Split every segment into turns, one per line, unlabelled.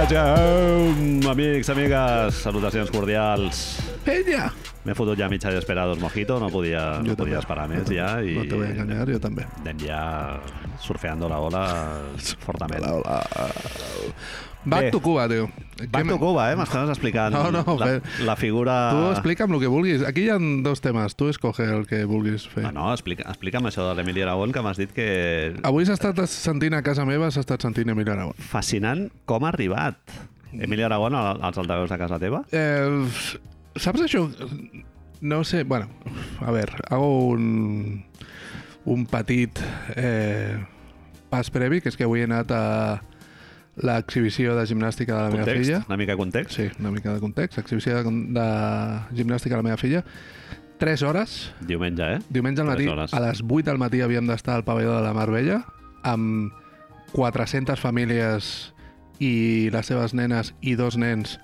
Vegeu, amics, amigues, salutacions cordials.
Penya!
M'he fotut ja mitja d'esperar dos mojito, no podia, no podia esperar més
també.
ja. I
No te voy a engañar, jo també.
Anem ja surfeando la ola fortament.
Hola, hola. Back
Bé.
to Cuba, tio.
Back to Cuba, eh? M'estaves explicant
No, no,
la,
bé.
la figura...
Tu explica'm el que vulguis. Aquí hi ha dos temes. Tu escoge el que vulguis fer.
No, no, explica, explica'm això de l'Emili Aragón, que m'has dit que...
Avui s'ha estat sentint a casa meva, s'ha estat sentint Emilio Aragón.
Fascinant com ha arribat. Emili Aragón al- als altaveus de casa teva?
Eh, saps això? No sé, bueno, a veure, hago un, un petit eh, pas previ, que és que avui he anat a l'exhibició de gimnàstica de la meva
Context?
filla.
Una mica de context?
Sí, una mica de context. Exhibició de, de gimnàstica a la meva filla. 3 hores,
Diumenge, eh?
diumenge al
Tres
matí,
hores.
a les 8 del matí havíem d'estar al pavelló de la Mar Vella amb 400 famílies i les seves nenes i dos nens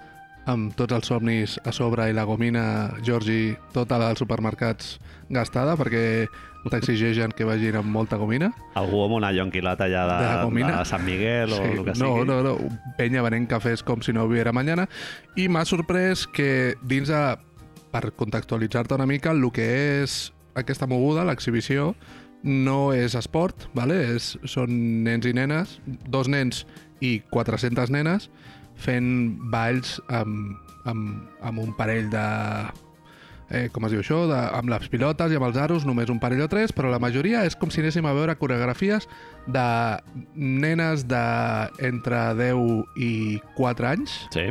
amb tots els somnis a sobre i la gomina, Georgi, tota la dels supermercats gastada perquè t'exigeixen que vagin amb molta gomina.
Algú amb una yonquilata allà de,
De la
de,
gomina.
de Sant Miguel o el que sigui.
no, no, no, penya venent cafès com si no hubiera mañana i m'ha sorprès que dins de, per contextualitzar-te una mica, el que és aquesta moguda, l'exhibició, no és esport, vale? és, són nens i nenes, dos nens i 400 nenes, fent balls amb, amb, amb un parell de... Eh, com es diu això? De, amb les pilotes i amb els aros, només un parell o tres, però la majoria és com si anéssim a veure coreografies de nenes de entre 10 i 4 anys,
Sí.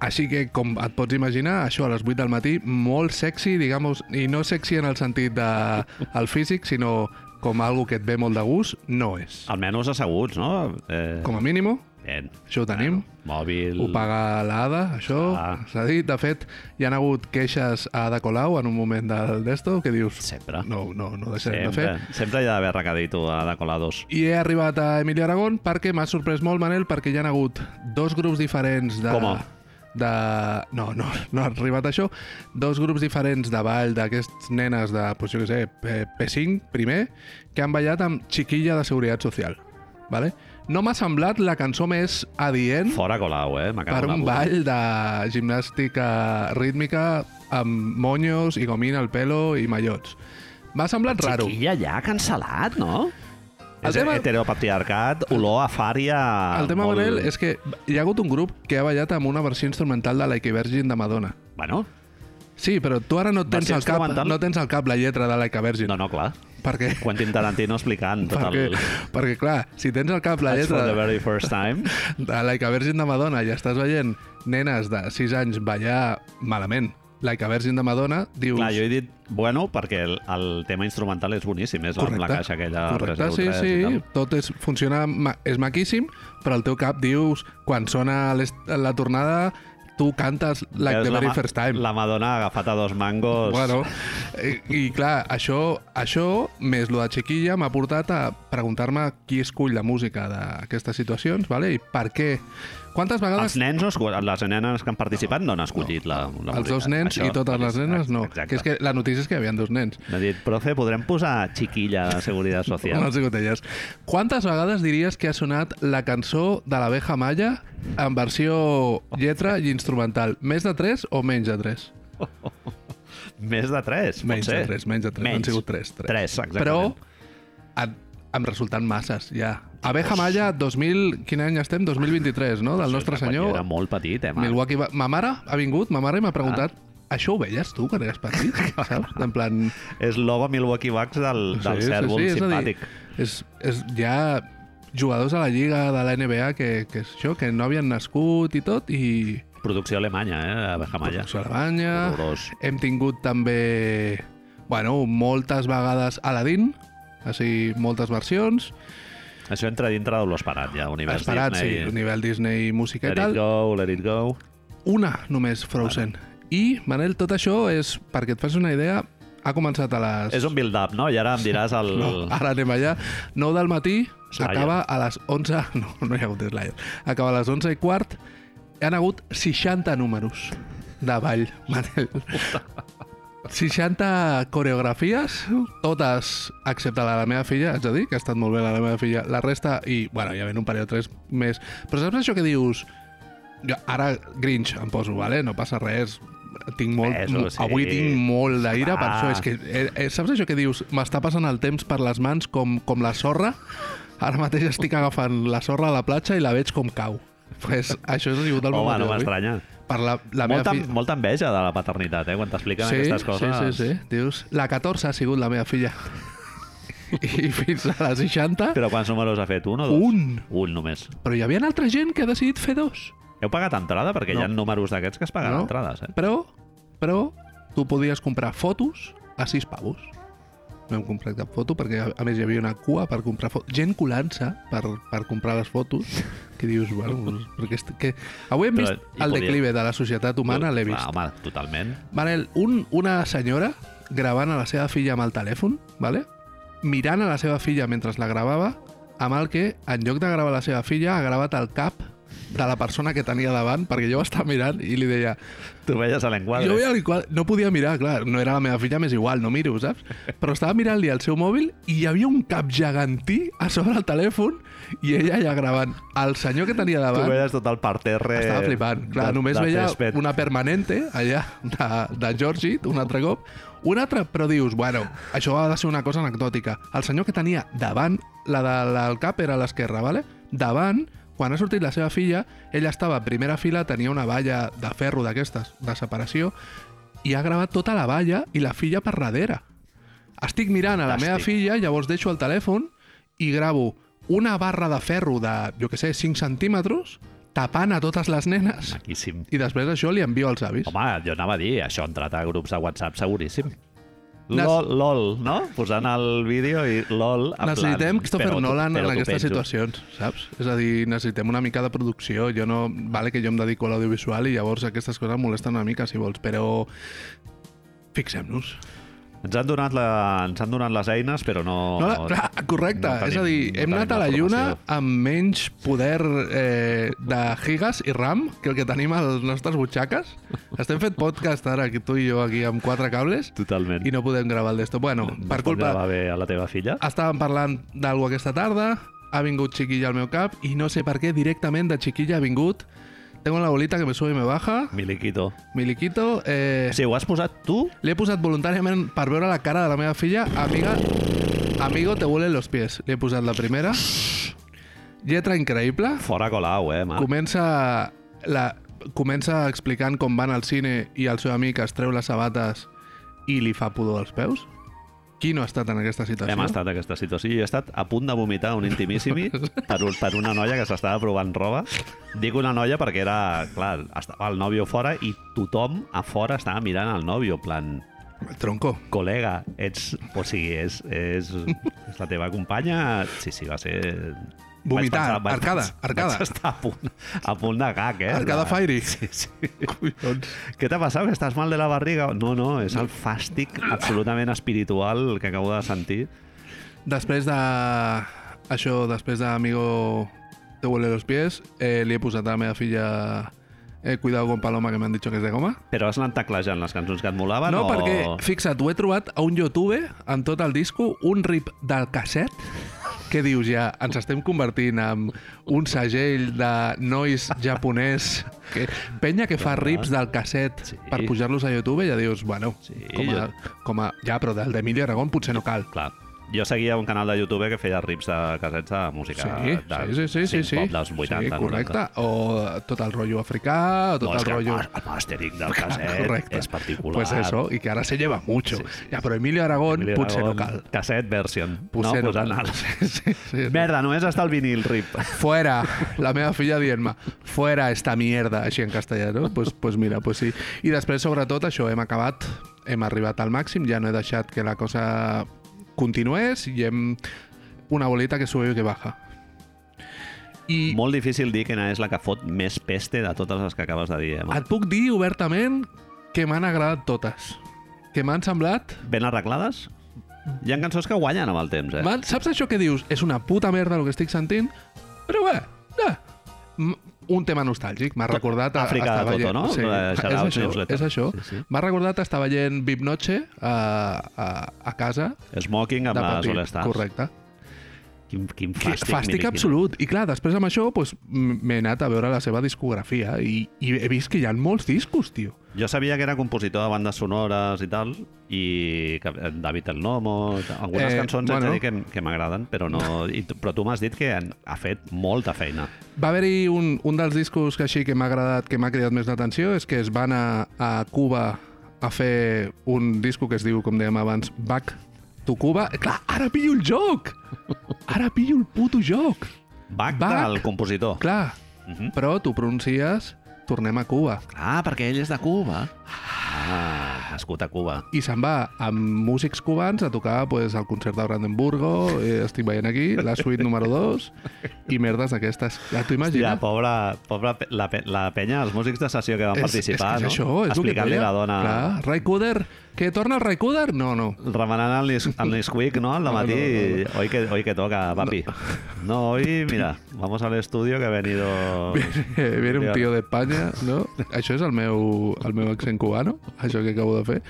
així que, com et pots imaginar, això a les 8 del matí, molt sexy, diguem i no sexy en el sentit de el físic, sinó com algo que et ve molt de gust, no és.
Almenys asseguts, no? Eh,
Com a mínim,
ben.
això ho tenim.
Mòbil...
Ho paga l'ADA, això.
Ah.
S'ha dit, de fet, hi han hagut queixes a Ada Colau en un moment del d'esto, que dius,
Sempre.
no, no, no deixarem de fer.
sempre. Sempre hi ha d'haver recadito a de colados.
I he arribat a Emilio Aragón perquè m'ha sorprès molt, Manel, perquè hi ha hagut dos grups diferents de...
Coma.
De... No, no, no ha arribat a això. Dos grups diferents de ball d'aquests nenes de, pues, jo què sé, P- P5, primer, que han ballat amb Chiquilla de Seguretat Social. Vale? No m'ha semblat la cançó més adient
Fora Colau, eh? M'acabo
per un ball de gimnàstica rítmica amb monyos i gomina al pelo i mallots. M'ha semblat raro.
Chiquilla ja ha cancel·lat, no?
El
El és
tema-
tema... heteropatriarcat, olor a fària...
El tema, Manel, és que hi ha hagut un grup que ha ballat amb una versió instrumental de Like a Virgin de Madonna.
Bueno,
Sí, però tu ara no et tens
Versió
al cap,
instrumental?
no tens al cap la lletra de Like a Virgin.
no, no, clar.
Perquè,
Quentin Tarantino explicant tot
perquè,
el...
perquè, clar, si tens al cap la
That's for
lletra
the very first time.
de Like a Virgin de Madonna i estàs veient nenes de 6 anys ballar malament Like a Virgin de Madonna, dius...
Clar, jo he dit, bueno, perquè el, el tema instrumental és boníssim, és amb la caixa aquella...
Correcte,
3
sí,
i
sí,
tal.
tot és, funciona, ma- és maquíssim, però al teu cap dius, quan sona l'est- la tornada, tu cantes Like
Veus
the
la
very
Ma-
first time.
La Madonna agafat a dos mangos...
Bueno, i, i clar, això, això més lo de Chiquilla m'ha portat a preguntar-me qui escull la música d'aquestes situacions, vale? i per què. Quantes
Els
vegades...
nens, no escoll- les nenes que han participat no han escollit la, la
els dos
música.
nens i totes les nenes no.
Exacte.
Que és que la notícia és que hi havia dos nens.
M'ha dit, profe, podrem posar xiquilla de Seguretat
Yeah.
Social?
No han sigut elles. Quantes vegades diries que ha sonat la cançó de l'abeja malla en versió lletra i instrumental? Més de tres o menys de tres?
Més de tres, pot
Menys
ser.
de tres, menys de tres. Menys. Han sigut tres.
Tres, exactament.
Però en, em resulten masses, ja. Abeja Malla, 2000... Quin any estem? 2023, no? Del nostre
Quan jo
senyor.
Era molt petit, eh, Marc?
Milwaukee... Va... Ma mare ha vingut, ma mare i m'ha preguntat
Ah.
això ho veies tu quan eres petit, saps? En plan...
És logo Milwaukee Bucks del, del sí, cèrvol
és a dir,
simpàtic.
És, és, hi ha jugadors a la lliga de la NBA que, que, és això, que no havien nascut i tot, i
Producció alemanya, eh, a Bajamalla.
Producció alemanya.
Horrorós.
Hem tingut també, bueno, moltes vegades Aladdin, així, moltes versions.
Això entra dintre de l'esperat, ja, univers
Esperat, sí,
Disney.
nivell Disney, música i
Let it
tal.
go, let it go.
Una només, Frozen. I, Manel, tot això és, perquè et fas una idea, ha començat a les...
És un build-up, no? I ara em diràs el...
No, ara anem allà. 9 del matí,
Slayer.
acaba a les 11... No, no hi ha hagut Slayer. Acaba a les 11 i quart. Han hagut 60 números de ball, Manel. 60 coreografies, totes, excepte la de la meva filla, haig de dir, que ha estat molt bé la de la meva filla, la resta, i, bueno, ja ven un parell o tres més. Però saps això que dius? Jo ara Grinch em poso, vale? no passa res, tinc molt,
Peso, sí.
avui tinc molt d'aire per
Ah.
això, és que eh, eh, saps això que dius? M'està passant el temps per les mans com, com la sorra, ara mateix estic agafant la sorra a la platja i la veig com cau. Pues, això és rigut del meu
Home,
matí
no
d'avui.
m'estranya.
Per la, la meva
Molta,
fi...
molta enveja de la paternitat, eh? Quan t'expliquen aquestes coses...
Sí, sí, sí. Dius, la 14 ha sigut la meva filla. I fins a la 60... Però,
Però quants números ha fet? Un o dos?
Un.
Un només.
però hi havia altra gent que ha decidit fer dos.
Heu pagat entrada? Perquè
No.
hi ha números d'aquests que es paguen entrades, eh?
Però, però tu podies comprar fotos a 6 pavos. No hem comprat cap foto, perquè a- a més hi havia una cua per comprar fotos. Gent colant-se per, per comprar les fotos, que dius, bueno, doncs, perquè... Est... Que... Avui hem
Però
vist
hi
el
podia-
declive de la societat humana, l'he vist.
Ah, home, totalment.
Manel, un, una senyora gravant a la seva filla amb el telèfon, vale? mirant a la seva filla mentre la gravava, amb el que, en lloc de gravar la seva filla, ha gravat el cap de la persona que tenia davant, perquè jo estava mirant i li deia...
Tu veies a l'enquadre.
Jo veia el quadre, no podia mirar, clar, no era la meva filla, més igual, no miro, saps? Però estava mirant-li el seu mòbil i hi havia un cap gegantí a sobre el telèfon i ella ja gravant. El senyor que tenia
Tu
davant
veies tot el parterre...
estava flipant. Clar,
de-
només
de
veia
césped.
una permanente allà de, de Georgie, un altre cop. Un altre, però dius, bueno, això ha de ser una cosa anecdòtica. El senyor que tenia davant, la del de, la del cap era a l'esquerra, vale? davant, quan ha sortit la seva filla, ella estava a primera fila, tenia una valla de ferro d'aquestes, de separació, i ha gravat tota la valla i la filla per darrere. Estic mirant a la meva
Fantàstic.
filla, llavors deixo el telèfon i gravo una barra de ferro de, jo que sé, 5 centímetres, tapant a totes les nenes,
Maquíssim.
i després això li envio als avis.
Home, jo anava a dir, això ha entrat a grups de WhatsApp seguríssim.
Nes-
LOL, LOL, no? Posant el vídeo i LOL... en plan,
Necessitem Christopher
però tu-
Nolan
però
en
tu
aquestes
penjo.
situacions, saps? És a dir, necessitem una mica de producció. Jo no... Vale que jo em dedico a l'audiovisual i llavors aquestes coses em molesten una mica, si vols, però fixem-nos.
Ens han, donat la, ens han donat les eines, però no...
No, la, clar, correcte,
no tenim-
és a dir,
no
hem
tenim
anat a
la
la Lluna
formació.
amb menys poder eh, de gigas i RAM que el que tenim a les nostres butxaques. Estem fent podcast ara, aquí, tu i jo, aquí amb quatre cables,
Totalment.
i no podem gravar el d'esto. Bueno, per culpa...
Doncs
Ah.
Va bé a la teva filla?
Estàvem parlant d'algú aquesta tarda, ha vingut Chiquilla al meu cap i no sé per què directament de Chiquilla ha vingut Tengo la bolita que me sube i me baja,
Miliquito.
Miliquito... Eh,
Sí, ho has posat tu?
L'he posat voluntàriament per veure la cara de la meva filla, amiga... Amigo, te huelen los pies. L'he posat la primera. Lletra increïble.
Fora Colau, eh, Marc?
Comença, la, comença explicant com van al cine i el seu amic es treu les sabates i li fa pudor als peus. Qui no ha estat en aquesta situació?
Hem estat en aquesta situació i he estat a punt de vomitar un intimíssimi per, un- per una noia que s'estava provant roba. Dic una noia perquè era, clar, estava el nòvio fora i tothom a fora estava mirant el nòvio, en plan,
El tronco.
col·lega, ets, o sigui, és, és, és la teva companya... Sí, sí, va ser... vaig
Vomitar,
vaig
arcada,
pensar-
arcada.
Vaig estar a punt, a punt de gag, eh?
Arcada
La-
Fairy.
Sí, sí.
Collons.
Què t'ha passat? Que estàs mal de la barriga? No, no, és el fàstic absolutament espiritual que acabo de sentir.
Després de... Això, després d'Amigo te huele los pies, eh, li he posat a la meva filla eh, Cuidado con Paloma, que m'han dit que és de goma.
Però has anat teclejant les cançons que et molaven
No,
o...
perquè, fixa't, ho he trobat a un YouTube, en tot el disco, un rip del casset, que dius ja, ens estem convertint en un segell de nois japonès, que, penya que fa rips del casset
Sí.
per pujar-los a YouTube, ja dius, bueno,
Sí,
com, a,
jo-
com a... Ja, però del d'Emilio Aragón potser no cal.
Clar, jo seguia un canal de YouTube que feia rips de casets de música
Sí,
de,
sí, sí, sí, sí.
synth-pop dels 80,
sí, correcte.
90.
O tot el rotllo africà, o tot
no, és
el
que el,
rotllo...
mas- el mastering del caset
Correcte.
és particular.
Pues eso, y que ahora se lleva mucho. Ja, però Emilio Aragón
Emilio
potser no
Aragón, pues
cal.
Cassette version.
Potser
no,
no,
posant
cal.
el-
Sí, sí, sí.
Merda, només està el vinil rip.
Fuera, la meva filla dient-me Fuera esta mierda, així en castellà, no? Pues, pues mira, pues sí. I després, sobretot, això, hem acabat, hem arribat al màxim, ja no he deixat que la cosa continués i hem... Una bolita que sube i que baja. I
Molt difícil dir quina és la que fot més peste de totes les que acabes de dir. Eh? Marc?
et puc dir obertament que m'han agradat totes. Que m'han semblat...
Ben arreglades? Hi ha cançons que guanyen amb el temps, eh?
M'han... Saps això que dius? És una puta merda el que estic sentint? Però bé, ja. M- un tema nostàlgic. M'ha recordat... a-
Àfrica
estar
de Toto,
veient-
no?
Sí,
La-
és
Shoutouts
això,
Newsletter.
és això.
Sí, sí.
M'ha recordat estar veient Vip Noche a, a, a casa.
Smoking amb
de
les
petit.
All-Stars.
Correcte.
Quin, quin
Que
fàstic.
fàstic
miri,
absolut. I clar, després amb això doncs, m- m'he anat a veure la seva discografia i, i he vist que hi ha molts discos, tio.
Quin... Jo sabia que era compositor de bandes sonores i tal, i que eh, David El Nomo... Algunes
Eh,
eh, cançons bueno. haig
bueno.
de dir que, m- que m'agraden, però no... I, tu- però tu m'has dit que en- ha fet molta feina.
Va haver-hi un, un dels discos que així que m'ha agradat, que m'ha cridat més l'atenció, és que es van a, a Cuba a fer un disco que es diu, com dèiem abans, Back to Cuba. Clar, ara pillo el joc! Ara pillo el puto joc!
Bach,
Bach?
Bach. del compositor. Clar.
Clar,
Uh -huh.
però tu pronuncies Tornem a Cuba.
Ah, perquè ell és de Cuba. Ah, nascut a Cuba.
I se'n va amb músics cubans a tocar pues, el concert de Brandenburgo, eh, estic veient aquí, la suite número 2, i merdes d'aquestes. Ja t'ho
Ja,
imagines?
pobra, pobra pe- la, pe- la penya, els músics de sessió que van participar,
és, és, que és
no?
això, és el que
Explicant-li a
deia.
la dona...
Clar, Ray Cooder, que torna el Ray Cooder? No, no.
remenant el, Nis- el Nesquik, ¿no? Al matí,
No,
Hoy, que, hoy que toca, papi. No, hoy, mira, vamos al estudio que ha venido...
Eh, Viene un tio d'Espanya, no? Això és el meu, el meu accent cubano, això que acabo de fer.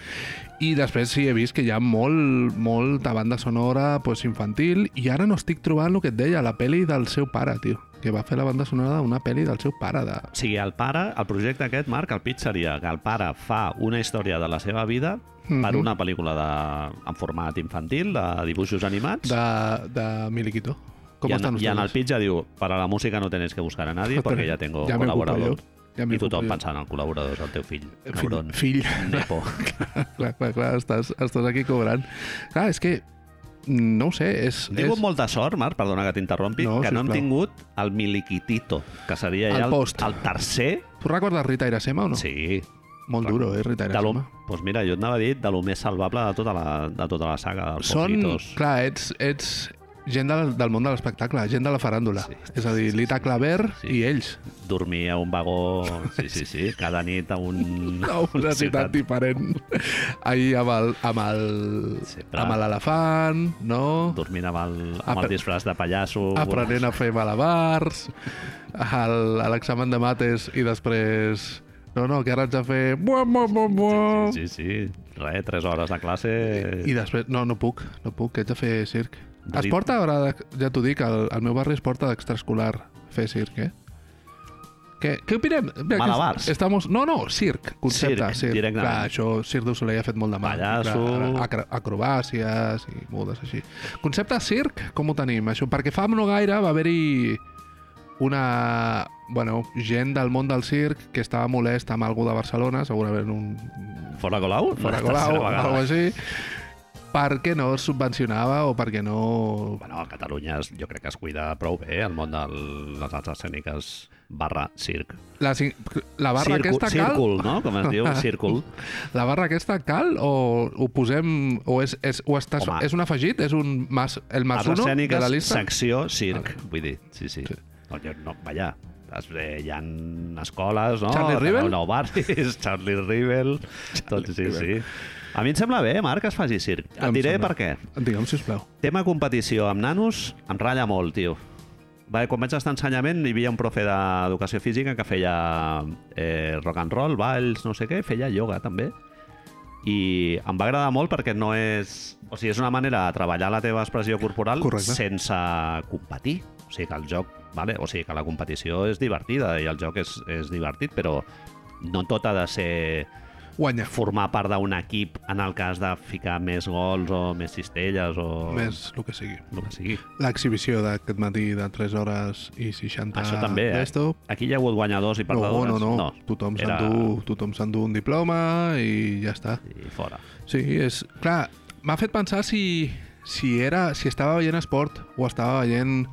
I després sí, he vist que hi ha molt, molta banda sonora pues, infantil i ara no estic trobant el que et deia, la peli del seu pare, tio. Que va fer la banda sonora d'una peli del seu pare, de,
O sigui, el pare, el projecte aquest, Marc, el pitch seria que el pare fa una història de la seva vida per
Mhm.
una pel·lícula de, en format infantil, de dibuixos animats,
de, de Miliquito. Com
i,
estan
en, i en el
ustedes?
pitch ja diu, para la música no tenéis que buscar a nadie porque ya tengo
Ya me ocupo
colaborador.
yo, ya me
I tothom
ocupo yo.
pensant en el col·laborador és el teu fill,
Fill,
cabron,
fill.
nepo.
clar, clar, clar, estàs, estàs aquí cobrant. Clar, és que, no ho sé, és...
Hem tingut
és...
molta sort, Marc, perdona que t'interrompi, no,
No,
que no hem
sisplau.
tingut el Miliquitito, que seria ja
El
el,
post.
el tercer...
Tu recordes Rita Irasema o no?
Sí.
Molt duro, eh, Rita
De lo,
Irasema.
doncs mira, jo et anava a dir de lo més salvable de tota la, de tota la saga dels
Són,
Poquitos.
clar, ets, ets gent del, del món de l'espectacle, gent de la faràndula.
Sí.
Sí, és a dir, Lita Claver
Sí.
sí. i ells.
Dormir a un vagó... Sí, sí, sí. Cada nit a un...
A una ciutat diferent. Ahir amb el, amb el,
Sempre.
amb l'elefant, no?
Dormint amb el, amb
Apre-
el disfraç de pallasso.
aprenent a fer malabars, al- a l'examen de mates i després... No, no, que ara haig de fer... Buah, buah, buah, buah.
Sí, sí. Res, tres hores de classe...
I després... No, no puc, no puc, que haig de fer circ. Es
Rit-
porta ara... De, ja t'ho dic, al, al meu barri es porta d'extraescolar fer circ, eh? Què, què opinem? Mira, que
Malabars.
Estamos... No, no, circ, concepte.
Circ,
circ.
directament.
Clar, això Circ du Soleil ha fet molt de mal.
Pallasso.
Clar, acro- acrobàcies i moltes així. Concepte circ, com ho tenim? Això? Perquè fa no gaire va haver-hi una bueno, gent del món del circ que estava molesta amb algú de Barcelona, segurament un,
Fora Colau?
fora
La
Colau
tercera
o
vegada.
alguna així, perquè no es subvencionava o perquè no...
Bueno, a Catalunya es, jo crec que es cuida prou bé el món de les arts escèniques barra circ.
La, cin- la barra
Circu-
aquesta cal...
Círcul, no? Com es diu? Círcul.
La barra aquesta cal o ho posem... O és, és, o estàs,
Home.
és un afegit? És un mas, el mas
Arts
uno de la
escèniques,
llista?
secció, circ. Vull dir, sí, sí. No, jo, no, vaja, es, eh, hi ha escoles, no?
Charlie Rivel?
No, barris, Charlie Rivel, tot, sí, sí. A mi em sembla bé, Marc, que es faci circ. Et
Em
diré
sembla.
per què.
Digue'm, sisplau.
Tema competició amb nanos em ratlla molt, tio. Va, quan vaig estar a ensenyament hi havia un profe d'educació física que feia eh, rock and roll, balls, no sé què, feia ioga també. I em va agradar molt perquè no és... O sigui, és una manera de treballar la teva expressió corporal
Correcte.
sense competir. O sigui, que el joc... Vale? O sigui, que la competició és divertida i el joc és, és divertit, però no tot ha de ser
Guanya.
formar part d'un equip en el cas de ficar més gols o més cistelles o...
Més el que sigui.
El que sigui.
L'exhibició d'aquest matí de 3 hores i 60
Això també, eh?
d'esto.
Aquí hi ha hagut guanyadors i
Ah, No,
perdedores.
no, no, no. Tothom
era-
s'endú tothom s'endú un diploma i ja està.
I fora.
Sí, és... Clar, m'ha fet pensar si, si, era, si estava veient esport o estava veient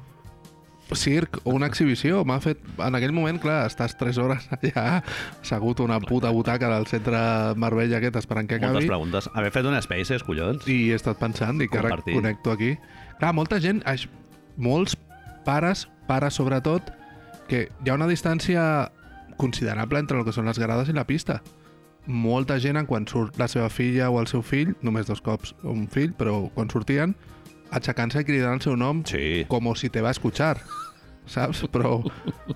circ o una exhibició. M'ha fet... En aquell moment, clar, estàs 3 hores allà assegut a una puta butaca del centre Marbella aquest esperant que
Moltes
acabi
preguntes. Haver fet un Spaces, collons.
i he estat pensant, dic, ara
Compartir.
connecto aquí. Clar, molta gent, aix- molts pares, pares sobretot, que hi ha una distància considerable entre el que són les grades i la pista. Molta gent, en quan surt la seva filla o el seu fill, només dos cops un fill, però quan sortien, aixecant-se i cridant el seu nom
Sí.
com si te va escuchar. saps? Però,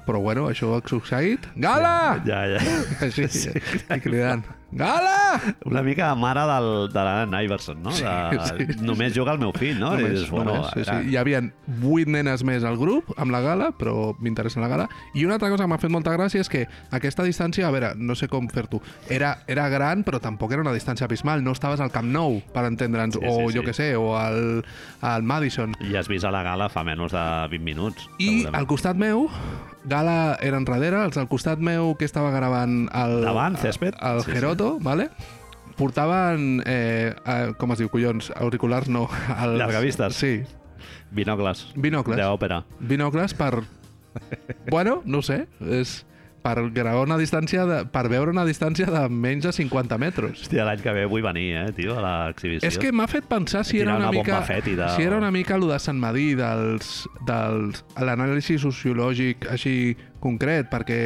però bueno, això ha succeït. Gala!
Ja, ja.
Així, i cridant, Gala!
Una mica mare del, de l'Anna Iverson, no? De,
Sí, sí.
Només juga el meu fill, no? I
Només,
dius, bueno,
només, sí,
ja.
sí. Hi havia vuit nenes més al grup amb la gala, però m'interessa la gala. I una altra cosa que m'ha fet molta gràcia és que aquesta distància, a veure, no sé com fer-t'ho, era, era gran, però tampoc era una distància abismal. No estaves al Camp Nou, per entendre'ns,
Sí,
o
sí,
jo
sí.
que sé, o al, al Madison.
I has vist a la gala fa menys de 20 minuts.
I
segurament.
al costat meu, Gala era enrere, els al costat meu que estava gravant el...
Davant, césped.
El
Sí, sí.
Geroto, vale? Portaven, eh, eh, com es diu, collons, auriculars no. Els...
Llargavistes.
Sí,
Binocles.
Binocles.
De òpera.
binocles per... bueno, no ho sé, és per gravar una distància, de, per veure una distància de menys de 50 metres.
Hòstia, l'any que ve vull venir, eh, tio, a l'exhibició.
És que m'ha fet pensar si era
Tirar
una,
una bomba
mica...
fètida.
Si era una mica el de Sant Madí, dels, dels, l'anàlisi sociològic així concret, perquè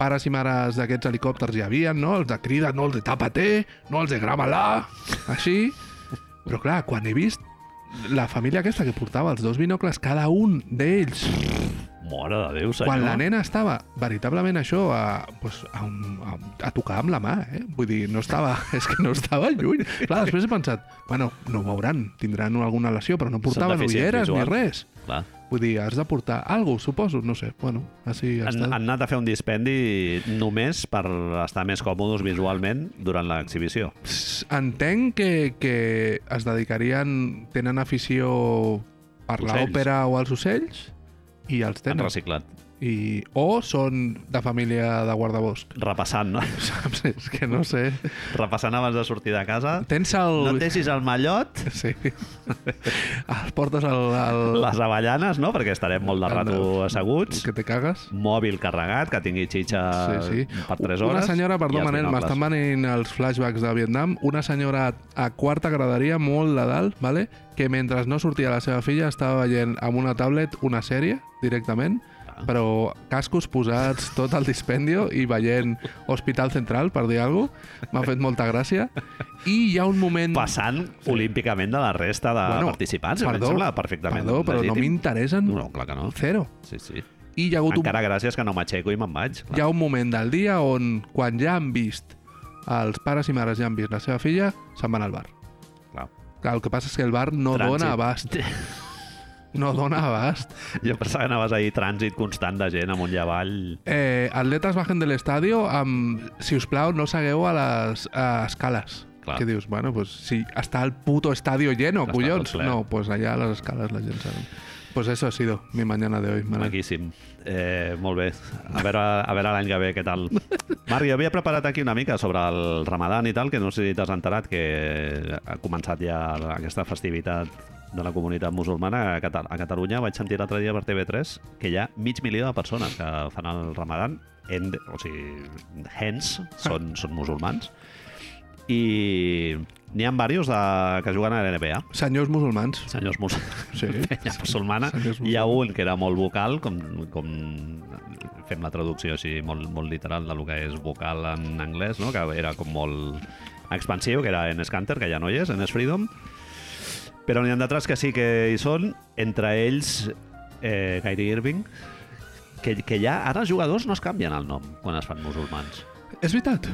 pares i mares d'aquests helicòpters hi havien, no? Els de crida, no els de tapater, no els de grava-la, així. Però clar, quan he vist la família aquesta que portava els dos binocles, cada un d'ells,
Mora de Déu, senyor.
quan la nena estava, veritablement això, a, pues, a, un, a, a tocar amb la mà, eh? Vull dir, no estava, és que no estava lluny. Clar, després he pensat, bueno, no ho veuran, tindran alguna lesió, però no portaven
deficients
ulleres ni
visuals.
res.
Clar.
Vull dir, has de portar alguna cosa, suposo, no sé. Bueno, així ha
Han,
estat.
han anat a fer un dispendi només per estar més còmodes visualment durant l'exhibició.
Pss, Entenc que, que es dedicarien, tenen afició per
Ocells.
l'òpera o als ocells, i els
Han
tenen.
reciclat.
I, o són de família de guardabosc.
Repassant, no?
Saps? És que no sé.
Repassant abans de sortir de casa.
Tens el...
No tessis el mallot,
Sí. Els portes al... al...
les avellanes, no? Perquè estarem molt de rato asseguts.
Que te cagues.
Mòbil carregat, que tingui xitxa
Sí, sí.
Eh, per 3
Una
hores.
senyora,
i
perdó,
els
Manel,
binocles.
m'estan venint els flashbacks de Vietnam. Una senyora a quarta graderia, molt de dalt, vale? que mentre no sortia la seva filla estava veient amb una tablet una sèrie directament,
Ah.
però cascos posats, tot el dispendio i veient Hospital Central, per dir alguna cosa. M'ha fet molta gràcia. I hi ha un moment...
Passant olímpicament de la resta de participants. Perdó, em sembla perfectament
Perdó, però no
legítim.
m'interessen
No, clar que no.
Zero.
Sí, sí.
I hi ha hagut
Encara gràcies que no m'aixeco i me'n vaig.
un, hi ha un moment del dia on, quan ja han vist, els pares i mares ja han vist la seva filla, se'n van al bar.
Clar.
Clar, el que passa és que el bar no
Trànsit.
dona abast. No dona abast.
Jo pensava que anaves ahir trànsit constant de gent amunt i avall.
Eh, atletes bajen de l'estadio amb... Si us plau, no segueu a les a escales.
Clar.
Que dius, bueno, pues si està el puto estadio lleno,
Està
collons.
tot ple.
No, pues allà a les escales la gent s'ha... Pues eso ha sido mi mañana de hoy. Manel.
Maquíssim. Eh, molt bé. A veure, a veure l'any que ve què tal. Marc, jo havia preparat aquí una mica sobre el ramadan i tal, que no sé si t'has enterat que ha començat ja aquesta festivitat de la comunitat musulmana a, Cata a Catalunya. Vaig sentir l'altre dia per TV3 que hi ha mig milió de persones que fan el ramadan, en, o sigui, hens, són, són musulmans, i n'hi ha diversos de, que juguen a l'NBA
Senyors musulmans.
senyors mus...
Sí.
sí. penya musulmana.
Senyors
Hi ha un que era molt vocal, com, com fem la traducció així molt, molt literal del que és vocal en anglès, no? que era com molt expansiu, que era en Scanter, que ja no hi és, en Freedom. Però n'hi ha d'altres que sí que hi són, entre ells eh, Kyrie Irving, que, que ja ara els jugadors no es canvien el nom quan es fan musulmans.
És veritat.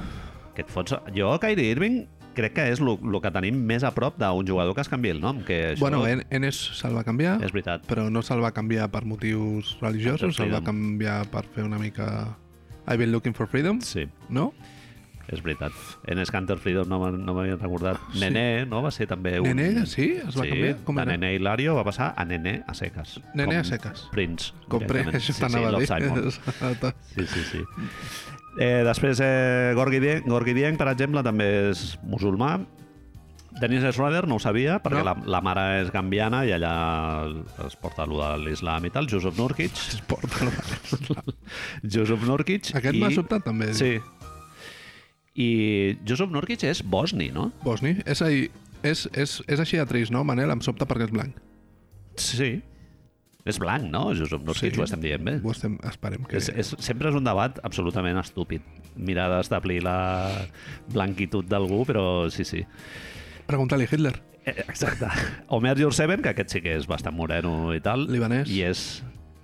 Que et fots... Jo, Kyrie Irving, crec que és el que tenim més a prop d'un jugador que es canvi el nom. Que això
Bueno, eh, en, en és se'l va canviar.
és veritat.
però no se'l va canviar per motius
Per
religiosos, se'l va
freedom.
canviar per fer una mica I've been looking for freedom,
Sí,
no?
és veritat. En Scanter Freedom no, me- no m'havia recordat. Nené, no? Va ser també un...
Nene, Ah, sí? Es va
sí,
canviar? Com
de
era?
Nené Hilario va passar a Nené a seques.
Nené a seques.
Prince.
Compré,
directament.
això
sí,
t'anava
sí,
a dir.
Simon.
Exacte.
Sí, sí, sí. Eh, després, eh, Gorgi Dien- Gorgi Dieng, per exemple, també és musulmà. Dennis Schroeder no ho sabia, perquè
No.
la, la mare és gambiana i allà es porta allò de l'islam i tal. Josep Nurkic.
Es porta.
Josep Nurkic.
Aquest
i...
m'ha sobtat també.
Sí. I Josep Nurkic és bosni, no?
Bosni, és, ahí, és, és, és així de trist, no, Manel? Em sobta perquè és blanc.
Sí. És blanc, no? Josep Nurkic, sí. ho estem dient bé.
Ho estem, esperem que...
És, eh, és, sempre és un debat absolutament estúpid. Mirar d'establir la blanquitud d'algú, però sí, sí.
Pregunta-li a Hitler.
Eh, Exacte. Omer Yurseven, que aquest sí que és bastant moreno i tal.
Libanès.
I és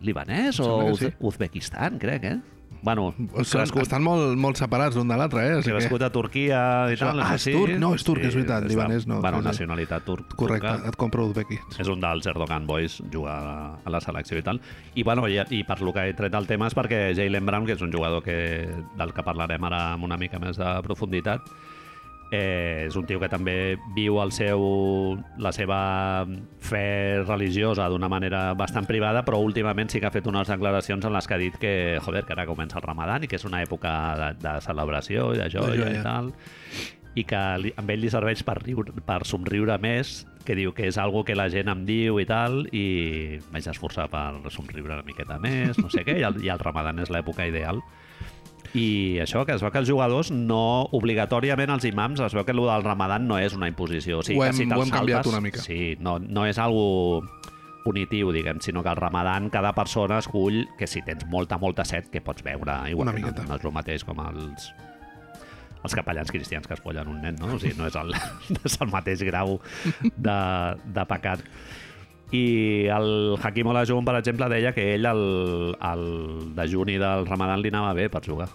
libanès o
Sembla que
Uz
sí.
Uzbekistan, crec, eh? Bueno,
Són,
crescut,
estan molt, molt separats l'un de l'altre, eh? O sigui que...
crescut a Turquia i
Això-
tal.
ah,
sé
és
si-
turc? No, és turc, és veritat,
està-
libanès no,
Bueno,
sí, sí.
nacionalitat tur
Correcte,
turca.
et compro Uzbeki.
És un dels Erdogan Boys, jugar a- a la selecció i tal. I, bueno, i, i per lo que he tret el tema és perquè Jalen Brown, que és un jugador que, del que parlarem ara amb una mica més de profunditat, eh, és un tio que també viu el seu, la seva fe religiosa d'una manera bastant privada, però últimament sí que ha fet unes declaracions en les que ha dit que, joder, que ara comença el ramadan i que és una època de, de celebració i de joia
joia.
i tal i que li, amb ell li serveix per, riure, per somriure més, que diu que és algo que la gent em diu i tal, i vaig esforçar per somriure una miqueta més, no sé què, i el, i el ramadan és l'època ideal. I això, que es veu que els jugadors no, obligatòriament els imams, es veu que allò del ramadan no és una imposició. O sigui, que
Ho hem-
si te'l
ho hem canviat
saltes-
una mica.
Sí, no, no és algo punitiu, diguem, sinó que el ramadan cada persona escull que si tens molta, molta set, que pots veure, igual
Una
que no,
miqueta.
no és el mateix com els, els capellans cristians que es follen un nen, no? O sigui, no és el, no és el mateix grau de, de pecat. I el Hakim Olajuwon, per exemple, deia que ell el, el dejuni del Ramadan li anava bé per jugar.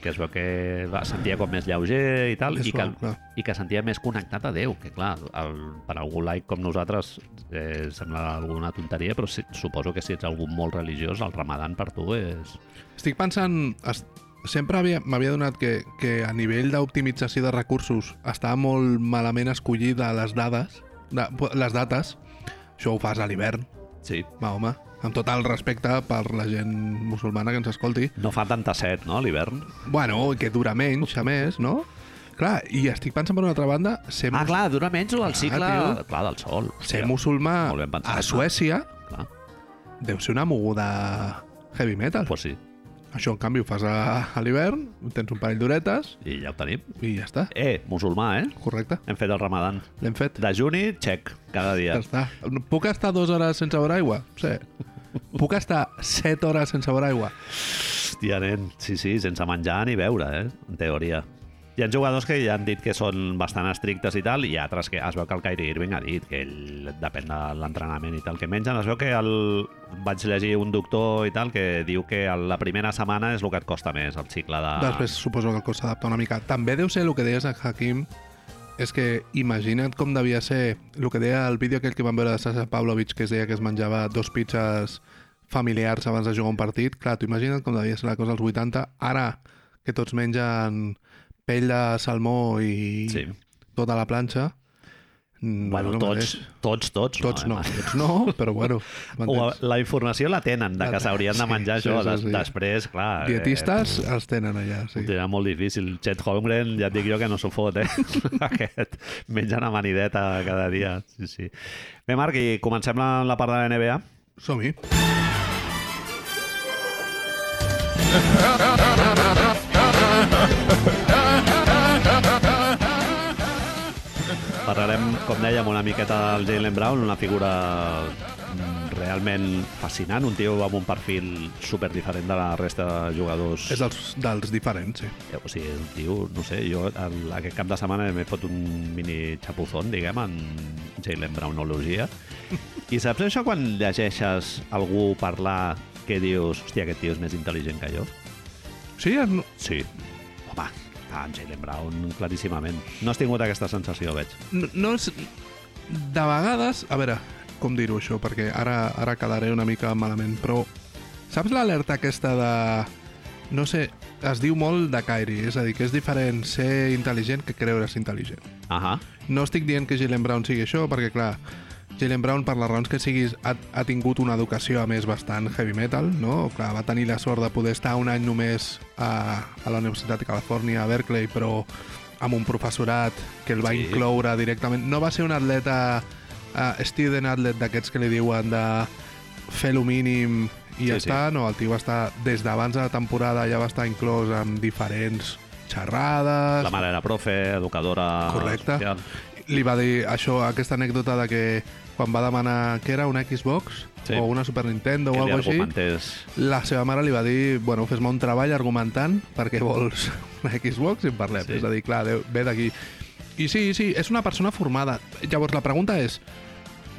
Que es veu que va- sentia com més lleuger i tal,
Més
i que,
suau, clar.
i que sentia més connectat a Déu, que clar, el, per algú laic com nosaltres eh, sembla alguna tonteria, però si, suposo que si ets algú molt religiós, el Ramadan per tu és...
Estic pensant... Es... Sempre havia- m'havia donat que, que a nivell d'optimització de recursos estava molt malament escollida les dades, de, les dates. Això ho fas a l'hivern,
Sí.
va, home. Amb tot el respecte per la gent musulmana que ens escolti.
No fa tanta set, no, a l'hivern?
Bueno, i que dura menys, a més, no? Clar, i estic pensant per una altra banda, ser,
Ah,
mus-
clar, dura menys el cicle...
tio.
clar, del sol.
ser
Hòstia,
musulmà
Molt ben pensat,
a Suècia
Clar,
deu ser una moguda heavy metal.
pues sí,
Això, en canvi, ho fas a, a l'hivern, tens un parell d'horetes
i ja ho tenim.
i ja està.
Eh, musulmà, eh?
Correcte,
Hem fet el ramadan.
l'hem fet.
De juni, xec, cada dia.
Ja està. Puc estar dues hores sense beure aigua? Sí. Puc estar set hores sense beure aigua?
Hòstia, nen. Sí, sí, sense menjar ni beure, eh? En teoria. Hi ha jugadors que ja han dit que són bastant estrictes i tal, i altres que es veu que el Kyrie Irving ha dit que ell depèn de l'entrenament i tal que mengen. Es veu que el... vaig llegir un doctor i tal que diu que la primera setmana és el que et costa més, el cicle de...
Després suposo que el cos s'adapta una mica. També deu ser el que deies a Hakim, és que imagina't com devia ser el que deia el vídeo aquell que vam veure de Sasa Pavlovich, que es deia que es menjava dos pizzas familiars abans de jugar un partit. Clar, tu imagina't com devia ser la cosa als 80, ara que tots mengen pell de salmó i
Sí.
tota la planxa. No
Bueno,
és el mateix.
tots, tots, tots,
Tots no,
eh?
tots no, però bueno,
O
m'entens?
la informació la tenen, de
La
que
tenen,
s'haurien de
sí,
menjar
sí,
això.
sí,
Des-
sí.
Després, clar...
Dietistes els tenen allà,
Eh,
sí.
ho tindrà molt difícil. Chet Holmgren, ja et dic jo que no s'ho fot, eh? Aquest menja una manideta cada dia. Sí, sí. Bé, Marc, i comencem la, la part de la NBA.
Som-hi.
Parlarem, com dèiem, una miqueta del Jalen Brown, una figura mm, realment fascinant, un tio amb un perfil super diferent de la resta de jugadors
És dels, dels diferents, sí.
Eh, O sigui, el tio, no sé, jo el, aquest cap de setmana m'he fot un mini xapuzón, diguem, en Jalen Brownologia. I saps això quan llegeixes algú parlar que dius, hòstia, aquest tio és més intel·ligent que jo?
Sí, en-
Sí. Home, ah, en Jalen Brown, claríssimament. No has tingut aquesta sensació, veig.
no, no és... De vegades... A veure, com dir-ho això, perquè ara, ara quedaré una mica malament, però saps l'alerta aquesta de... No sé, es diu molt de Kairi, és a dir, que és diferent ser intel·ligent que creure's intel·ligent.
Ahà,
No estic dient que Jalen Brown sigui això, perquè clar, Jalen Brown, per les raons que siguis, ha, ha tingut una educació, a més, bastant heavy metal, no? Clar, va tenir la sort de poder estar un any només a, a la Universitat de Califòrnia, a Berkeley, però amb un professorat que el va
Sí.
sí. incloure directament. No va ser un atleta, uh, student atlet d'aquests que li diuen de fer lo mínim i ja
Sí, sí.
sí, està. No, el tio va estar, des d'abans de la temporada ja va estar inclòs en diferents xerrades,
la mare era profe, educadora...
Correcte.
social.
li va dir això, aquesta anècdota de que quan va demanar que era una Xbox
Sí.
sí. o una Super Nintendo
Que
o
li
alguna cosa així,
argumentés...
la seva mare li va dir, bueno, fes-me un treball argumentant perquè vols una Xbox i en parlem.
Sí.
Sí. És a dir, clar, deu- ve d'aquí. I sí, sí, és una persona formada. Llavors, la pregunta és,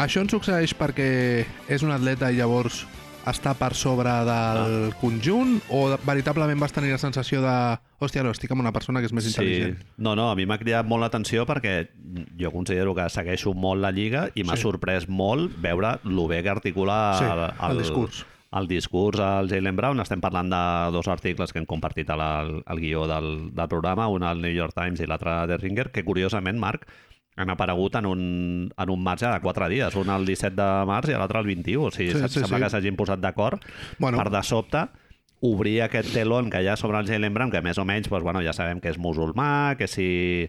això ens succeeix perquè és un atleta i llavors està per sobre del
Ah.
conjunt o de- veritablement vas tenir la sensació de hòstia, no, estic amb una persona que és més intel·ligent?
No, no, a mi m'ha cridat molt l'atenció perquè jo considero que segueixo molt la Lliga i m'ha
Sí.
sorprès molt veure lo bé que articula
Sí, el discurs.
El discurs al Jalen Brown. Estem parlant de dos articles que hem compartit al, al guió del, del programa, un al New York Times i l'altre a The Ringer, que curiosament, Marc, han aparegut en un, en un marge de quatre dies, un el 17 de març i l'altre el 21. O sigui,
Sí,
sí,
sí,
sembla
sí.
que s'hagin posat d'acord
Bueno.
bueno. per de sobte obrir aquest telón que hi ha sobre el Jalen Brown, que més o menys doncs, bueno, ja sabem que és musulmà, que si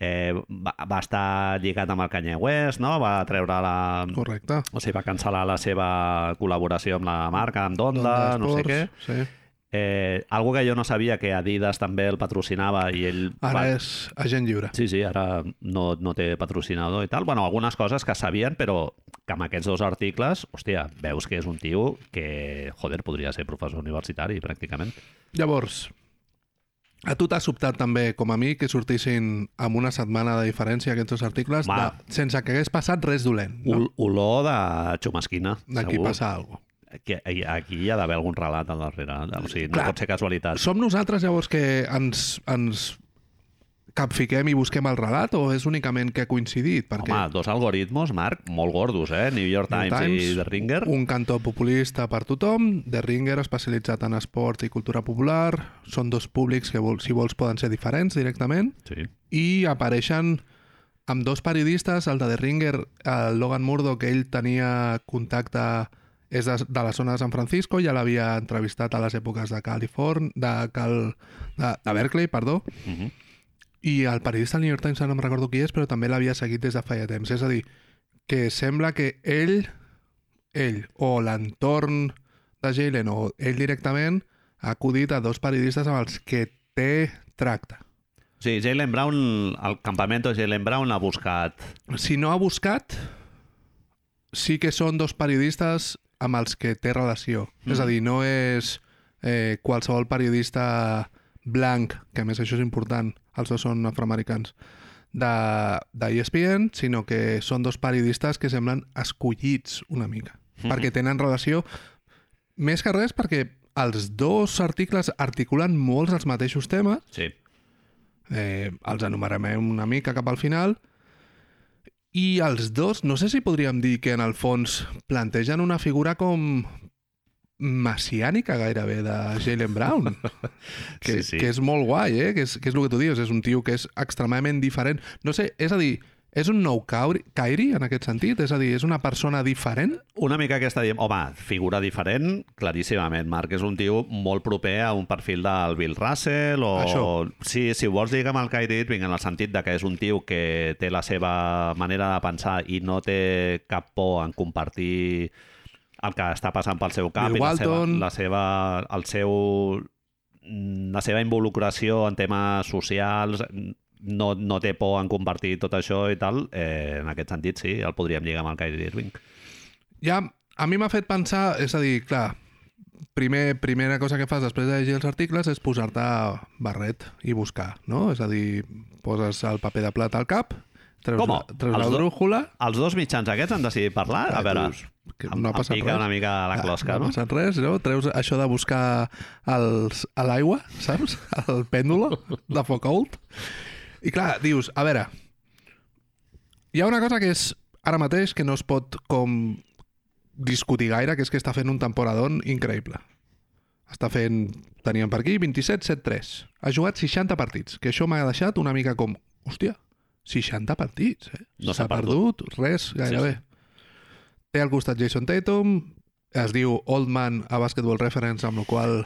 eh, va, va estar lligat amb el Kanye West, no? va treure la...
Correcte.
O sigui, va cancel·lar la seva col·laboració amb la marca, amb Donda, no sé què.
Doncs Esports, Sí.
Eh, algo que jo no sabia, que Adidas també el patrocinava i ell...
Ara
va...
és agent lliure.
Sí, sí, ara no, no té patrocinador i tal. Bueno, algunes coses que sabien, però que amb aquests dos articles, hòstia, veus que és un tio que, joder, podria ser professor universitari, pràcticament.
Llavors, a tu t'ha sobtat també, com a mi, que sortissin amb una setmana de diferència aquests dos articles de,
Home.
sense que hagués passat res dolent, no?
Ol olor de xumasquina,
D'aquí
segur.
passa alguna cosa.
Que, hi- aquí hi ha d'haver algun relat al darrere. eh? O sigui, no
Clar.
pot ser casualitat.
Som nosaltres, llavors, que ens, ens capfiquem i busquem el relat o és únicament que ha coincidit? Perquè
Home, dos algoritmos, Marc, molt gordos, eh? New York
New
Times, i The Ringer.
un cantó populista per tothom, The Ringer especialitzat en esport i cultura popular, són dos públics que, vol, si vols, poden ser diferents directament,
Sí.
i apareixen amb dos periodistes, el de The Ringer, el Logan Murdo, que ell tenia contacte és de, de la zona de San Francisco, ja l'havia entrevistat a les èpoques de Califòrnia, de, Cal, de, de Berkeley, perdó,
Uh -huh.
i el periodista del New York Times, ara no em recordo qui és, però també l'havia seguit des de feia temps. És a dir, que sembla que ell, ell o l'entorn de Jalen o ell directament ha acudit a dos periodistes amb els que té tracte.
Sí, Jalen Brown, el campamento de Jalen Brown l'ha buscat.
Si no ha buscat, sí que són dos periodistes amb els que té relació. Mm. És a dir, no és eh, qualsevol periodista blanc, que a més això és important, els dos són afroamericans, de, de E ESPN, sinó que són dos periodistes que semblen escollits una mica, mm. perquè tenen relació més que res perquè els dos articles articulen molts els mateixos temes
Sí.
eh, els enumerarem una mica cap al final. I els dos, no sé si podríem dir que en el fons plantegen una figura com messiànica gairebé de Jalen Brown.
Sí,
que,
sí.
que és molt guai, eh? Que és, que és el que tu dius, és un tio que és extremadament diferent. No sé, és a dir, és un nou Kauri, Kairi en aquest sentit? És a dir, és una persona diferent?
Una mica aquesta... diem, Home, figura diferent, claríssimament, Marc. És un tio molt proper a un perfil del Bill Russell o...
Això.
Sí, si ho vols dir amb el Kyrie Irving, en el sentit de que és un tio que té la seva manera de pensar i no té cap por en compartir el que està passant pel seu cap
Bill
i la seva,
Walton.
la seva, el seu, la seva involucració en temes socials, no, no té por en compartir tot això i tal, eh, en aquest sentit sí, el podríem lligar amb el Kyrie Irving.
ja, a mi m'ha fet pensar, és a dir, clar, primer, primera cosa que fas després de llegir els articles és posar-te barret i buscar, no? És a dir, poses el paper de plata al cap, treus,
Com?
la, treus
Els
la
do-
drújula...
Els dos mitjans aquests han decidit parlar? A veure,
Eh, que
em-
no ha
em
passat
pica
res.
una mica la closca,
Ah, no?
no?
ha passat res, no? Treus això de buscar els, a l'aigua, saps? El pèndulo de Foucault. I clar, dius, a veure, hi ha una cosa que és ara mateix que no es pot com discutir gaire, que és que està fent un temporadón increïble. Està fent, teníem per aquí, 27-7-3. Ha jugat 60 partits, que això m'ha deixat una mica com, hòstia, 60 partits, eh?
No s'ha
s'ha perdut. res, gairebé. Té al costat Jason Tatum, es diu Old Man a Basketball Reference, amb la qual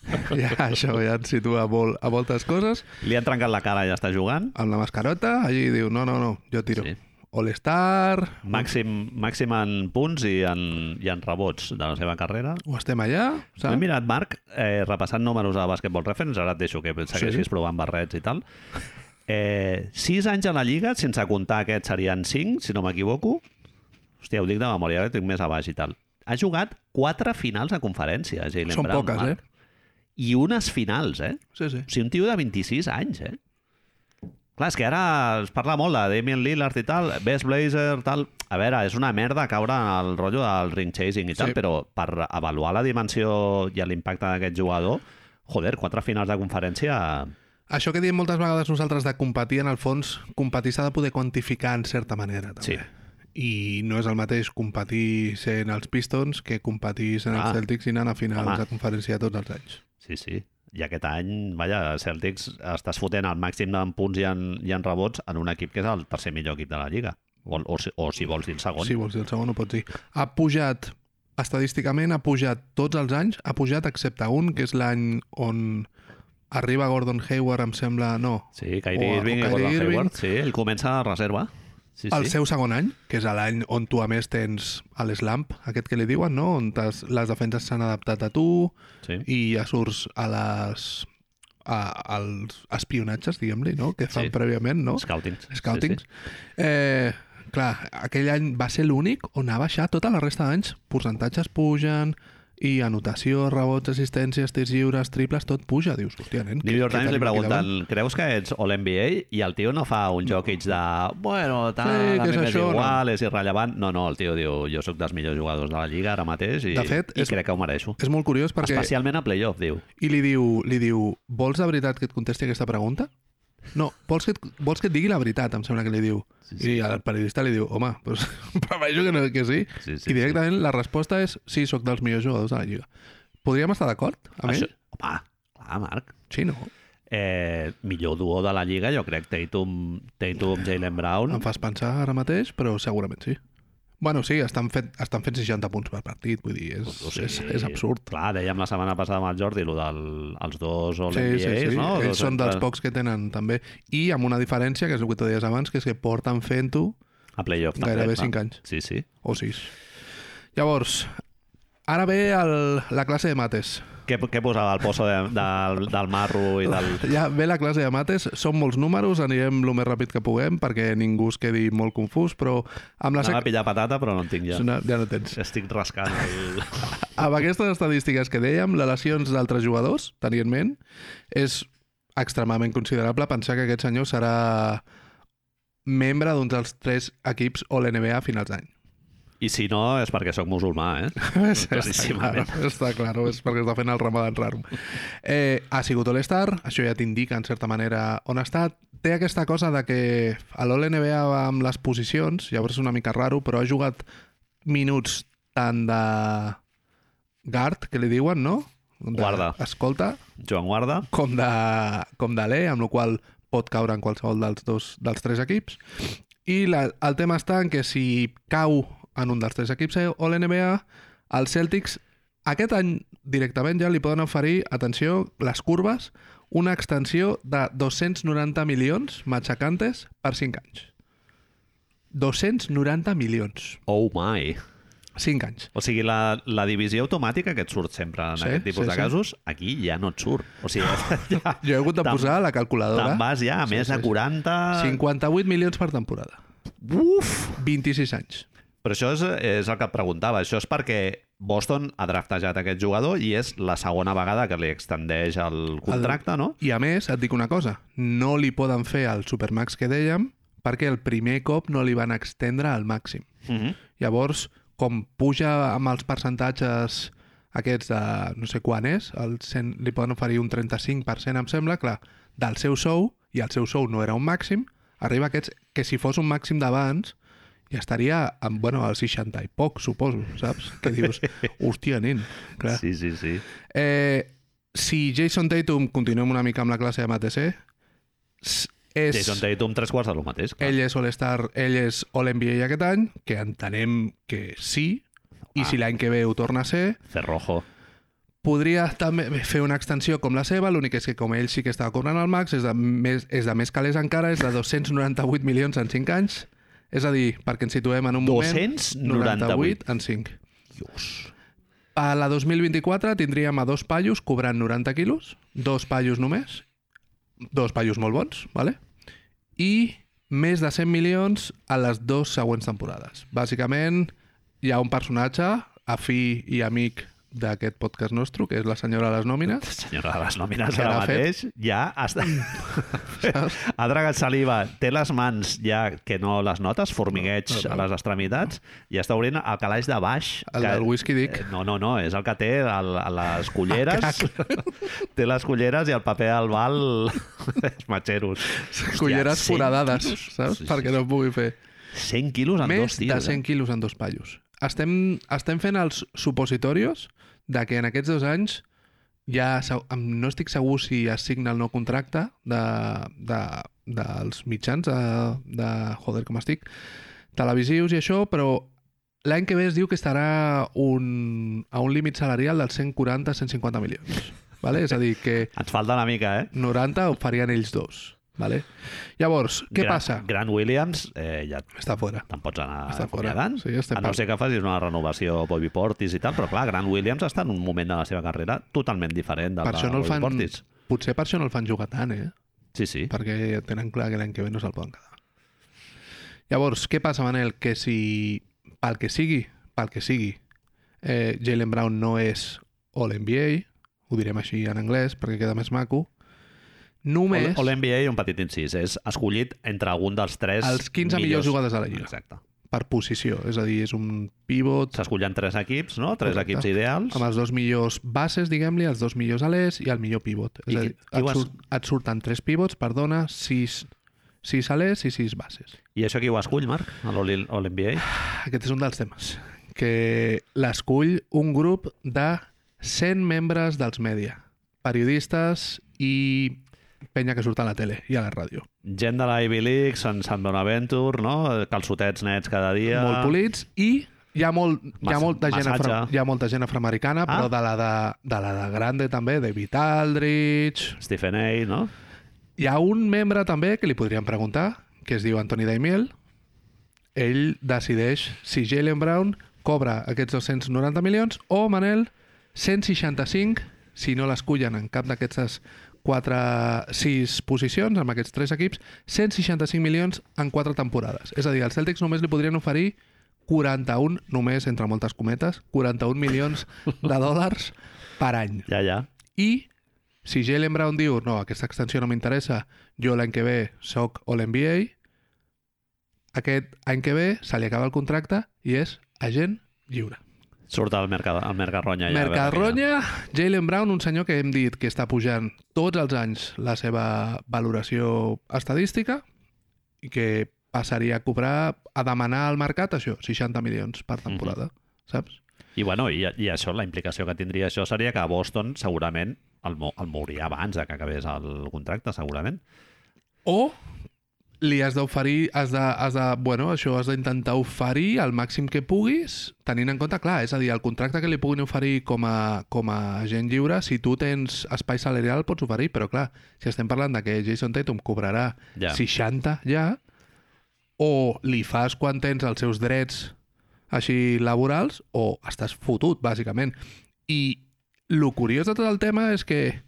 cosa ja, això ja ens situa molt a moltes coses.
Li han trencat la cara i ja està jugant.
Amb la mascarota, allí diu, no, no, no, jo tiro.
Sí.
Sí. All-Star,
Màxim, màxim en punts i en, i en rebots de la seva carrera.
ho estem allà,
M'he
saps?
mirat, Marc, eh, repassant números de Basketball Reference, ara et deixo que segueixis sí. provant barrets i tal. Eh, sis anys a la Lliga, sense comptar aquests serien cinc, si no m'equivoco. Hòstia, ho dic de memòria, ara tinc més a baix i tal. Ha jugat quatre finals de conferència, Jalen
Són
Brown,
poques, eh?
Marc. I unes finals, eh?
Sí, sí.
O sigui, un tio de 26 anys, eh? Clar, és que ara es parla molt de Damien Lillard i tal, Best Blazer, tal... A veure, és una merda caure en el rotllo del ring chasing i tal,
Sí.
sí. però per avaluar la dimensió i l'impacte d'aquest jugador, joder, quatre finals de conferència...
Això que diem moltes vegades nosaltres de competir, en el fons, competir s'ha de poder quantificar en certa manera, també.
Sí.
I no és el mateix competir sent els Pistons que competir sent
Ah.
els Celtics i anant a finals
Home.
de conferència tots els anys.
Sí, sí. I aquest any, vaja, Celtics estàs fotent el màxim en punts i en, i en rebots en un equip que és el tercer millor equip de la Lliga. O, o, si- o si vols dir el segon.
Si vols dir el segon, ho pots dir. Ha pujat, estadísticament, ha pujat tots els anys, ha pujat excepte un, que és l'any on arriba Gordon Hayward, em sembla, no,
Sí,
O-
Kyrie
o
Irving i
Kyrie
Gordon
Irving.
Hayward. Sí, ell comença a reserva. Sí,
el
sí.
seu segon any, que és l'any on tu a més tens a l'eslamp, aquest que li diuen, no? On t'has- les defenses s'han adaptat a tu
Sí.
i ja surts a les a, als espionatges, diguem-li, no? Que fan
Sí.
sí. prèviament, no?
Scoutings.
Scoutings. Eh, clar, aquell any va ser l'únic on ha baixat tota la resta d'anys. Percentatges pugen i anotació, rebots, assistències, tirs lliures, triples, tot puja. Dius, hòstia, nen...
New York
què
Times li
tenim aquí davant?"
pregunten, creus que ets All-NBA? I el tio no fa un Jokic de, bueno, tal,
Sí,
a
que
mi
és
m'és
això,
igual, és irrellevant. No, no, el tio diu, jo sóc dels millors jugadors de la Lliga ara mateix i,
De fet,
i
és-
crec que ho mereixo.
És molt curiós perquè...
Especialment a playoff, diu.
I li diu, li diu, vols de veritat que et contesti aquesta pregunta? No, vols que, et, vols que et digui la veritat, em sembla que li diu. Sí, sí. I el periodista li diu, home, pues, prevejo que, no, que sí.
Sí, sí,
I directament la resposta és, sí, sóc dels millors jugadors de la Lliga. Podríem estar d'acord amb
Això,
ell?
home, clar, Marc.
Sí, no?
Eh, millor duo de la Lliga, jo crec, Tatum, Tatum Jalen Brown.
Em fas pensar ara mateix, però segurament sí. Bueno, sí, estan, fet, estan fent 60 punts per partit, vull dir, és,
O sigui,
és, és absurd.
Clar, dèiem la setmana passada amb el Jordi, el dels dos
Sí,
All-NBAs,
sí, sí.
no? Doncs,
Ells
Dos-
són dels
tres-
pocs que tenen, també. I amb una diferència, que és el que tu deies abans, que és que porten fent-ho
A playoff, també.
Gairebé
clar.
cinc anys.
Sí, sí.
o 6. Llavors, ara ve el, la classe de mates.
Què, què posava el pozo de, del, del marro i del...
Ja ve la classe de mates, són molts números, anirem el més ràpid que puguem perquè ningú es quedi molt confús, però amb la
Anava a
sec...
pillar patata, però no en tinc ja.
No, ja no tens.
Estic rascant el...
Amb aquestes estadístiques que dèiem, les lesions d'altres jugadors, tenir en ment, és extremadament considerable pensar que aquest senyor serà membre d'un dels tres equips All-NBA a finals d'any.
I si no, és perquè sóc musulmà, eh? Claríssimament.
Doncs Està clar, està clar, és perquè està fent el ramadan raro. Eh, ha sigut All-Star, això ja t'indica en certa manera on ha estat. Té aquesta cosa de que a l'All-NBA va amb les posicions, llavors és una mica raro, però ha jugat minuts tant de guard, que li diuen, no? De,
Guarda.
Escolta,
Joan Guarda,
com de, com d'alè, amb la qual cosa pot caure en qualsevol dels, dos, dels tres equips. I la, el tema està en que si cau en un dels tres equips eh, o l'NBA, els Celtics aquest any directament ja li poden oferir, atenció, les curves, una extensió de 290 milions matxacantes per 5 anys. 290 milions.
oh my!
5 anys.
O sigui, la, la divisió automàtica que et surt sempre en
Sí,
aquest tipus
sí,
de
sí.
casos, aquí ja no et surt. O sigui, ja,
Jo he hagut de
Te'n-
posar la calculadora.
te'n vas ja a
Sí,
més
sí,
de
sí.
40...
58 milions per temporada.
Uf!
26 anys.
Però això és, és el que et preguntava. Això és perquè Boston ha draftejat aquest jugador i és la segona vegada que li extendeix el contracte, no?
I a més, et dic una cosa, no li poden fer el supermax que dèiem perquè el primer cop no li van extendre al màxim.
Mm -hmm.
Llavors, com puja amb els percentatges aquests de no sé quan és, el 100, li poden oferir un 35%, em sembla, clar, del seu sou, i el seu sou no era un màxim, arriba a aquests que si fos un màxim d'abans ja estaria amb, bueno, al 60 i poc, suposo, saps? Que dius, hòstia, nen, clar.
Sí, sí, sí.
Eh, si Jason Tatum, continuem una mica amb la classe de MTC, s- és,
Jason Tatum, tres quarts de lo mateix. clar.
ell és All-Star, ell és All-NBA aquest any, que entenem que sí, i
Ah.
si l'any que ve ho torna a ser,
Cerrojo.
podria també fer una extensió com la seva, l'únic és que com ell sí que estava cobrant el max, és de més, és de més calés encara, és de 298 milions en 5 anys, és a dir, perquè ens situem en un moment...
298.
en 5.
Dios.
A la 2024 tindríem a dos paios cobrant 90 quilos, dos paios només, dos paios molt bons, vale? i més de 100 milions a les dues següents temporades. Bàsicament, hi ha un personatge, afí i amic d'aquest podcast nostre, que és la senyora de les nòmines,
Senyora de les nòmines
Que
ara
l'ha fet.
mateix ja està... ha tragat saliva, té les mans ja que no les notes, formigueig a les extremitats, i està obrint el calaix de baix.
el
que-
del whisky dic. Ah,
Eh, No, no, no, és el que té el, a les culleres. té les culleres i el paper al bal els matxeros. Hòstia,
Culleres
100
foradades,
quilos.
saps?
Sí, sí,
Perquè
sí.
no em pugui fer.
100 quilos en
Més
dos tiros. eh?
de 100 quilos en dos pallos. Estem, estem fent els supositorios de que en aquests dos anys ja se- em- no estic segur si es signa el nou contracte de, de, dels mitjans de, de... Joder, com estic? Televisius i això, però l'any que ve es diu que estarà un, a un límit salarial dels 140-150 milions. Vale? És a dir, que
Eh? Ens falta una mica, eh?
90 ho farien ells dos. Vale? Llavors, què
Grant,
passa?
Grant Williams, eh, ja
Està fora.
te'n pots anar
Està fora.
acomiadant.
Sí,
a
estem
no
parlant.
ser que facis una renovació Bobby Portis i tal, però clar, Grant Williams està en un moment de la seva carrera totalment diferent del
Per
de
això no el
Bobby
fan-
Portis.
Potser per això no el fan jugar tant, eh?
Sí, sí.
perquè tenen clar que l'any que ve no se'l poden quedar. Llavors, què passa, Manel? Que si, pel que sigui, pel que sigui, eh, Jalen Brown no és All-NBA, ho direm així en anglès perquè queda més maco, només
O l'NBA i un petit incís. És escollit entre algun dels tres
els 15 millors jugades de la lliga,
Exacte.
per posició. És a dir, és un pivot
S'escollen tres equips, no? Tres
Correcte.
equips ideals.
amb els dos millors bases, diguem-li, els dos millors alers i el millor pivot. És
I
a
qui-
dir,
qui ho
et,
has-
sur et surten tres pivots, perdona, sis, sis alers i sis bases.
I això qui ho escull, Marc? A l'All- a l'NBA?
Ah, Aquest és un dels temes. Que l'escull un grup de 100 membres dels mèdia, periodistes i penya que surt a la tele i a la ràdio.
Gent de la Ivy League, Sant, Sant Bonaventure, no? Calçotets nets cada dia.
Molt polits i hi ha, molt, hi
Mas-
ha, molta, gent
massatge.
afro, hi ha molta gent afroamericana,
Ah.
però de la de, de la de Grande també, de Aldridge...
Stephen A, no?
Hi ha un membre també que li podríem preguntar, que es diu Anthony Daimiel. Ell decideix si Jalen Brown cobra aquests 290 milions o, Manel, 165 si no l'escullen en cap d'aquestes 4, 6 posicions, amb aquests 3 equips, 165 milions en 4 temporades. És a dir, els Celtics només li podrien oferir 41, només entre moltes cometes, 41 milions de dòlars per any.
Ja, ja.
I si Jalen Brown diu no, aquesta extensió no m'interessa, jo l'any que ve soc All-NBA, aquest any que ve se li acaba el contracte i és agent lliure.
Surt al Mercat, al Mercat Ronya. Ja, a veure què hi ha.
Mercadronya, Jalen Brown, un senyor que hem dit que està pujant tots els anys la seva valoració estadística i que passaria a cobrar, a demanar al mercat això, 60 milions
Mhm.
per temporada, saps?
I, bueno, i, i això, la implicació que tindria això seria que Boston segurament el, mo el mouria abans de que acabés el contracte, segurament.
o li has d'oferir, has de, has de, bueno, això has d'intentar oferir el màxim que puguis, tenint en compte, clar, és a dir, el contracte que li puguin oferir com a, com a agent lliure, si tu tens espai salarial, pots oferir, però clar, si estem parlant de que Jason Tatum cobrarà
Ja.
60 ja, o li fas quan tens els seus drets així laborals, o estàs fotut, bàsicament. I lo curiós de tot el tema és que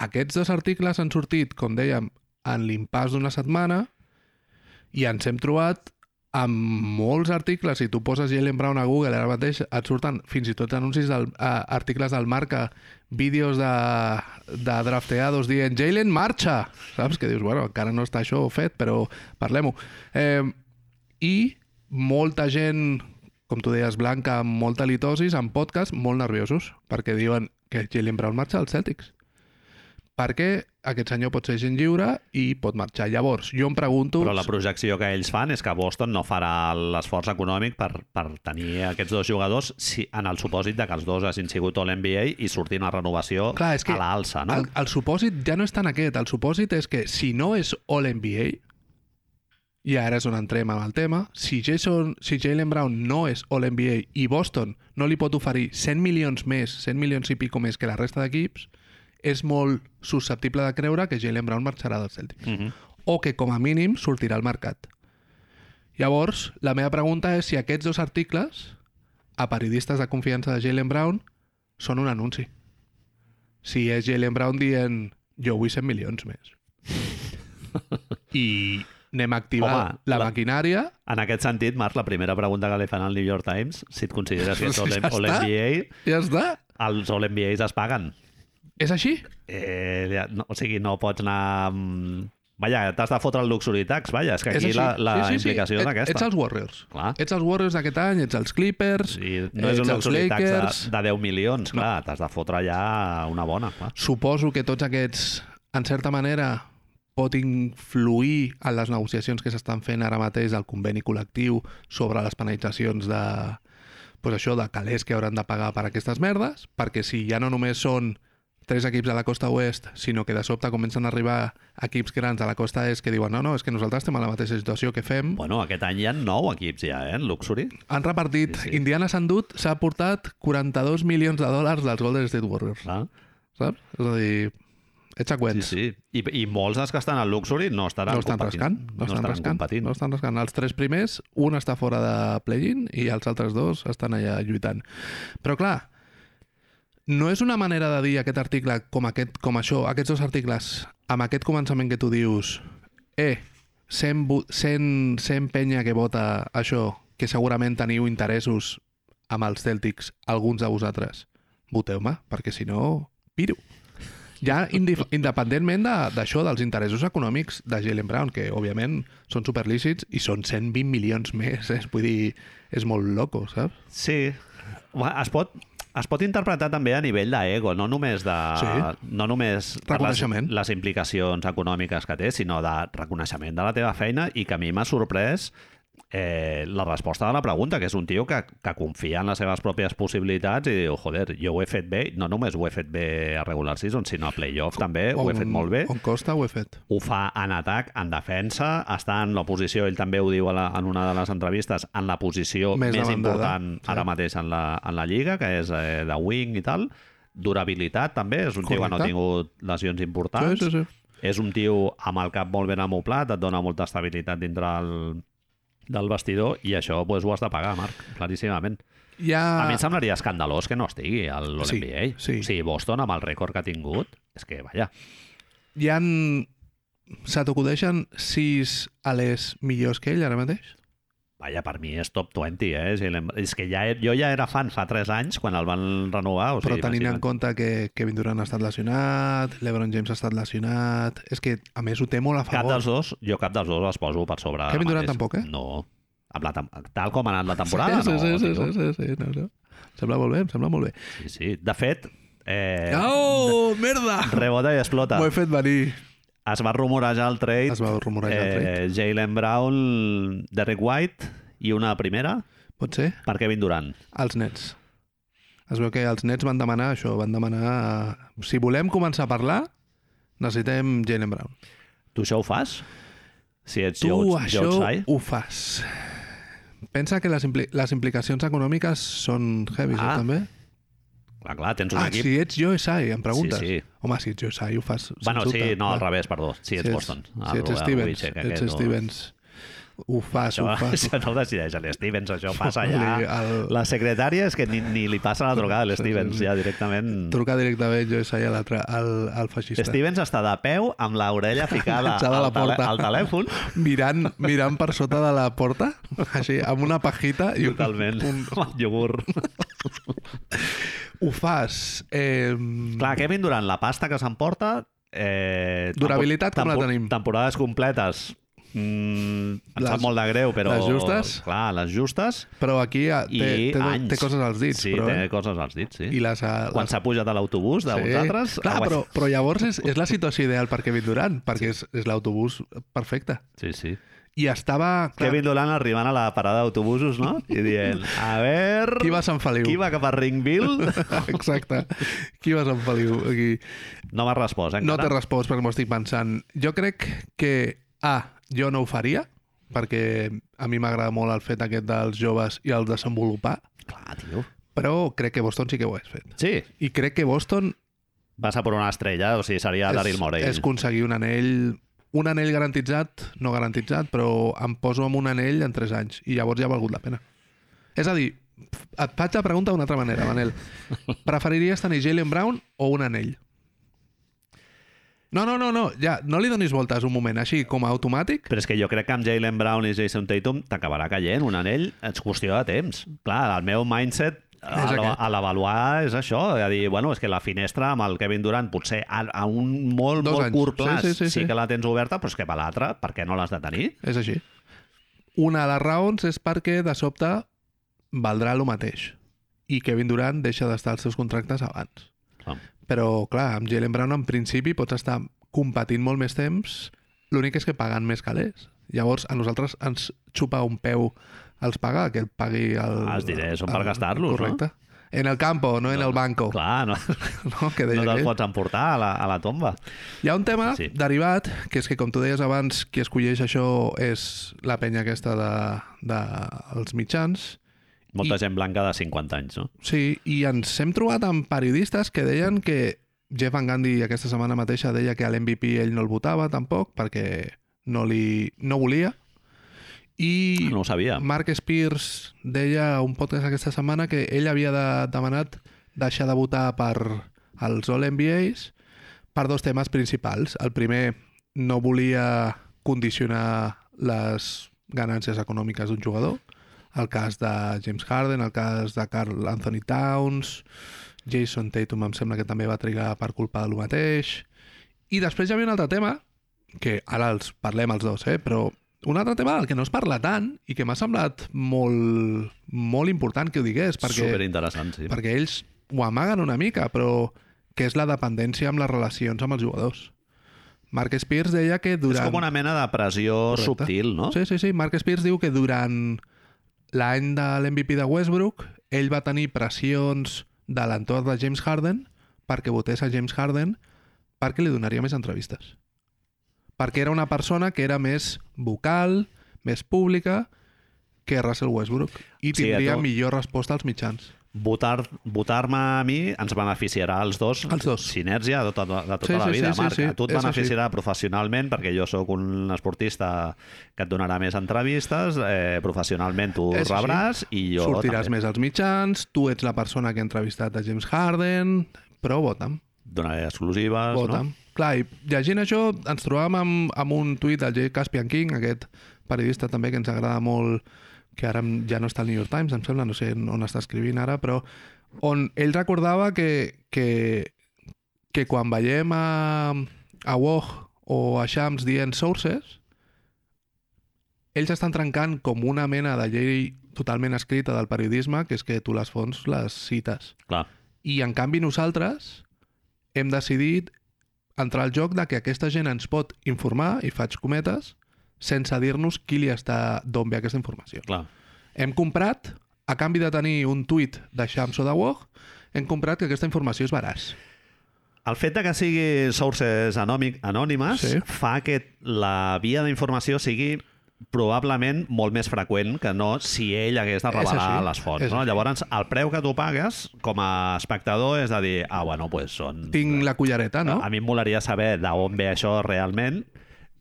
aquests dos articles han sortit, com dèiem, en l'impàs d'una setmana i ens hem trobat amb molts articles, si tu poses Jalen Brown a Google ara mateix, et surten fins i tot anuncis del, a, articles del marca, vídeos de, de drafteados dient Jalen marxa, saps? Que dius, bueno, encara no està això fet, però parlem-ho. Eh, I molta gent, com tu deies, blanca, amb molta litosis, en podcast, molt nerviosos, perquè diuen que Jalen Brown marxa als Celtics perquè aquest senyor pot ser gent lliure i pot marxar. Llavors, jo em pregunto...
Però la projecció que ells fan és que Boston no farà l'esforç econòmic per, per tenir aquests dos jugadors si, en el supòsit de que els dos hagin sigut All-NBA i sortir una renovació
Clar, és que
a l'alça, no?
El, el supòsit ja no és tant aquest, el supòsit és que si no és All-NBA, i ara és on entrem amb el tema, si Jason, si Jalen Brown no és All-NBA i Boston no li pot oferir 100 milions més, 100 milions i pico més que la resta d'equips, és molt susceptible de creure que Jalen Brown marxarà dels Celtics.
Mhm.
o que com a mínim sortirà al mercat. Llavors, la meva pregunta és si aquests dos articles a periodistes de confiança de Jalen Brown són un anunci. Si és Jalen Brown dient jo vull 100 milions més. I anem a activar
Home,
la,
la-
maquinària.
En aquest sentit, Marc, la primera pregunta que li fan al New York Times, si et consideres que ets
Ja
All-
està.
All-NBA,
Ja està.
Els All NBAs es paguen.
És així?
Eh, ja, no, o sigui, no pots anar... amb- Vaja, t'has de fotre el Luxury Tax, vaja, és que
és
aquí
així.
la, la implicació és
Et-
aquesta.
Ets els Warriors.
Clar.
Ets els Warriors d'aquest any, ets els Clippers,
Sí, no és
ets
un
els
Luxury
Lakers...
Tax de, de 10 milions, clar, t'has de fotre ja una bona, clar.
Suposo que tots aquests, en certa manera, pot influir en les negociacions que s'estan fent ara mateix del conveni col·lectiu sobre les penalitzacions de, pues això, de calés que hauran de pagar per aquestes merdes, perquè si ja no només són tres equips de la costa oest, sinó que de sobte comencen a arribar equips grans de la costa est que diuen no, no, és que nosaltres estem a la mateixa situació que fem,
Bueno, aquest any hi ha 9 equips ja, eh, en Luxury.
han
Sí,
repartit. Sí,
sí.
sí. Indiana s'ha endut, s'ha portat 42 milions de dòlars dels Golden State Warriors,
Clar.
saps? És a dir, ets
Ah.
a
Sí,
cuents.
sí. I, I molts dels que estan al Luxury no estaran
No estan
competint.
rascant, no,
no
estan
estaran
rascant,
competint.
no estan rascant. Els tres primers, un està fora de play-in i els altres dos estan allà lluitant. Però clar, no és una manera de dir aquest article com, aquest, com això, aquests dos articles, amb aquest començament que tu dius, eh, 100, bu- 100, 100 penya que vota això, que segurament teniu interessos amb els Celtics, alguns de vosaltres, voteu-me, perquè si no, piro. Ja indif- independentment de- d'això, dels interessos econòmics de Jalen Brown, que òbviament són superlícits i són 120 milions més, eh? vull dir, és molt loco, saps?
Sí. Home, Es pot, es pot interpretar també a nivell d'ego, no només de...
Sí.
No només per les,
Reconeixement.
les implicacions econòmiques que té, sinó de reconeixement de la teva feina i que a mi m'ha sorprès eh, la resposta de la pregunta, que és un tio que, que confia en les seves pròpies possibilitats i diu, joder, jo ho he fet bé, no només ho he fet bé a regular season, sinó a playoff també, ho he fet
On-
molt bé
On costa ho he fet.
ho fa en atac, en defensa, està en la posició, ell també ho diu a la, en una de les entrevistes, en la posició
Més
més, més
demandada,
important
sí.
sí. ara mateix en la, en la Lliga, que és eh, de wing i tal. Durabilitat també, és un tio que no
Correcte.
ha tingut lesions
Sí,
importants.
sí, sí.
És un tio amb el cap molt ben amoplat, et dona molta estabilitat dintre el, del vestidor i això pues, ho has de pagar, Marc, claríssimament.
Hi ha...
A mi em semblaria escandalós que no estigui a l'NBA.
Sí, Ah. sí.
O sigui, Boston, amb el rècord que ha tingut, és que, vaja,
Hi ha... Se t'acudeixen sis alers millors que ell ara mateix?
Vaja, per mi és top 20, eh? Si l'hem- és que ja, jo ja era fan fa 3 anys quan el van renovar. O
Però
sigui,
tenint en
imagina't.
compte que Kevin Durant ha estat lesionat, LeBron James ha estat lesionat... És que, a més, ho té molt a
Cap
favor.
dels dos, jo cap dels dos els poso per sobre. ara
Kevin Durant
mateix.
tampoc, eh?
No. Amb la, tem- tal com ha anat la temporada,
sí,
no.
sí, sí,
tio.
sí, sí, sí, no, no. Em Sembla molt bé, em sembla molt bé.
sí, sí. De fet, eh,
Oh, merda!
rebota i explota.
Ho he fet venir.
Es va rumorejar el trade,
Es va rumorejar el trade.
eh, Jalen Brown, Derek White i una primera
Pot ser?
per Kevin Durant.
Els nets. Es veu que els nets van demanar això, van demanar... eh, Si volem començar a parlar, necessitem Jalen Brown.
Tu això ho fas? Si ets
Tu
George,
això
George Tsai?
ho fas. Pensa que les, impli les implicacions econòmiques són heavy, ah,
Ah,
també.
Clar, clar, tens un
Ah,
equip
si ets jo Esai, em preguntes.
Sí, sí.
Home, si ets jo Esai, ho fas sens
Bueno, sí,
dubte.
no, al
Va.
revés, perdó. Sí, ets Boston.
Si
El- el
ets Stevens,
Witcher, que
ets
aquest no-
Stevens. Ho fas,
Això,
ho fas.
això no ho decideix l'Stevens, això passa
Li-
ja.
el-
La secretària és que ni, ni li passa la trucada a l'Stevens, ja directament...
Truca directament jo Esai a l'altre, al, al feixista.
Stevens està de peu amb l'orella ficada
Enganxada a la
al, tele-
porta.
al telèfon.
Mirant, mirant per sota de la porta, així, amb una pajita i un,
Totalment.
un,
Amb el iogurt.
ho fas. Eh,
Clar, Kevin Durant, la pasta que s'emporta... Eh,
Durabilitat, com la
tempo-
tenim?
Temporades completes. Mm, em
Les-
sap molt de greu, però...
les justes?
Clar, les justes.
Però aquí eh, té,
I
té,
anys.
té coses als dits.
Sí,
però,
té
eh?
coses als dits, sí.
I les, eh,
quan
les...
s'ha pujat a l'autobús de vosaltres...
Clar,
aguanta-
però, però llavors és, és la situació ideal per Kevin Durant, perquè és, és l'autobús perfecte.
Sí, sí.
I estava... Clar,
Kevin Durant arribant a la parada d'autobusos, no? I dient, a veure...
Qui va a Sant Feliu?
Qui va cap a Ringville?
Exacte. Qui va a Sant Feliu? Aquí.
No m'ha respost, encara.
No t'he respost perquè m'ho estic pensant. Jo crec que A, jo no ho faria, perquè a mi m'agrada molt el fet aquest dels joves i el desenvolupar,
Clar, tio.
però crec que Boston sí que ho has fet.
Sí,
I crec que Boston
vas a per una estrella, o sigui, seria Daryl Morey.
és aconseguir un anell un anell garantitzat, no garantitzat, però em poso amb un anell en 3 anys i llavors ja ha valgut la pena. És a dir, et faig la pregunta d'una altra manera, Manel. Preferiries tenir Jalen Brown o un anell? No, no, no, no, ja, no li donis voltes un moment, així com a automàtic.
Però és que jo crec que amb Jalen Brown i Jason Tatum t'acabarà caient un anell, és qüestió de temps. Clar, el meu mindset a
És
l'ava-
aquest.
a l'avaluar és això, a dir, bueno, és que la finestra amb el Kevin Durant potser a, a un molt,
Dos
molt
anys.
curt
Sí,
plaç
sí, sí, sí.
que la tens oberta, però és que per l'altra, per què no l'has de tenir?
És així. Una de les raons és perquè, de sobte, valdrà el mateix. I Kevin Durant deixa d'estar als seus contractes abans.
Clar.
Però, clar, amb Jalen Brown, en principi, pots estar competint molt més temps, l'únic és que pagant més calés. Llavors, a nosaltres ens xupa un peu els pagar, que el pagui el...
Ah, els diners són per gastar-los, no?
Correcte. En el campo, no en el banco.
Clar, no,
No, que deia
no te'ls
aquell.
pots emportar a la, a la tomba.
Hi ha un tema
Sí.
sí. derivat, que és que, com tu deies abans, qui escolleix això és la penya aquesta dels de, els mitjans.
Molta
I-
gent blanca de 50 anys, no?
Sí, i ens hem trobat amb periodistes que deien que Jeff Van Gundy aquesta setmana mateixa deia que a l'MVP ell no el votava tampoc perquè no, li, no volia. I
Ah, No ho sabia.
Mark Spears deia a un podcast aquesta setmana que ell havia de, demanat deixar de votar per als All-NBAs per dos temes principals. El primer, no volia condicionar les ganàncies econòmiques d'un jugador. El cas de James Harden, el cas de Carl Anthony Towns, Jason Tatum em sembla que també va trigar per culpa del mateix. I després hi havia un altre tema, que ara els parlem els dos, eh? però un altre tema del que no es parla tant i que m'ha semblat molt, molt important que ho digués, perquè,
Superinteressant, sí.
perquè ells ho amaguen una mica, però que és la dependència amb les relacions amb els jugadors. Marc Spears deia que
És
durant...
com una mena de pressió
Correcte.
subtil, no?
Sí, sí, sí. Marc Spears diu que durant l'any de l'MVP de Westbrook, ell va tenir pressions de l'entorn de James Harden perquè votés a James Harden perquè li donaria més entrevistes. Perquè era una persona que era més vocal, més pública que Russell Westbrook
Sí,
i
a
tindria
tu-
millor resposta als mitjans.
Votar- Votar-me a mi ens beneficiarà als dos.
Als dos.
Sinèrgia de tota, de tota
Sí,
la
sí,
vida,
sí, sí,
Marc.
sí.
A tu et
És així.
beneficiarà professionalment perquè jo sóc un esportista que et donarà més entrevistes, eh, professionalment tu
És així.
rebràs i jo
Sortiràs
també
més als mitjans, tu ets la persona que ha entrevistat a James Harden, però vota'm.
donaré exclusives.
Vota.
No?
Clar, i llegint això ens trobàvem amb, amb un tuit del Jay Caspian King, aquest periodista també que ens agrada molt, que ara ja no està al New York Times, em sembla, no sé on està escrivint ara, però on ell recordava que, que, que quan veiem a, a Woj o a Shams dient sources, ells estan trencant com una mena de llei totalment escrita del periodisme, que és que tu les fonts les cites.
Clar.
I en canvi nosaltres hem decidit entrar al joc de que aquesta gent ens pot informar, i faig cometes, sense dir-nos qui li està d'on ve aquesta informació.
Clar.
Hem comprat, a canvi de tenir un tuit de Shams o de Wog, hem comprat que aquesta informació és veraç.
El fet de que sigui sources anòmic, anònimes sí.
Sí.
fa que la via d'informació sigui probablement molt més freqüent que no si ell hagués de
És
revelar
així,
les fonts.
és
No?
així.
Llavors, el preu que tu pagues com a espectador és de dir, ah, bueno, pues són...
Tinc la cullereta, no?
A mi em molaria saber d'on ve això realment,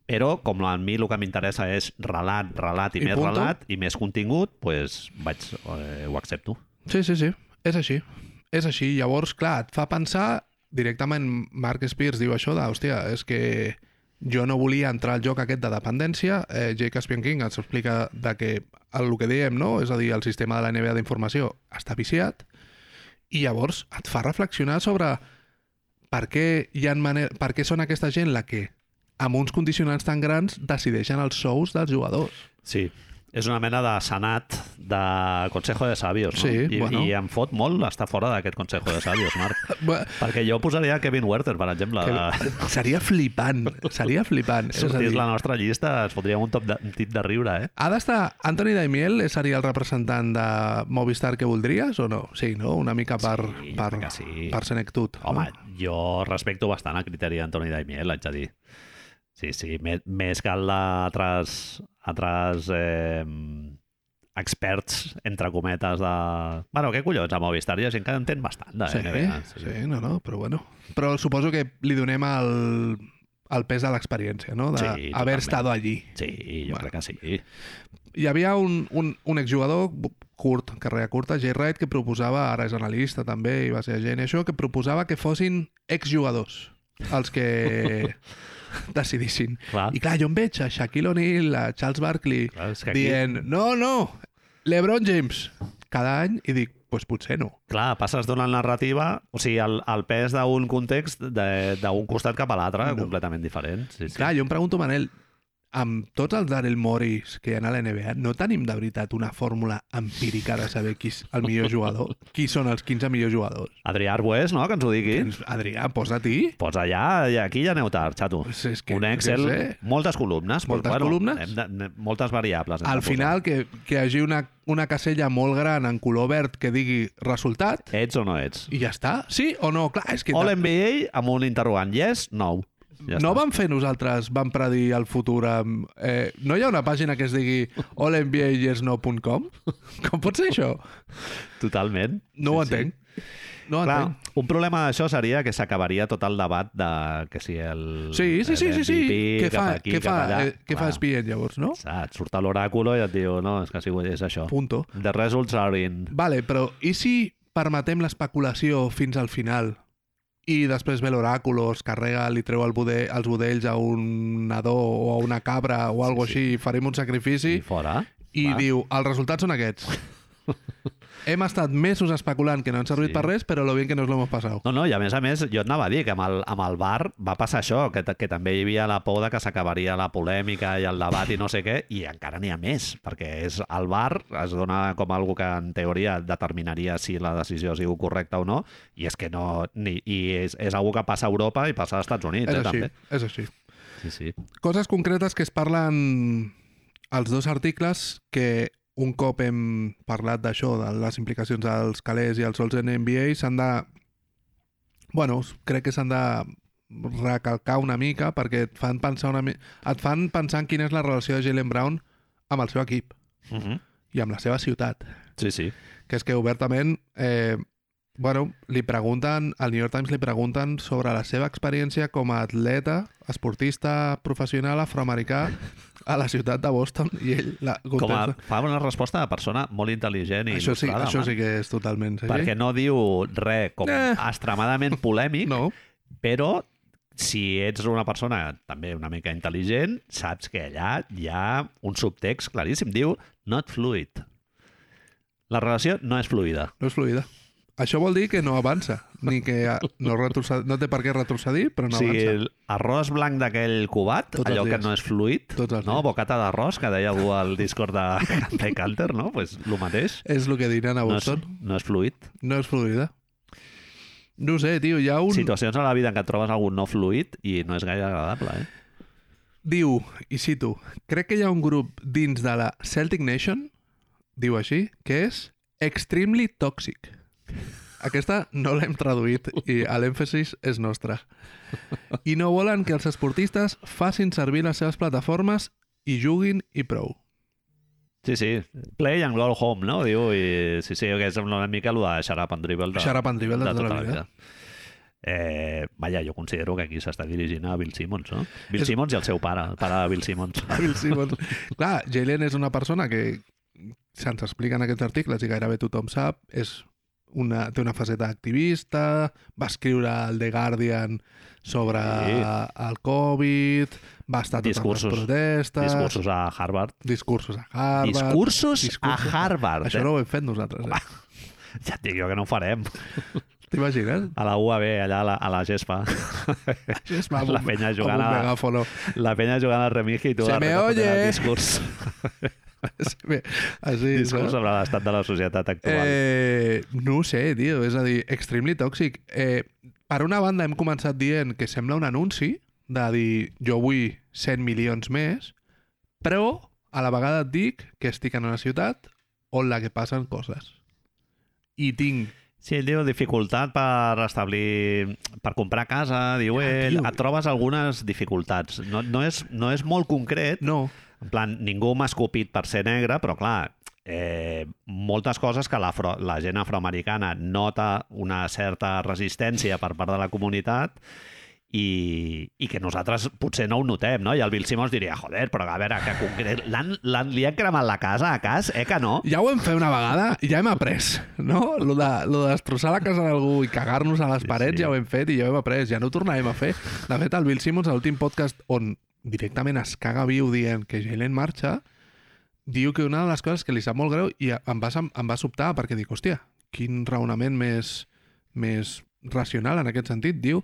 però com a mi el que m'interessa és relat, relat i,
I
més
punto.
relat i més contingut, pues vaig, eh, ho accepto.
Sí, sí, sí. És així. És així. Llavors, clar, et fa pensar... Directament Mark Spears diu això de, hòstia, és que jo no volia entrar al joc aquest de dependència. Eh, Jake Caspian King ens explica de que el que dèiem, no? És a dir, el sistema de la NBA d'informació està viciat i llavors et fa reflexionar sobre per què, hi ha maner... per què són aquesta gent la que amb uns condicionants tan grans decideixen els sous dels jugadors.
Sí, és una mena de senat de Consejo de Sabios, no?
Sí,
I,
bueno.
I em fot molt estar fora d'aquest Consejo de Sabios, Marc.
Bé,
Perquè jo posaria Kevin Werther, per exemple. Que...
que... Seria flipant, seria flipant. És a
Sortís
dir-
la nostra llista, es fotria un, top de, un tip de riure, eh?
Ha d'estar... Anthony Daimiel seria el representant de Movistar que voldries o no? Sí, no? Una mica per,
Sí, jo crec
per,
que sí.
per senectut.
Home,
No?
jo respecto bastant el criteri d'Antoni Daimiel, haig de dir. Sí, sí, més, més que el d'altres altres, eh, experts, entre cometes, de... Bueno, què collons, a Movistar hi ha gent que entén bastant de
Sí,
NBA.
sí, sí, no, no, però bueno. Però suposo que li donem el, el pes de l'experiència, no? De
Sí,
haver
totalment.
estat allí.
sí, jo
Bueno.
crec que sí.
Hi havia un, un, un exjugador curt, carrera curta, Jay Wright, que proposava, ara és analista també, i va ser agent i això, que proposava que fossin exjugadors els que decidissin.
Clar.
I clar, jo em veig a Shaquille O'Neal, a Charles Barkley,
Clar, és que aquí-
dient, no, no, LeBron James, cada any, i dic, pues potser no.
Clar, passes d'una narrativa, o sigui, el, el pes d'un context de- d'un costat cap a l'altre,
No.
completament diferent. Sí, sí.
Clar, jo em pregunto, Manel, amb tots els Daryl Morris que hi ha a la NBA, no tenim de veritat una fórmula empírica de saber qui és el millor jugador? Qui són els 15 millors jugadors?
Adrià Arbués, no?, que ens ho digui.
Tens- Adrià, posa-t'hi.
Pots allà i aquí ja aneu tard, xato.
Pues és que-
un
jo
Excel,
què sé.
moltes columnes. però,
Moltes columnes.
Hem de, ne- moltes variables. hem de
Al
posar.
final, que, que hi hagi una, una casella molt gran en color verd que digui resultat
Ets o no ets?
i ja està. Sí o no? Clar, és que
All NBA amb un interrogant. Yes, no. Ja
no
està.
vam fer nosaltres, vam predir el futur amb... Eh, no hi ha una pàgina que es digui allnbayesno.com? Com pot ser això?
Totalment.
No ho entenc. No ho
Clar,
Ah, entenc.
un problema d'això seria que s'acabaria tot el debat de que si el...
Sí, sí, sí, sí, sí.
MVP,
Què
cap
fa,
aquí,
què fa,
cap allà.
eh, què fa
Clar,
Spien llavors, no?
Saps? Surt a l'oràculo i et diu, no, és que sí, és això.
Punto.
The results are in.
Vale, però i si permetem l'especulació fins al final i després ve l'oràculo, es carrega, li treu el bude, els budells a un nadó o a una cabra o alguna
sí.
sí, així, i farem un sacrifici
I fora.
i
clar.
diu, els resultats són aquests. Hem estat mesos especulant que no han servit
Sí.
sí. per res, però lo bien que nos lo hemos pasado.
No, no, i a més a més, jo et anava a dir que amb el, amb el bar va passar això, que, ta- que també hi havia la por de que s'acabaria la polèmica i el debat i no sé què, i encara n'hi ha més, perquè és el bar es dona com algo que en teoria determinaria si la decisió ha sigut correcta o no, i és que no... Ni, I és, és algo que passa a Europa i passa als Estats Units, eh,
és així,
també.
és així.
Sí, sí.
coses concretes que es parlen als dos articles que un cop hem parlat d'això, de les implicacions dels calés i els sols en NBA, s'han de... Bueno, crec que s'han de recalcar una mica perquè et fan pensar una mi... et fan pensar en quina és la relació de Jalen Brown amb el seu equip
Uh -huh.
i amb la seva ciutat
Sí, sí.
que és que obertament eh, bueno, li pregunten al New York Times li pregunten sobre la seva experiència com a atleta, esportista professional afroamericà a la ciutat de Boston i ell la
Com a,
contesta.
fa una resposta de persona molt intel·ligent i
Això sí,
il·lustrada,
això
man,
sí que és totalment... Sí?
perquè no diu res com
Eh.
extremadament polèmic,
No,
però si ets una persona també una mica intel·ligent, saps que allà hi ha un subtext claríssim. Diu, not fluid. La relació no és fluida.
no és fluida. Això vol dir que no avança, ni que ah, no, retroce- no té per què retrocedir,
No
però no
o sigui,
avança.
l'arròs blanc d'aquell cubat,
Tots els
allò que
dies.
no és fluid,
Tots els
no?
dies.
bocata d'arròs, que deia algú al Discord de, de Canter, no? Pues, el mateix.
És el que diran a
No és,
Boston.
no és fluid.
No és fluida. No ho sé, tio, hi ha un...
Situacions a la vida en què et trobes algun no fluid i no és gaire agradable, eh?
Diu, i cito, crec que hi ha un grup dins de la Celtic Nation, diu així, que és Extremely Toxic. Aquesta no l'hem traduït i l'èmfasis és nostra. I no volen que els esportistes facin servir les seves plataformes i juguin i prou.
Sí, sí. Play and go home, no? Diu, i sí, sí, que és una mica el de Sharap and Dribble. De...
Xarap en Rivel de, tota la vida.
Eh, vaja, jo considero que aquí s'està dirigint a Bill Simmons, no? Bill
És-
Simmons i el seu pare, el pare de Bill Simmons.
Bill Simmons. Clar, Jalen és una persona que se'ns explica en aquests articles i gairebé tothom sap, és una, té una faceta activista, va escriure el The Guardian sobre
Sí.
sí. el Covid, va estar a totes
Discursos.
les protestes...
Discursos a Harvard.
Discursos a Harvard...
Discursos,
discursos
a Harvard.
Això no ho hem fet nosaltres, eh?
eh? Ja et dic jo que no ho farem.
T'imagines?
A la UAB, allà a la, a la gespa.
Això és
La penya jugant
amb un
a-
megàfono.
La penya jugant al remigi i tu
Se
al
me
recordo
oye.
del discurs,
Sí, bé, Així,
discurs
saps?
sobre l'estat de la societat actual.
Eh, no ho sé, tio, és a dir, extremely tòxic. Eh, per una banda hem començat dient que sembla un anunci de dir jo vull 100 milions més, però a la vegada et dic que estic en una ciutat on la que passen coses. I tinc...
Sí, diu dificultat per establir... per comprar casa, diu ell.
Ah, tio.
Et trobes algunes dificultats. No, no, és, no és molt concret,
No,
En plan, ningú m'ha escopit per ser negre, però clar, eh, moltes coses que la, la gent afroamericana nota una certa resistència per part de la comunitat i, i que nosaltres potser no ho notem, no? I el Bill Simmons diria, joder, però a veure, que concret... l'han- l'han- Li han cremat la casa, a cas? Eh que no?
ja ho hem fet una vegada, ja hem après, no? Lo de, lo de destrossar la casa d'algú i cagar-nos a les
Sí,
parets
sí.
ja ho hem fet i ja ho hem après, ja no ho tornarem a fer. De fet, el Bill Simmons, a l'últim podcast on directament es caga viu dient que Jalen marxa, diu que una de les coses que li sap molt greu i em va, sem- em va sobtar perquè dic, hòstia, quin raonament més, més racional en aquest sentit, diu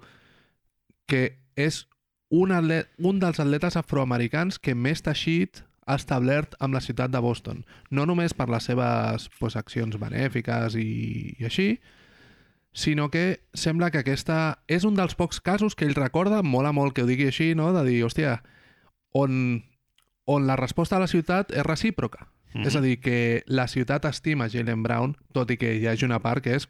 que és un, atlet, un dels atletes afroamericans que més teixit ha establert amb la ciutat de Boston. No només per les seves pues, accions benèfiques i, i així, sinó que sembla que aquesta és un dels pocs casos que ell recorda, mola molt que ho digui així, no? de dir, hòstia, on, on la resposta a la ciutat és recíproca. Mm
Mhm.
-hmm. És a dir, que la ciutat estima Jalen Brown, tot i que hi hagi una part que és,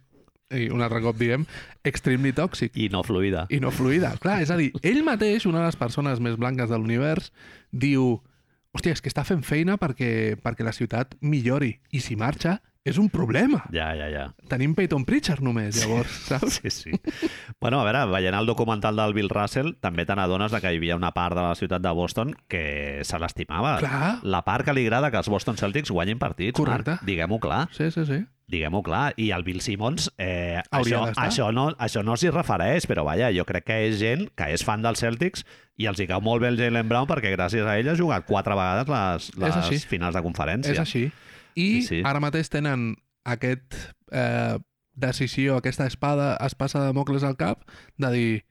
i un altre cop diem, extremely tòxic
I no fluida.
i no fluida. Clar, és a dir, ell mateix, una de les persones més blanques de l'univers, diu hòstia, és que està fent feina perquè, perquè la ciutat millori. I si marxa, és un problema.
Ja, ja, ja.
Tenim Peyton Pritchard només, llavors, saps?
Sí, sí. Bueno, a veure, veient el documental del Bill Russell, també te n'adones de que hi havia una part de la ciutat de Boston que se l'estimava.
Clar.
La part que li agrada que els Boston Celtics guanyin partits,
Correcte.
Marc. Diguem-ho clar.
Sí, sí, sí.
Diguem-ho clar. I el Bill Simmons, eh,
Hauria
això,
d'estar.
això, no, això no s'hi refereix, però vaja, jo crec que és gent que és fan dels Celtics i els hi cau molt bé el Jalen Brown perquè gràcies a ell ha jugat quatre vegades les,
És així.
les finals de conferència.
És així. I
Sí, sí.
ara mateix tenen aquest eh, decisió, aquesta espada es passa de Mocles al cap, de dir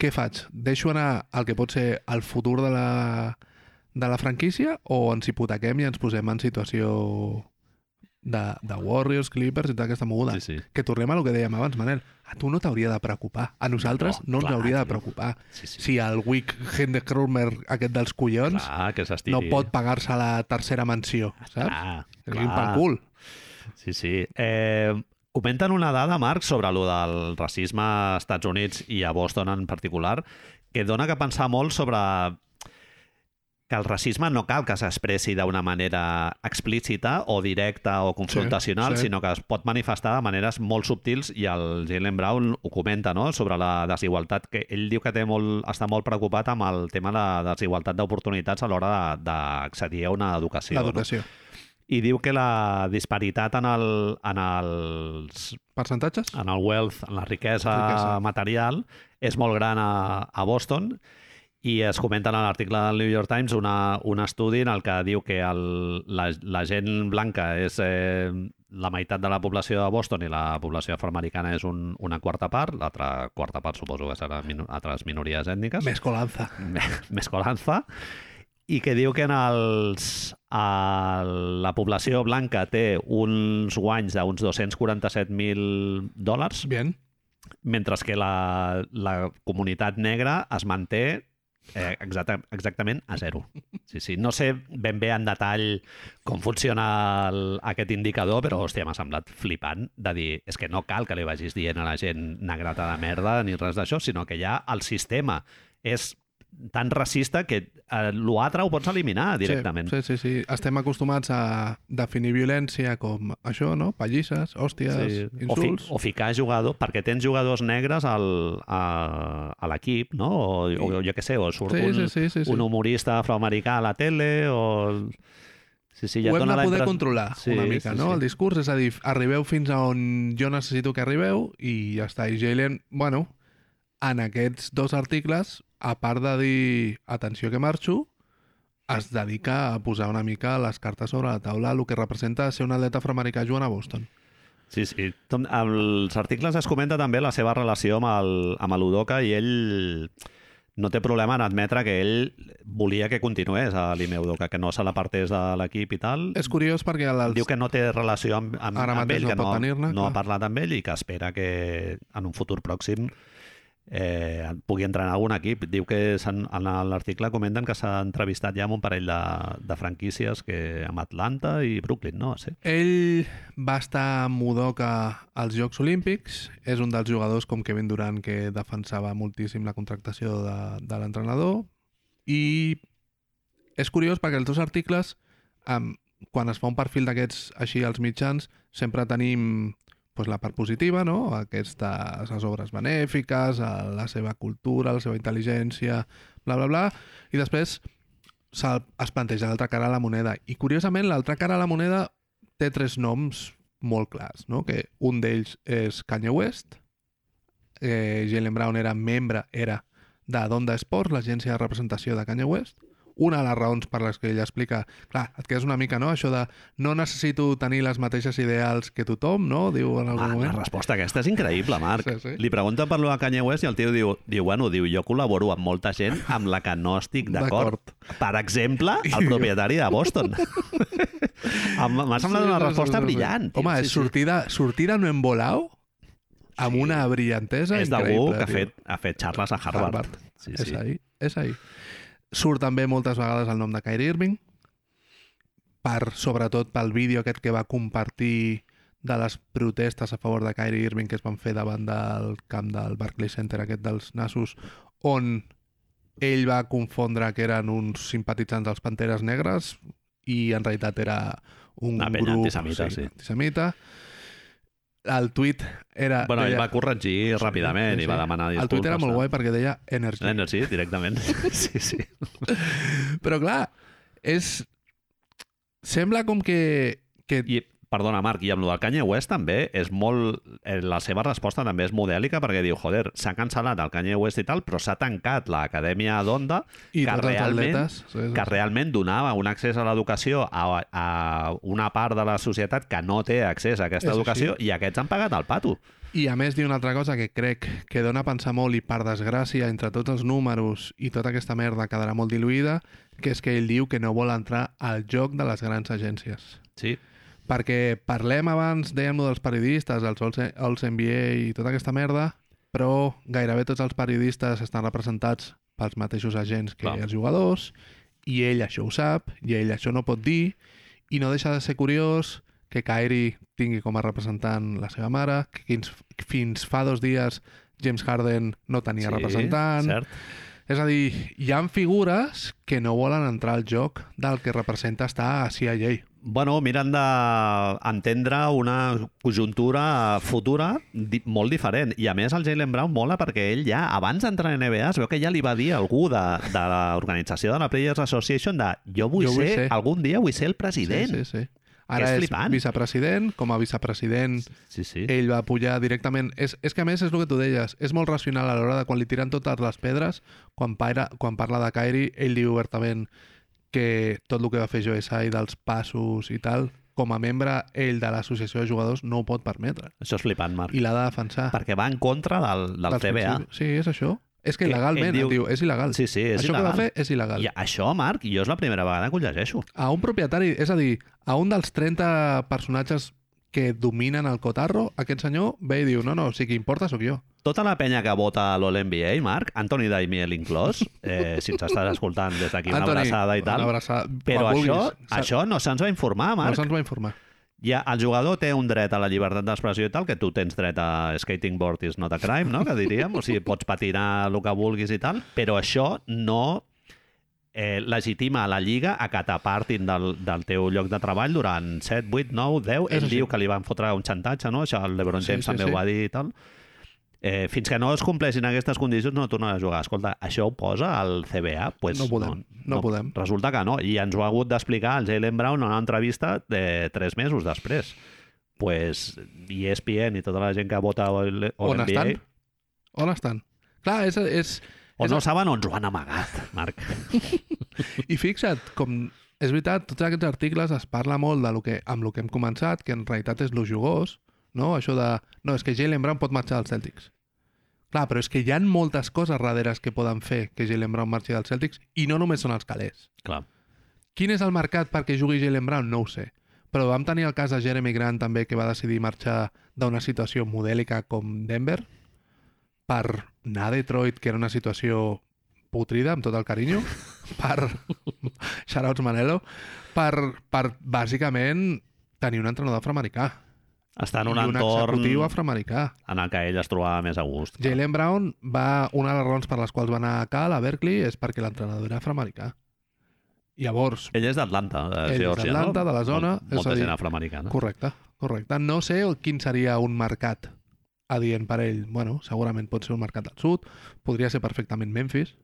què faig? Deixo anar el que pot ser el futur de la, de la franquícia o ens hipotequem i ens posem en situació de, de Warriors, Clippers i tota aquesta moguda?
Sí, sí.
Que tornem a lo que dèiem abans, Manel. A tu no t'hauria de preocupar. A nosaltres no,
No,
no ens
clar,
hauria de
no.
preocupar.
Sí, sí.
Si el Wick Hendekrumer aquest dels collons
Clar, que s'estiri.
Doncs no pot pagar-se la tercera mansió, saps?
Clar,
Ah, pel
clar.
cul.
Sí, sí. Eh, comenten una dada, Marc, sobre lo del racisme als Estats Units i a Boston en particular, que dona que pensar molt sobre que el racisme no cal que s'expressi d'una manera explícita o directa o confrontacional,
Sí,
sí,
sí.
sí. sinó que es pot manifestar de maneres molt subtils i el Jalen Brown ho comenta, no?, sobre la desigualtat, que ell diu que té molt, està molt preocupat amb el tema de la desigualtat d'oportunitats a l'hora de- d'accedir a una educació. no?
L'educació.
i diu que la disparitat en el, en els,
Percentatges?
en el wealth, en la riquesa,
Riquesa.
riquesa. material, és molt gran a, a Boston i es comenta en l'article del New York Times una, un estudi en el que diu que el, la, la gent blanca és eh, la meitat de la població de Boston i la població afroamericana és un, una quarta part, l'altra quarta part suposo que serà minu- altres minories ètniques
Mescolanza.
mescolanza i que diu que en els, a la població blanca té uns guanys d'uns 247.000 dòlars,
Bien.
mentre que la, la comunitat negra es manté eh, exacta, exactament a zero. Sí, sí. No sé ben bé en detall com funciona el, aquest indicador, però hòstia, m'ha semblat flipant de dir és que no cal que li vagis dient a la gent negrata de merda ni res d'això, sinó que ja el sistema és tan racista que eh, l'altre ho pots eliminar directament.
Sí, sí, sí, sí. Estem acostumats a definir violència com això, no? Pallisses, hòsties, sí.
O, fi,
insults.
o ficar jugador, perquè tens jugadors negres al, a, a l'equip, no? O, o jo què sé, o surt
Sí,
un,
sí, sí, sí, sí.
un humorista afroamericà a la tele, o... Sí, sí, ja
ho
et
hem
dona
de
la
poder
impres-
controlar
Sí,
una mica,
sí,
no?
sí.
El discurs, és a dir, arribeu fins a on jo necessito que arribeu i ja està. I Jalen, bueno, en aquests dos articles, a part de dir atenció que marxo, es dedica a posar una mica les cartes sobre la taula, el que representa ser un atleta afroamericà jugant a Boston.
Sí, sí. Tom- Als articles es comenta també la seva relació amb el, amb el Udoka i ell no té problema en admetre que ell volia que continués a l'Ime Udoka, que no se l'apartés de l'equip i tal.
És curiós perquè els...
Diu que no té relació amb, amb,
Ara
amb
mateix
ell,
no
que
pot
no,
tenir-ne,
no
clar.
ha parlat amb ell i que espera que en un futur pròxim eh, pugui entrenar algun equip. Diu que s'han- en l'article comenten que s'ha entrevistat ja amb un parell de, de franquícies que amb Atlanta i Brooklyn, no? Sí.
Ell va estar amb Udoca als Jocs Olímpics, és un dels jugadors com Kevin Durant que defensava moltíssim la contractació de, de l'entrenador i és curiós perquè els dos articles um, quan es fa un perfil d'aquests així als mitjans sempre tenim pues, la part positiva, no? aquestes les obres benèfiques, eh, la seva cultura, la seva intel·ligència, bla, bla, bla, i després se- es planteja l'altra cara a la moneda. I curiosament, l'altra cara a la moneda té tres noms molt clars, no? que un d'ells és Kanye West, eh, Jalen Brown era membre, era de Donda Sports, l'agència de representació de Kanye West, una de les raons per les que ella explica, clar, et quedes una mica, no?, això de no necessito tenir les mateixes ideals que tothom, no?, diu en algun
Ah, la
moment.
resposta aquesta és increïble, Marc.
Sí, sí.
Li pregunten per lo de Kanye West i el tio diu, diu, bueno, diu, jo col·laboro amb molta gent amb la que no estic d'acord. Per exemple, el propietari de Boston. Em- M'ha semblat
Sí,
una
sí, sí,
resposta
sí, sí.
brillant. tio.
Home,
Sí,
és
sí.
sortida, sortida no embolao amb
Sí.
una brillantesa
És d'algú
increïble.
que ha
tio.
fet, ha fet xarles a Harvard.
Harvard.
Sí,
És
sí.
ahí, és ahí. Surt també moltes vegades el nom de Kyrie Irving, per, sobretot pel vídeo aquest que va compartir de les protestes a favor de Kyrie Irving que es van fer davant del camp del Barclays Center, aquest dels nassos, on ell va confondre que eren uns simpatitzants dels Panteres Negres i en realitat era un
Una penya
grup
antisemita, sí.
antisemita. El tuit era...
Bueno, ell
deia-
va corregir ràpidament i va demanar disculpes.
El tuit era molt
no?
guai perquè deia energy.
Nen, sí, directament. Sí, sí.
Però clar, és... Sembla com que... que...
I, perdona, Marc, i amb el Kanye West també és molt... eh, La seva resposta també és modèlica perquè diu, joder, s'ha cancel·lat el Kanye West i tal, però s'ha tancat l'acadèmia d'Onda
I
que
tots els
realment-
atletes... Sí, sí,
que realment donava un accés a l'educació a, a una part de la societat que no té accés a aquesta
És així.
educació i aquests han pagat el pato.
I a més diu una altra cosa que crec que dona a pensar molt i per desgràcia entre tots els números i tota aquesta merda quedarà molt diluïda, que és que ell diu que no vol entrar al joc de les grans agències.
Sí.
Perquè parlem abans, dèiem lo dels periodistes, els, All- els NBA i tota aquesta merda, però gairebé tots els periodistes estan representats pels mateixos agents que
Clar.
els jugadors, i ell això ho sap, i ell això no pot dir, i no deixa de ser curiós que Kyrie tingui com a representant la seva mare, que fins, fins fa dos dies James Harden no tenia
sí,
representant.
Cert.
És a dir, hi han figures que no volen entrar al joc del que representa estar a CIA.
Bueno, miren d'entendre una conjuntura futura di molt diferent. I a més el Jalen Brown mola perquè ell ja, abans d'entrar en NBA, es veu que ja li va dir a algú de, de l'organització de la Players Association de jo vull, jo vull ser, ser, algun dia vull ser el president.
Sí, sí, sí. Ara
és
és,
flipant.
vicepresident, com a vicepresident
sí. sí, sí.
ell va pujar directament. És, és que a més és el que tu deies, és molt racional a l'hora de quan li tiren totes les pedres, quan, paira, quan parla de Kyrie, ell diu obertament que tot el que va fer Joe Tsai dels passos i tal, com a membre ell de l'associació de jugadors no ho pot permetre
Això és flipant, Marc.
i l'ha de defensar.
Perquè va en contra del, del
Dels
CBA.
principis. Sí, és això. És que
Que
il·legalment,
ell diu-
diu... diu, és il·legal.
Sí, sí, és
això
il·legal.
que va fer és il·legal.
I això, Marc, jo és la primera vegada que ho llegeixo.
a un propietari, és a dir, a un dels 30 personatges que dominen el cotarro, aquest senyor ve i diu, no, no, sí que importa sóc jo.
Tota la penya que vota a l'All-NBA, Marc, Anthony Daimiel inclòs, eh, si ens estàs escoltant des d'aquí, una abraçada i tal.
Una abraçada,
Però
quan
això,
vulguis. Sa-
això no se'ns va informar,
No
Marc.
se'ns va informar.
Ja, el jugador té un dret a la llibertat d'expressió i tal, que tu tens dret a skating board is not a crime, no? que diríem, o sigui, pots patinar el que vulguis i tal, però això no eh, legitima a la Lliga a que t'apartin del, del teu lloc de treball durant 7, 8, 9, 10.
És
Ell
així.
diu que li van fotre un xantatge, no? Això el LeBron
Sí,
James
sí,
també
sí.
ho va dir i tal. Eh, fins que no es compleixin aquestes condicions no tornen a jugar. Escolta, això ho posa al CBA? Pues
No podem, no podem.
Resulta que no, i ens ho ha hagut d'explicar el Jalen Brown en una entrevista de tres mesos després. Pues ESPN i tota la gent que vota o, o
On
NBA,
estan? On estan? Clar, és, és,
o
És
no
el-
saben on ens ho han amagat, Marc.
I fixa't, com és veritat, tots aquests articles es parla molt de lo que, amb el que hem començat, que en realitat és lo jugós, no? Això de, no, és que Jalen Brown pot marxar dels Celtics. Clar, però és que hi han moltes coses darreres que poden fer que Jalen Brown marxi dels Celtics i no només són els calés.
Clar.
Quin és el mercat perquè jugui Jalen Brown? No ho sé. Però vam tenir el cas de Jeremy Grant també que va decidir marxar d'una situació modèlica com Denver per anar a Detroit, que era una situació putrida, amb tot el carinyo, per... Shoutouts Manelo. Per, per bàsicament, tenir un entrenador afroamericà.
Està en un
I un
entorn
executiu afroamericà.
en el que ell es trobava més a gust. clar.
Jalen Brown va... Una de les raons per les quals va anar a Cal, a Berkeley, és perquè l'entrenador era afroamericà. Llavors,
Ell és d'Atlanta, de
Ell és
Geòrgia,
d'Atlanta,
no?
de la zona,
Mol-
és a
Molta
dir-
gent afroamericana.
Correcte, correcte. No sé el- quin seria un mercat adient per ell. Bueno, segurament pot ser un mercat del sud, podria ser perfectament Memphis,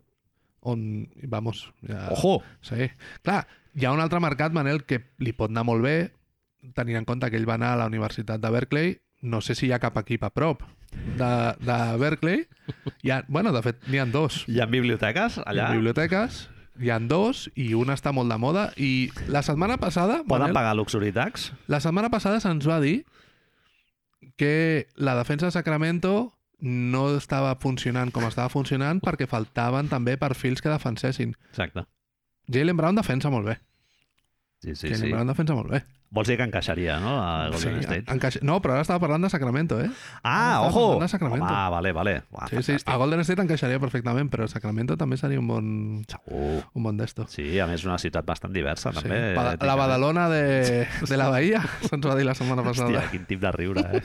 on, vamos, ja...
Ojo!
Sí. Clar, hi ha un altre mercat, Manel, que li pot anar molt bé, tenint en compte que ell va anar a la Universitat de Berkeley, no sé si hi ha cap equip a prop de, de Berkeley. Hi ha, bueno, de fet, n'hi ha dos.
Hi ha biblioteques
Allà?
allà?
Biblioteques, Hi han dos i un està molt de moda i la setmana passada...
Poden
Manel,
pagar luxuritax?
La setmana passada se'ns va dir que la defensa de Sacramento no estava funcionant com estava funcionant perquè faltaven també perfils que defensessin.
Exacte.
Jalen Brown defensa molt bé.
Sí, sí,
Jalen
sí.
Brown defensa molt bé.
Vols dir que encaixaria, no? A Golden State.
encaix... No, però ara estava parlant de Sacramento, eh?
Ah,
estava
ojo!
parlant de Sacramento.
Ah, vale, vale. Uah,
Sí, sí, a Golden State encaixaria perfectament, però Sacramento també seria un bon,
Segur.
un bon d'esto.
Sí, a més una ciutat bastant diversa,
Sí.
també. eh,
Pa- La Badalona de, de la Bahia, se'ns va dir la setmana
Hòstia,
passada.
quin tip de riure, eh?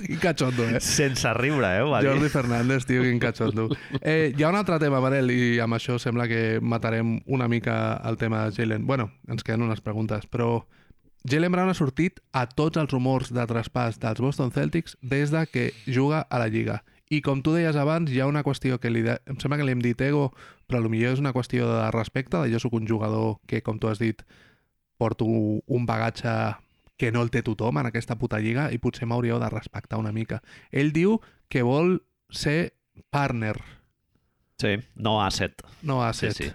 Quin cachondo, eh?
Sense riure, eh? ho Va dir.
Jordi Fernández, tio, quin cachondo. Eh, hi ha un altre tema, Manel, i amb això sembla que matarem una mica el tema de Jalen. Bueno, ens queden unes preguntes, però Jalen Brown ha sortit a tots els rumors de traspàs dels Boston Celtics des de que juga a la Lliga. I com tu deies abans, hi ha una qüestió que li de... em sembla que li hem dit ego, però potser és una qüestió de respecte, de jo sóc un jugador que, com tu has dit, porto un bagatge que no el té tothom en aquesta puta lliga i potser m'hauríeu de respectar una mica. Ell diu que vol ser partner,
Sí, no asset.
no
Sí,
asset.
sí.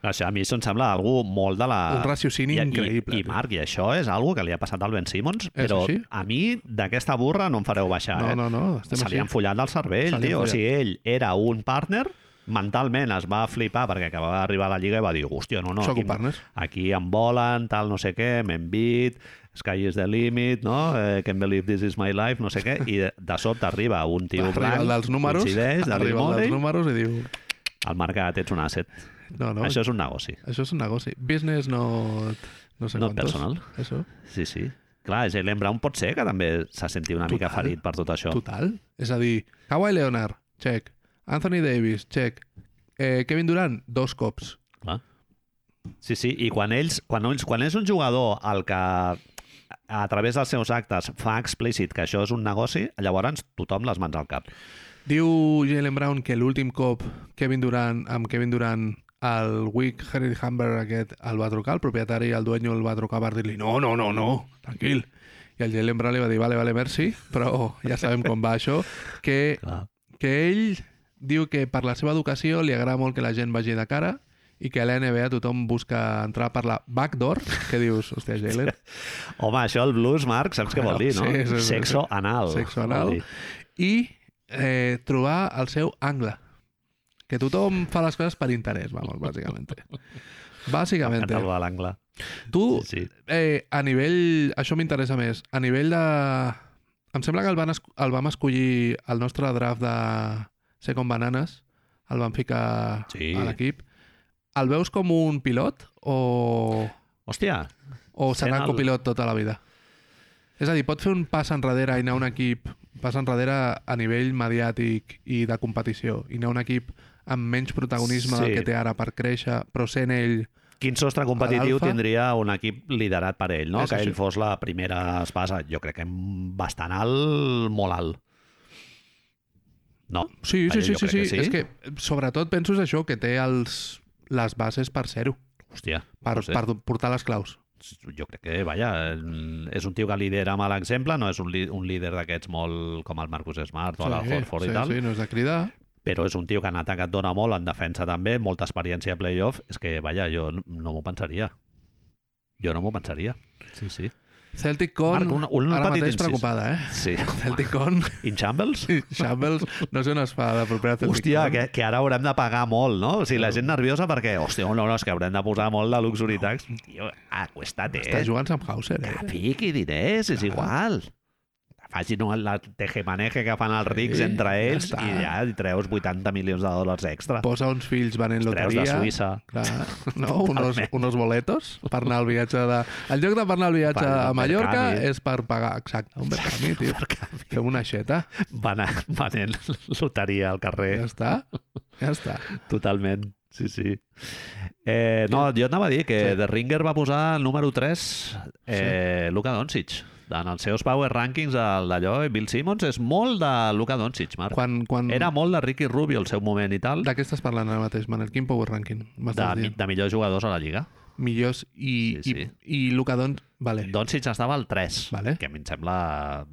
Això a mi això em sembla algú molt de la...
Un raciocini
I,
increïble.
I, I Marc, i això és algo que li ha passat al Ben Simmons, però
així?
a mi d'aquesta burra no em fareu baixar,
no,
eh?
no, no, estem
Se li
així.
ha enfollat del cervell,
Se li ha
tio. O
enfollat.
sigui, ell era un partner, mentalment es va flipar perquè acabava d'arribar a la Lliga i va dir, hòstia, no, no,
Soc
aquí,
un partner.
aquí em volen, tal, no sé què, m'hem vist, sky is the limit, no? Eh, can't believe this is my life, no sé què, i de, de sobte arriba un tio
Arriba
blanc,
el dels números,
coincideix, de
arriba el dels
Rimoldi,
números i diu...
al mercat ets un asset.
No, no,
No,
això,
Això és un negoci.
això és un negoci. Business no... No sé
Not
quantos.
personal.
Això.
Sí, sí. Clar, Jalen Brown pot ser que també s'ha sentit una mica
Total.
ferit per tot això.
Total. És a dir, Kawhi Leonard, check. Anthony Davis, check. Eh, Kevin Durant, dos cops.
Clar. Sí, sí, i quan ells, quan, ells, quan és un jugador el que a través dels seus actes fa explícit que això és un negoci, llavors tothom les mans al cap.
Diu Jalen Brown que l'últim cop Kevin Durant, amb Kevin Durant el Wick Henry Humber aquest el va trucar, el propietari, el dueño el va trucar per dir-li no, no, no, no, tranquil. I el Jalen Brown li va dir vale, vale, merci, però ja sabem com va això, que,
Clar.
que ell diu que per la seva educació li agrada molt que la gent vagi de cara i que a la NBA tothom busca entrar per la backdoor, que dius, hòstia, Jalen,
Home, això el blues, Marc, saps què vol dir, no?
Sí, sí, sí.
Sexo anal.
sexo
vol
anal,
dir.
i eh, trobar el seu angle. Que tothom fa les coses per interès, vamos, bàsicament. Bàsicament.
Canta el de l'angle.
Tu,
Sí, sí.
eh, a nivell... Això m'interessa més. A nivell de... Em sembla que el, van es... el vam escollir al nostre draft de Second Bananes. El van ficar
Sí.
a l'equip. El veus com un pilot o,
Hòstia,
o
Sent
serà
el-
copilot tota la vida? És a dir, pot fer un pas enrere i anar a un equip pas enrere a nivell mediàtic i de competició, i anar a un equip amb menys protagonisme
Sí.
del que té ara per créixer, però sent ell
quin sostre competitiu
l'alfa?
tindria un equip liderat per ell, no?
És
que
això.
ell fos la primera espasa. Jo crec que bastant alt, molt alt. No?
Sí,
Vaja,
sí, sí,
jo
sí,
crec
sí.
que
sí.
sí.
És que eh, sobretot penso és això, que té els, les bases per ser-ho,
Hòstia.
per,
no sé.
per portar les claus.
jo crec que, vaja, és un tio que lidera amb l'exemple, no és un, li un líder d'aquests molt com el Marcus Smart o sí, la Horford
sí,
i tal,
sí, no és de cridar.
però és un tio que en atac et dona molt, en defensa també, molta experiència a playoff, és que, vaja, jo no- no m'ho pensaria. Jo no m'ho pensaria. Sí, sí.
Celtic Con,
Marc, un- un
ara
petit
mateix
incís.
preocupada, eh?
Sí.
Celtic Con,
In Shambles?
Shambles, no sé on es fa la propera Celtic
Hòstia,
Con.
que, que ara haurem de pagar molt, no? O sigui, la gent nerviosa perquè, hòstia, no, no, és que haurem de posar molt de luxury tax. Tio, acuesta't,
Està
eh?
jugant amb Hauser, eh?
Que fiqui diners, és igual. Facin el tejemaneje que fan els rics
Sí,
entre
ja
ells
està.
i ja hi treus 80 milions de dòlars extra.
Posa uns fills venent
treus
loteria.
de Suïssa.
Clar, no? unos, unos boletos per anar al viatge de... En lloc de per anar al viatge
Per-
a
per
Mallorca
Cami.
és per pagar... Exacte, un Bercami, tio. Fem una xeta.
Van, a- venent loteria al
Ja
carrer,
està. Ja està.
totalment. Sí, sí. Eh, no, jo et anava a dir que
Sí.
The Ringer va posar el número 3 eh, Luka Doncic. En els seus power rankings el d'allò, Bill Simmons és molt de Luka Doncic, Marc.
Quan, quan...
Era molt de Ricky Rubio al seu moment i tal, de,
De què estàs parlant ara mateix, Manel? Quin power ranking? M'estàs
mi-
dient?
de millors jugadors a la Lliga.
Millors i,
Sí, sí.
i, i Luka Don... Vale.
Doncic estava al 3,
Vale.
que a mi em sembla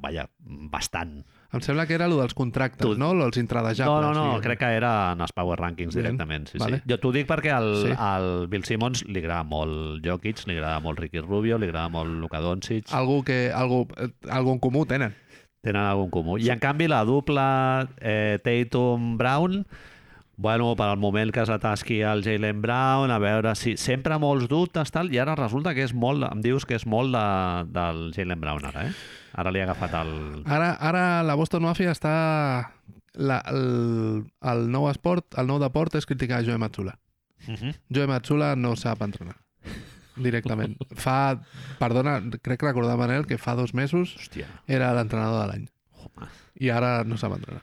vaja, bastant.
Em sembla que era el dels contractes,
Tu-
tu... no? Lo dels intradejables.
No, no, no,
diguem.
crec que era en els Power Rankings
Bien,
directament. Sí,
vale.
sí. Jo t'ho dic perquè al,
Sí.
sí. al Bill Simmons li agrada molt Jokic, li agrada molt Ricky Rubio, li agrada molt Luka Doncic, el...
Algú que... Algú, eh, algú en comú tenen.
tenen algun comú. I en canvi la dupla eh, Tatum-Brown, bueno, per al moment que s'atasqui el Jalen Brown, a veure si... Sempre molts dubtes, tal, i ara resulta que és molt... Em dius que és molt de, del Jalen Brown, ara, eh? Ara li ha agafat el...
Ara, ara la Boston Mafia està... La, el, el nou esport, el nou deport és criticar Joe Matsula.
Uh -huh.
Joe Matsula no sap entrenar. Directament. Fa... Perdona, crec recordar, Manel, que fa dos mesos
Hòstia.
era l'entrenador de l'any.
Home.
I ara no sap entrenar.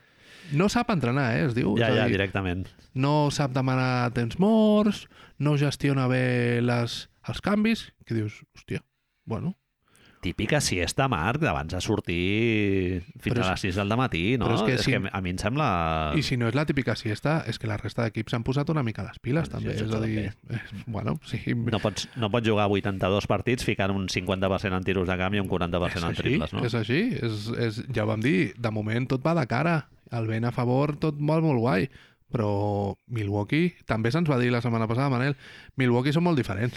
No sap entrenar, eh, es diu.
Ja,
És a
ja,
dir,
directament.
no sap demanar temps morts, no gestiona bé les, els canvis, que dius, hòstia, bueno,
Típica siesta, Marc, d'abans de sortir fins
Però és-
a les 6 del matí, no?
però és que
és
si-
que a mi em sembla...
I si no és la típica siesta, és que la resta d'equips s'han posat una mica les piles,
Sí,
també.
això
És a dir, eh, bueno, sí,
No pots, no pots jugar 82 partits ficant un 50% en tiros de camp i un 40%
és
en
així,
triples, no?
és així. És, és, ja ho vam dir, de moment tot va de cara. El vent a favor, tot molt, molt guai. Però Milwaukee, també se'ns va dir la setmana passada, Manel, Milwaukee són molt diferents.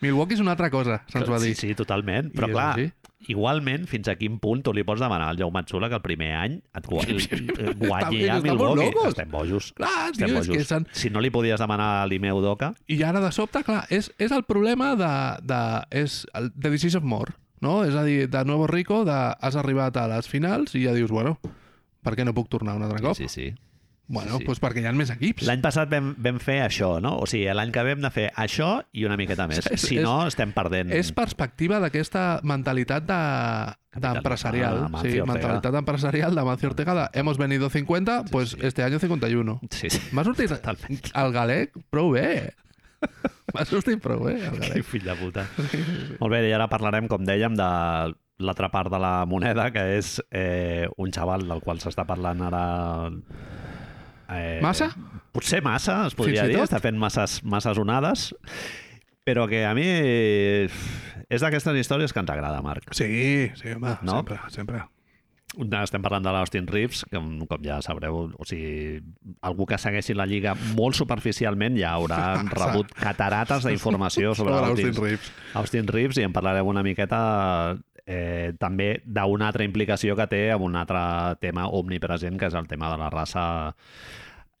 Milwaukee és una altra cosa, se'ns va dir.
Sí, sí, totalment. Però
I és
clar,
així.
igualment, fins a quin punt tu li pots demanar al Jaume Matsula que el primer any et gua- eh, guanyi
Estan-
a
estan
Milwaukee?
molt locos.
Estem bojos.
Clar,
Estem
tio, és que
bojos.
s'han...
Si no li podies demanar a l'Imeu Doca...
I ara, de sobte, clar, és, és el problema de, de, és el, de Disease of More, no? És a dir, de Nuevo Rico, de, has arribat a les finals i ja dius, bueno, per què no puc tornar un altre cop?
Sí, sí.
bueno,
sí, sí.
Doncs perquè hi ha més equips.
L'any passat vam, vam fer això, no? O sigui, l'any que ve hem de fer això i una miqueta més.
És-
Si
és-
no, estem perdent...
És perspectiva d'aquesta mentalitat de d'empresarial,
Ah, Amancio
sí,
Ortega.
mentalitat empresarial de Mancio Ortega de hemos venido 50, pues
sí.
este año 51.
Sí, sí.
M'ha sortit
Totalment.
el galec prou bé. M'ha sortit prou bé, el galec.
Quin fill de puta. Molt bé, i ara parlarem, com dèiem, de l'altra part de la moneda, que és eh, un xaval del qual s'està parlant ara... Eh,
Massa?
Potser massa, es podria
Fins i
dir.
tot?
Està fent masses, masses onades. Però que a mi eh, és d'aquestes històries que ens agrada, Marc.
Sí, sí, home,
No?
sempre, sempre.
Estem parlant de l'Austin Reeves, que com com ja sabreu, o sigui, algú que segueixi la lliga molt superficialment ja haurà rebut catarates d'informació sobre
Sobre l'Austin
l'Austin
Reeves.
Austin Reeves i en parlarem una miqueta eh, també d'una altra implicació que té amb un altre tema omnipresent, que és el tema de la raça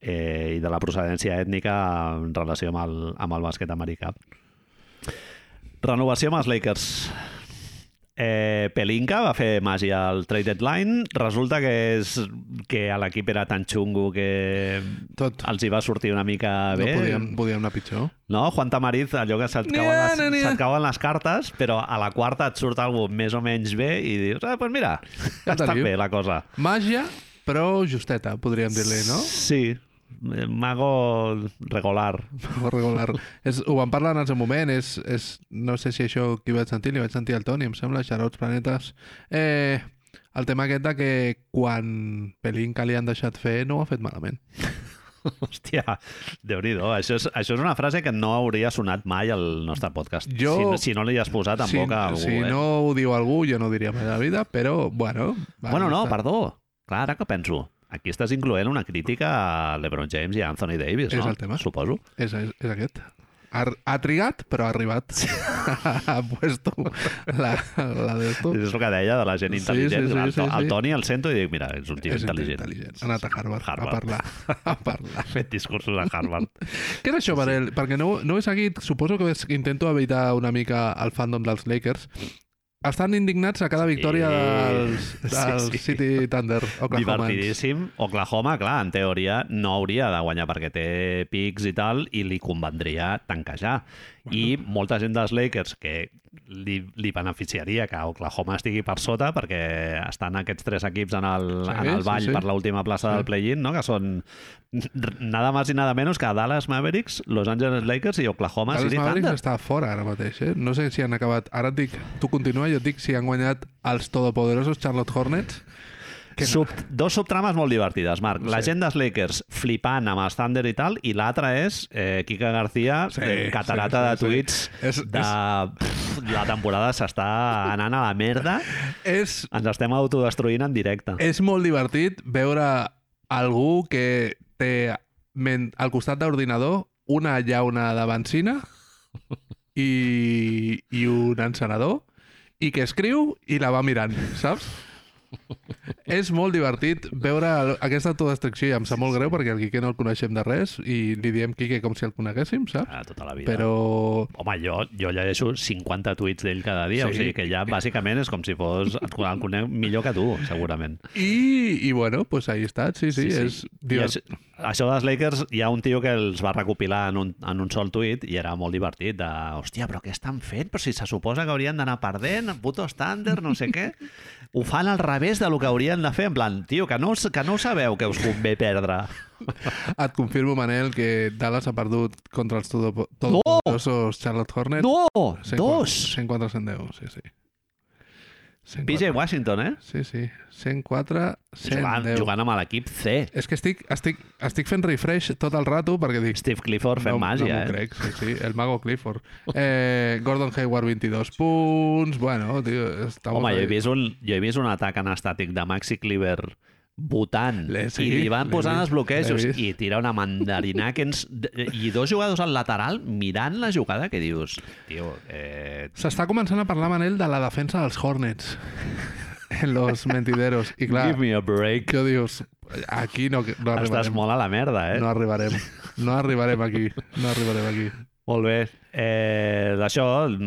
eh, i de la procedència ètnica en relació amb el, amb el bàsquet americà. Renovació amb els Lakers. Eh, Pelinka va fer màgia al trade deadline. Resulta que és que a l'equip era tan xungo que
Tot.
els hi va sortir una mica bé.
No podíem, podíem anar pitjor.
No, Juan Tamariz, allò que se't
Nia,
cauen, les,
nia, nia.
se't cauen les cartes, però a la quarta et surt algú més o menys bé i dius, ah, doncs mira,
Ja
està
tenim."
bé la cosa.
Màgia, però justeta, podríem dir-li, no?
Sí, eh, mago regular.
O Regular. És, ho vam parlar en el seu moment, és, és, no sé si això qui vaig sentir, li vaig sentir al Toni, em sembla, Xarots Planetes. Eh, el tema aquest de que quan Pelinka li han deixat fer no ho ha fet malament.
Hòstia, déu nhi això, és, això és una frase que no hauria sonat mai al nostre podcast.
Jo-
Si, no- si no li has posat en
si,
boca a algú.
si
eh?
no ho diu algú, jo no ho diria mai a la vida, però bueno... va,
bueno, no,
està.
perdó. Clar, ara que penso. Aquí estàs incloent una crítica a LeBron James i a Anthony Davis,
És
no?
el tema.
Suposo.
És, és, és aquest. Ha, ha trigat, però ha arribat. ha puesto la, la d'esto.
És el que deia de la gent
Sí,
intel·ligent.
sí, sí,
el,
sí,
el
sí.
Toni el sento i dic, mira, és un tio
És
intel·ligent.
intel·ligent. Ha anat a Harvard,
Harvard.
a parlar. A parlar.
Fet discursos a Harvard.
Què era això, Manel? Perquè no, no ho he seguit. Suposo que es- intento evitar una mica el fandom dels Lakers. Estan indignats a cada victòria dels, dels
Sí, sí.
City Thunder. Oklahoma.
Divertidíssim. Oklahoma, clar, en teoria no hauria de guanyar perquè té pics i tal i li convendria tanquejar. Bueno. I molta gent dels Lakers que li, li beneficiaria que Oklahoma estigui per sota perquè estan aquests tres equips en el,
Sí,
sí, en el
sí,
ball
sí.
sí, sí. per l'última plaça
Sí.
sí. del play-in, no? que són nada más i nada menos que Dallas Mavericks, Los Angeles Lakers i Oklahoma
Dallas
City
Mavericks
Thunder.
està fora ara mateix, eh? No sé si han acabat... Ara et dic, tu continua, jo et dic si han guanyat els todopoderosos Charlotte Hornets. Que no.
Sub, dos subtrames molt divertides, Marc. La gent dels Lakers flipant amb els Thunder i tal, i l'altra és eh, Kika García,
Sí,
sí, catarata
sí, sí,
de
sí.
tuits
És-
de... Pff, Uf, la temporada s'està anant a la merda.
És,
Ens estem autodestruint en directe.
és molt divertit veure algú que té men- al costat d'ordinador una llauna de benzina i, i un encenedor i que escriu i la va mirant, saps? és molt divertit veure el- aquesta autodestrucció i em sap molt greu perquè el Quique no el coneixem de res i li diem Quique com si el coneguéssim, saps?
Ah, tota la vida.
Però
Home, jo, jo llegeixo 50 tuits d'ell cada dia,
Sí.
sí. o sigui que ja bàsicament és com si fos... Et con- el conec millor que tu, segurament.
I, i bueno, pues ahí està, sí, sí, sí, sí. és
I
divert...
això, això dels Lakers, hi ha un tio que els va recopilar en un, en un sol tuit i era molt divertit, de, hòstia, però què estan fent? Però si se suposa que haurien d'anar perdent, puto estàndard, no sé què. Ho fan al revés de lo que haurien de fer, en plan, tio, que no, us- que no ho sabeu que us convé perdre.
Et confirmo, Manel, que Dallas ha perdut contra els todo- todopoderosos Charlotte Hornets.
No!
104
Dos!
104 110, sí, sí. 104,
PJ Washington, eh?
Sí, sí. 104
Jugant,
110.
jugant amb l'equip C.
És que estic, estic, estic fent refresh tot el rato perquè dic...
Steve Clifford fent
no, no
màgia,
m'ho
eh?
crec, sí, sí. El mago Clifford. Eh, Gordon Hayward, 22 punts. Bueno, tio, estamos...
Home, jo he,
ahí.
vist un, jo he vist un atac anestàtic de Maxi Cleaver votant
L'he- sí,
i li van
l'he
posant
vist,
els bloquejos
l'he vist.
i tira una mandarina que ens... i dos jugadors al lateral mirant la jugada que dius tio, eh,
S'està començant a parlar, Manel, de la defensa dels Hornets. en los mentideros. I clar,
give me a break
que dius, aquí no, no
estàs
arribarem.
molt a la merda, eh?
No arribarem. No arribarem aquí. No arribarem aquí.
Molt bé. Eh, D'això,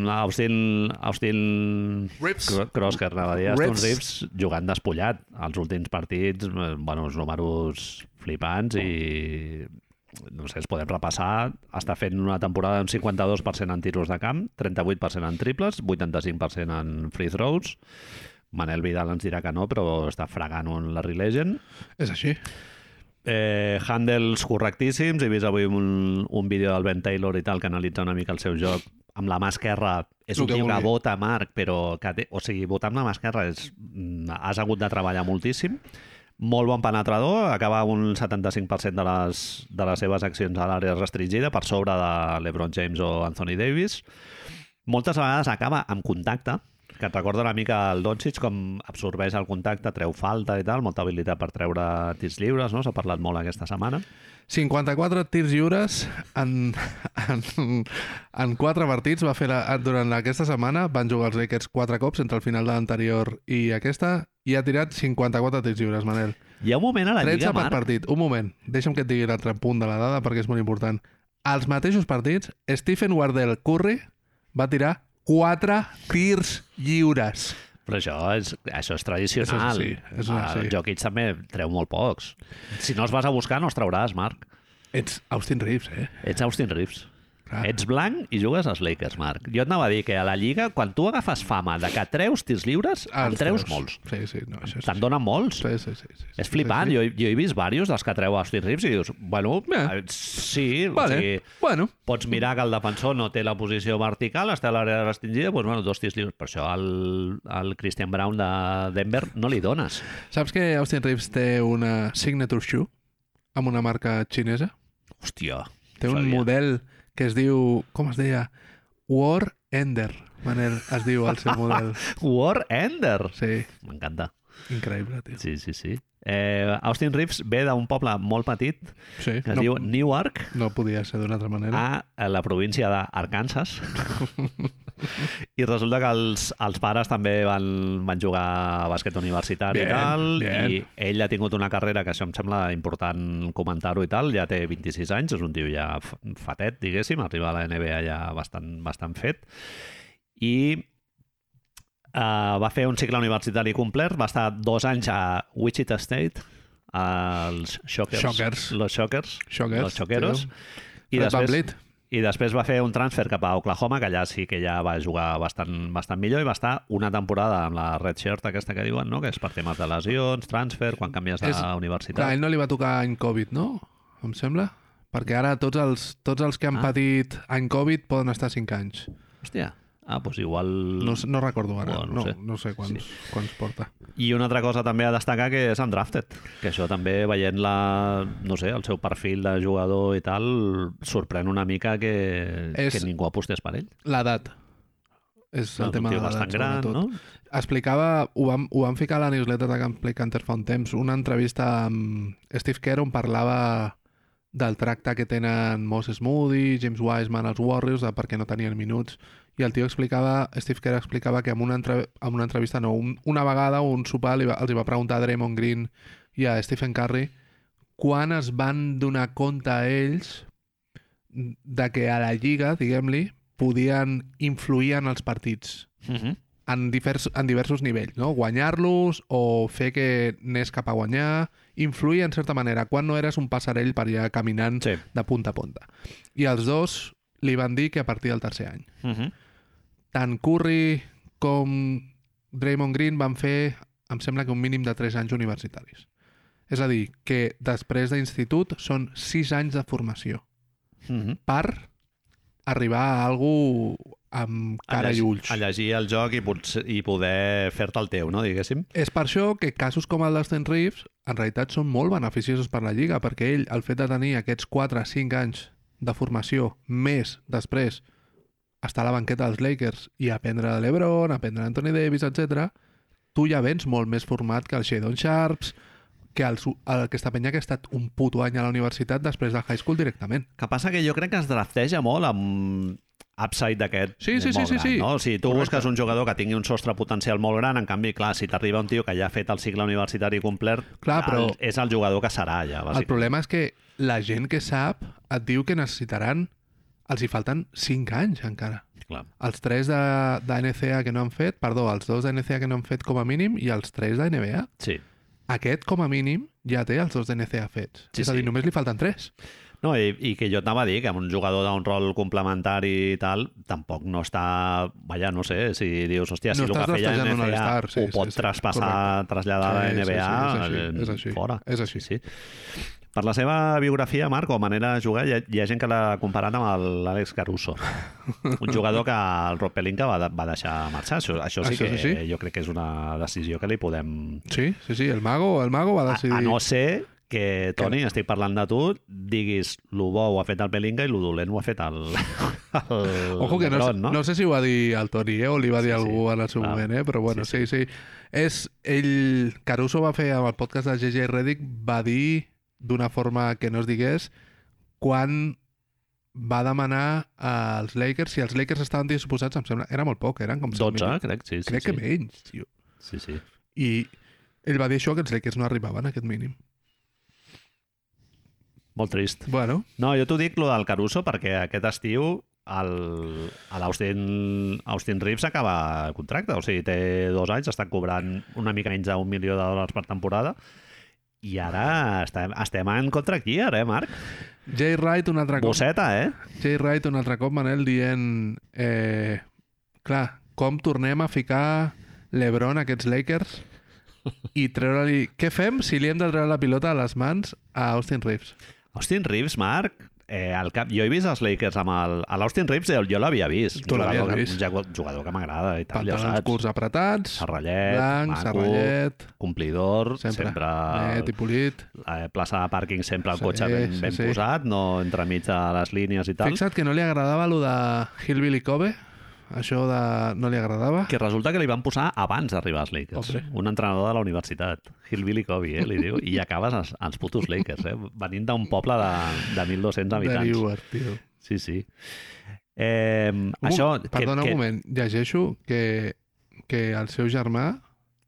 Austin, Austin
Rips.
Cro- Crosker, anava a dir, Austin
Rips.
Rips, jugant despullat. Els últims partits, eh, bueno, uns números flipants i no sé, es podem repassar. Està fent una temporada amb 52% en tiros de camp, 38% en triples, 85% en free throws. Manel Vidal ens dirà que no, però està fregant un Larry Legend.
És així.
Eh, handles correctíssims. He vist avui un, un vídeo del Ben Taylor i tal que analitza una mica el seu joc amb la mà esquerra. És
El
un
que
tio que
vulgui.
vota, Marc, però que té... O sigui, votar amb la mà esquerra és... mm, has hagut de treballar moltíssim. Molt bon penetrador, acaba un 75% de les, de les seves accions a l'àrea restringida, per sobre de l'Ebron James o Anthony Davis. Moltes vegades acaba amb contacte, que et recorda una mica el Doncic, com absorbeix el contacte, treu falta i tal, molta habilitat per treure tirs lliures, no? S'ha parlat molt aquesta setmana.
54 tirs lliures en, en, en 4 partits va fer la, durant aquesta setmana van jugar els Lakers 4 cops entre el final de l'anterior i aquesta i ha tirat 54 tirs lliures, Manel.
Hi ha un moment a la
13
Lliga,
per
Marc,
partit. Un moment, deixa'm que et digui l'altre punt de la dada perquè és molt important. Als mateixos partits, Stephen Wardell Curry va tirar 4 tirs lliures.
però això és, això és tradicional.
Això és així, això és així.
El Jokic també treu molt pocs. Si no els vas a buscar, no els trauràs, Marc.
Ets Austin Reeves, eh?
Ets Austin Reeves.
Clar.
Ets blanc i jugues als Lakers, Marc. Jo et anava a dir que a la Lliga, quan tu agafes fama de que treus tirs lliures, Ah, en
Ah, Els
treus molts.
Sí, sí, no, això és...
Te'n donen molts.
Sí, sí, sí, sí, sí.
És flipant. Jo, jo he vist diversos dels que treu a Austin Reeves i dius, bueno,
Bé.
eh, sí, o
Vale,
sigui,
bueno.
pots mirar que el defensor no té la posició vertical, està a l'àrea restringida, doncs, bueno, dos tirs lliures. Per això el, el Christian Brown de Denver no li dones.
Saps que Austin Reeves té una signature shoe amb una marca xinesa?
Hòstia.
Té
ho
un
sabia.
model que es diu... Com es deia? War Ender. Manel, es diu el seu model.
War Ender.
Sí,
M'encanta.
increïble, tio.
Sí, sí, sí. Eh, Austin Reeves ve d'un poble molt petit que
Sí,
es
no,
diu Ah, Newark,
no podia ser d'una altra manera.
a a la província d'Arkansas. I resulta que els, els pares també van, van jugar a bàsquet universitari
Bien,
i tal,
bien.
i ell ha tingut una carrera que això em sembla important comentar-ho i tal, ja té 26 anys, és un tio ja f- fatet, diguéssim, arriba a la NBA ja bastant, bastant fet, i Uh, va fer un cicle universitari complet, va estar dos anys a Wichita State, als Shockers.
Shockers.
Los Shockers.
Shockers,
Los Shockeros. I
tio. Fred
després,
VanVleet.
I després va fer un transfer cap a Oklahoma, que allà sí que ja va jugar bastant, bastant millor i va estar una temporada amb la red shirt aquesta que diuen, no? que és per temes de lesions, transfer, quan canvies de
És-
universitat.
Clar, ell no li va tocar any Covid, no? Em sembla. Perquè ara tots els, tots els que han
Ah.
patit any Covid poden estar 5 anys.
Hòstia, ah, doncs igual...
No, no recordo ara,
Bueno, no
no, no,
sé.
sé. no sé quants, quants porta.
I una altra cosa també a destacar que és Undrafted, que això també veient la, no sé, el seu perfil de jugador i tal, sorprèn una mica que,
És-
que ningú apostés per ell.
L'edat. És
No, és
el
un
tema
Ah, tio
de l'edat,
bastant gran,
sobretot.
no?
Explicava, ho vam, ho vam ficar a la newsletter de Gameplay Canter fa un temps, una entrevista amb Steve Kerr on parlava del tracte que tenen Moses Moody, James Wiseman, els Warriors, de per què no tenien minuts, i el tio explicava, Steve Kerr explicava que en una, entre, en una entrevista, no, un, una vegada un sopar li va, els hi va preguntar a Draymond Green i a Stephen Curry quan es van donar compte ells de que a la Lliga, diguem-li, podien influir en els partits
Mhm.
en, divers, en diversos nivells, no? Guanyar-los o fer que anés cap a guanyar, influir en certa manera, quan no eres un passarell per allà caminant
Sí.
de punta a punta. I els dos li van dir que a partir del tercer any.
Mhm.
Tant Curry com Draymond Green van fer, em sembla que un mínim de 3 anys universitaris. És a dir, que després d'institut són 6 anys de formació
Mhm.
per arribar a algú amb
A
cara i
llegir-
ulls.
A llegir el joc i, potser, i poder fer-te el teu, no? Diguéssim.
És per això que casos com el d'Aston Reeves en realitat són molt beneficiosos per la Lliga, perquè ell, el fet de tenir aquests 4-5 anys de formació, més després estar a la banqueta dels Lakers i aprendre de l'Ebron, aprendre d'Anthony Davis, etc, tu ja vens molt més format que el Shadon Sharps, que el, el, aquesta penya que ha estat un puto any a la universitat després del high school directament.
Que passa que jo crec que es drafteja molt amb upside d'aquest
Sí, sí, sí,
molt
sí,
gran,
sí.
no? O sigui, tu
Correcte.
busques un jugador que tingui un sostre potencial molt gran, en canvi, clar, si t'arriba un tio que ja ha fet el cicle universitari complet,
Clar, però-
el, és el jugador que serà ja,
El
bàsicament.
problema és que la gent que sap et diu que necessitaran... Els hi falten 5 anys encara.
Clar.
Els 3 de, de NCA que no han fet, perdó, els 2 de NCA que no han fet com a mínim i els 3 de NBA.
Sí.
Aquest, com a mínim, ja té els 2 de NCA fets.
Sí,
Sí, És a dir,
sí.
només li falten 3.
No, i, i que jo t'anava a dir que amb un jugador d'un rol complementari i tal, tampoc no està... Vaja, no sé, si dius, hòstia, si
No
el que
estàs
feia
draftejant un
NBA
All-Star, sí,
ho
sí,
pot
sí,
traspassar, traslladar a la NBA, eh,
és així.
fora.
És així.
Sí, sí. Per la seva biografia, Marc, o manera de jugar, hi ha, hi ha gent que l'ha comparat amb el- l'Àlex Caruso. Un jugador que el Rob Pelinka va, de- va deixar marxar. Això, això sí
Això
que
sí, sí.
jo crec que és una decisió que li podem...
Sí, sí, sí, el mago, el mago va
A,
decidir...
a Ah, no ser que, Toni, estic parlant de tu, diguis lo bo ho ha fet el Pelinka i lo dolent ho ha fet el... el
Ojo que no,
Lebron,
sé- no sé si ho va dir el Toni, eh, o li va dir sí, algú
sí,
en el seu
clar.
moment, eh, però bueno,
Sí,
sí, sí. sí. És, ell, Caruso va fer amb el podcast de JJ Redick, va dir d'una forma que no es digués quan va demanar als Lakers, si els Lakers estaven disposats, em sembla, era molt poc, eren com 100
12,
minuts.
crec, sí. sí
crec
sí.
que menys, tio.
Sí, sí.
I ell va dir això, que els Lakers no arribaven a aquest mínim.
Molt trist.
Bueno,
No, jo t'ho dic, lo del Caruso, perquè aquest estiu el, a l'Austin Austin Reeves acaba el contracte, o sigui, té dos anys, estan cobrant una mica menys d'un milió de dòlars per temporada, i ara estem, estem en contract year, eh, Marc?
Jay Wright un altre cop.
Bosseta, eh?
Jay Wright un altre cop, Manel, dient... Eh, clar, com tornem a ficar l'Ebron a aquests Lakers i treure-li... Què fem si li hem de treure la pilota a les mans a Austin Reeves?
Austin Reeves, Marc, eh, al cap... jo he vist els Lakers amb el... A l'Austin Reeves eh, jo, jo l'havia vist.
Tu l'havies
Jugador que-
vist.
Un jagu- jugador que m'agrada i tal, ja ho
Pantalons
saps.
curts apretats,
Serrallet,
blanc,
maco,
serrallet...
complidor,
Sempre. Eh,
sempre,
Net i polit.
la eh, plaça de pàrquing sempre el
Sí,
cotxe ben,
sí,
ben
sí.
posat, no entremig de les línies i tal.
Fixa't que no li agradava allò de Hillbilly Cove. Això de... no li agradava.
Que resulta que li van posar abans d'arribar als Lakers.
Hombre.
Un entrenador de la universitat, Hillbilly Covey, eh, li diu, i acabes als, als putos Lakers, eh? venint d'un poble de, de 1.200
de
habitants.
Newark, tio.
Sí, sí. Eh,
Un
això...
moment, Uh, Perdona un moment, llegeixo que, que el seu germà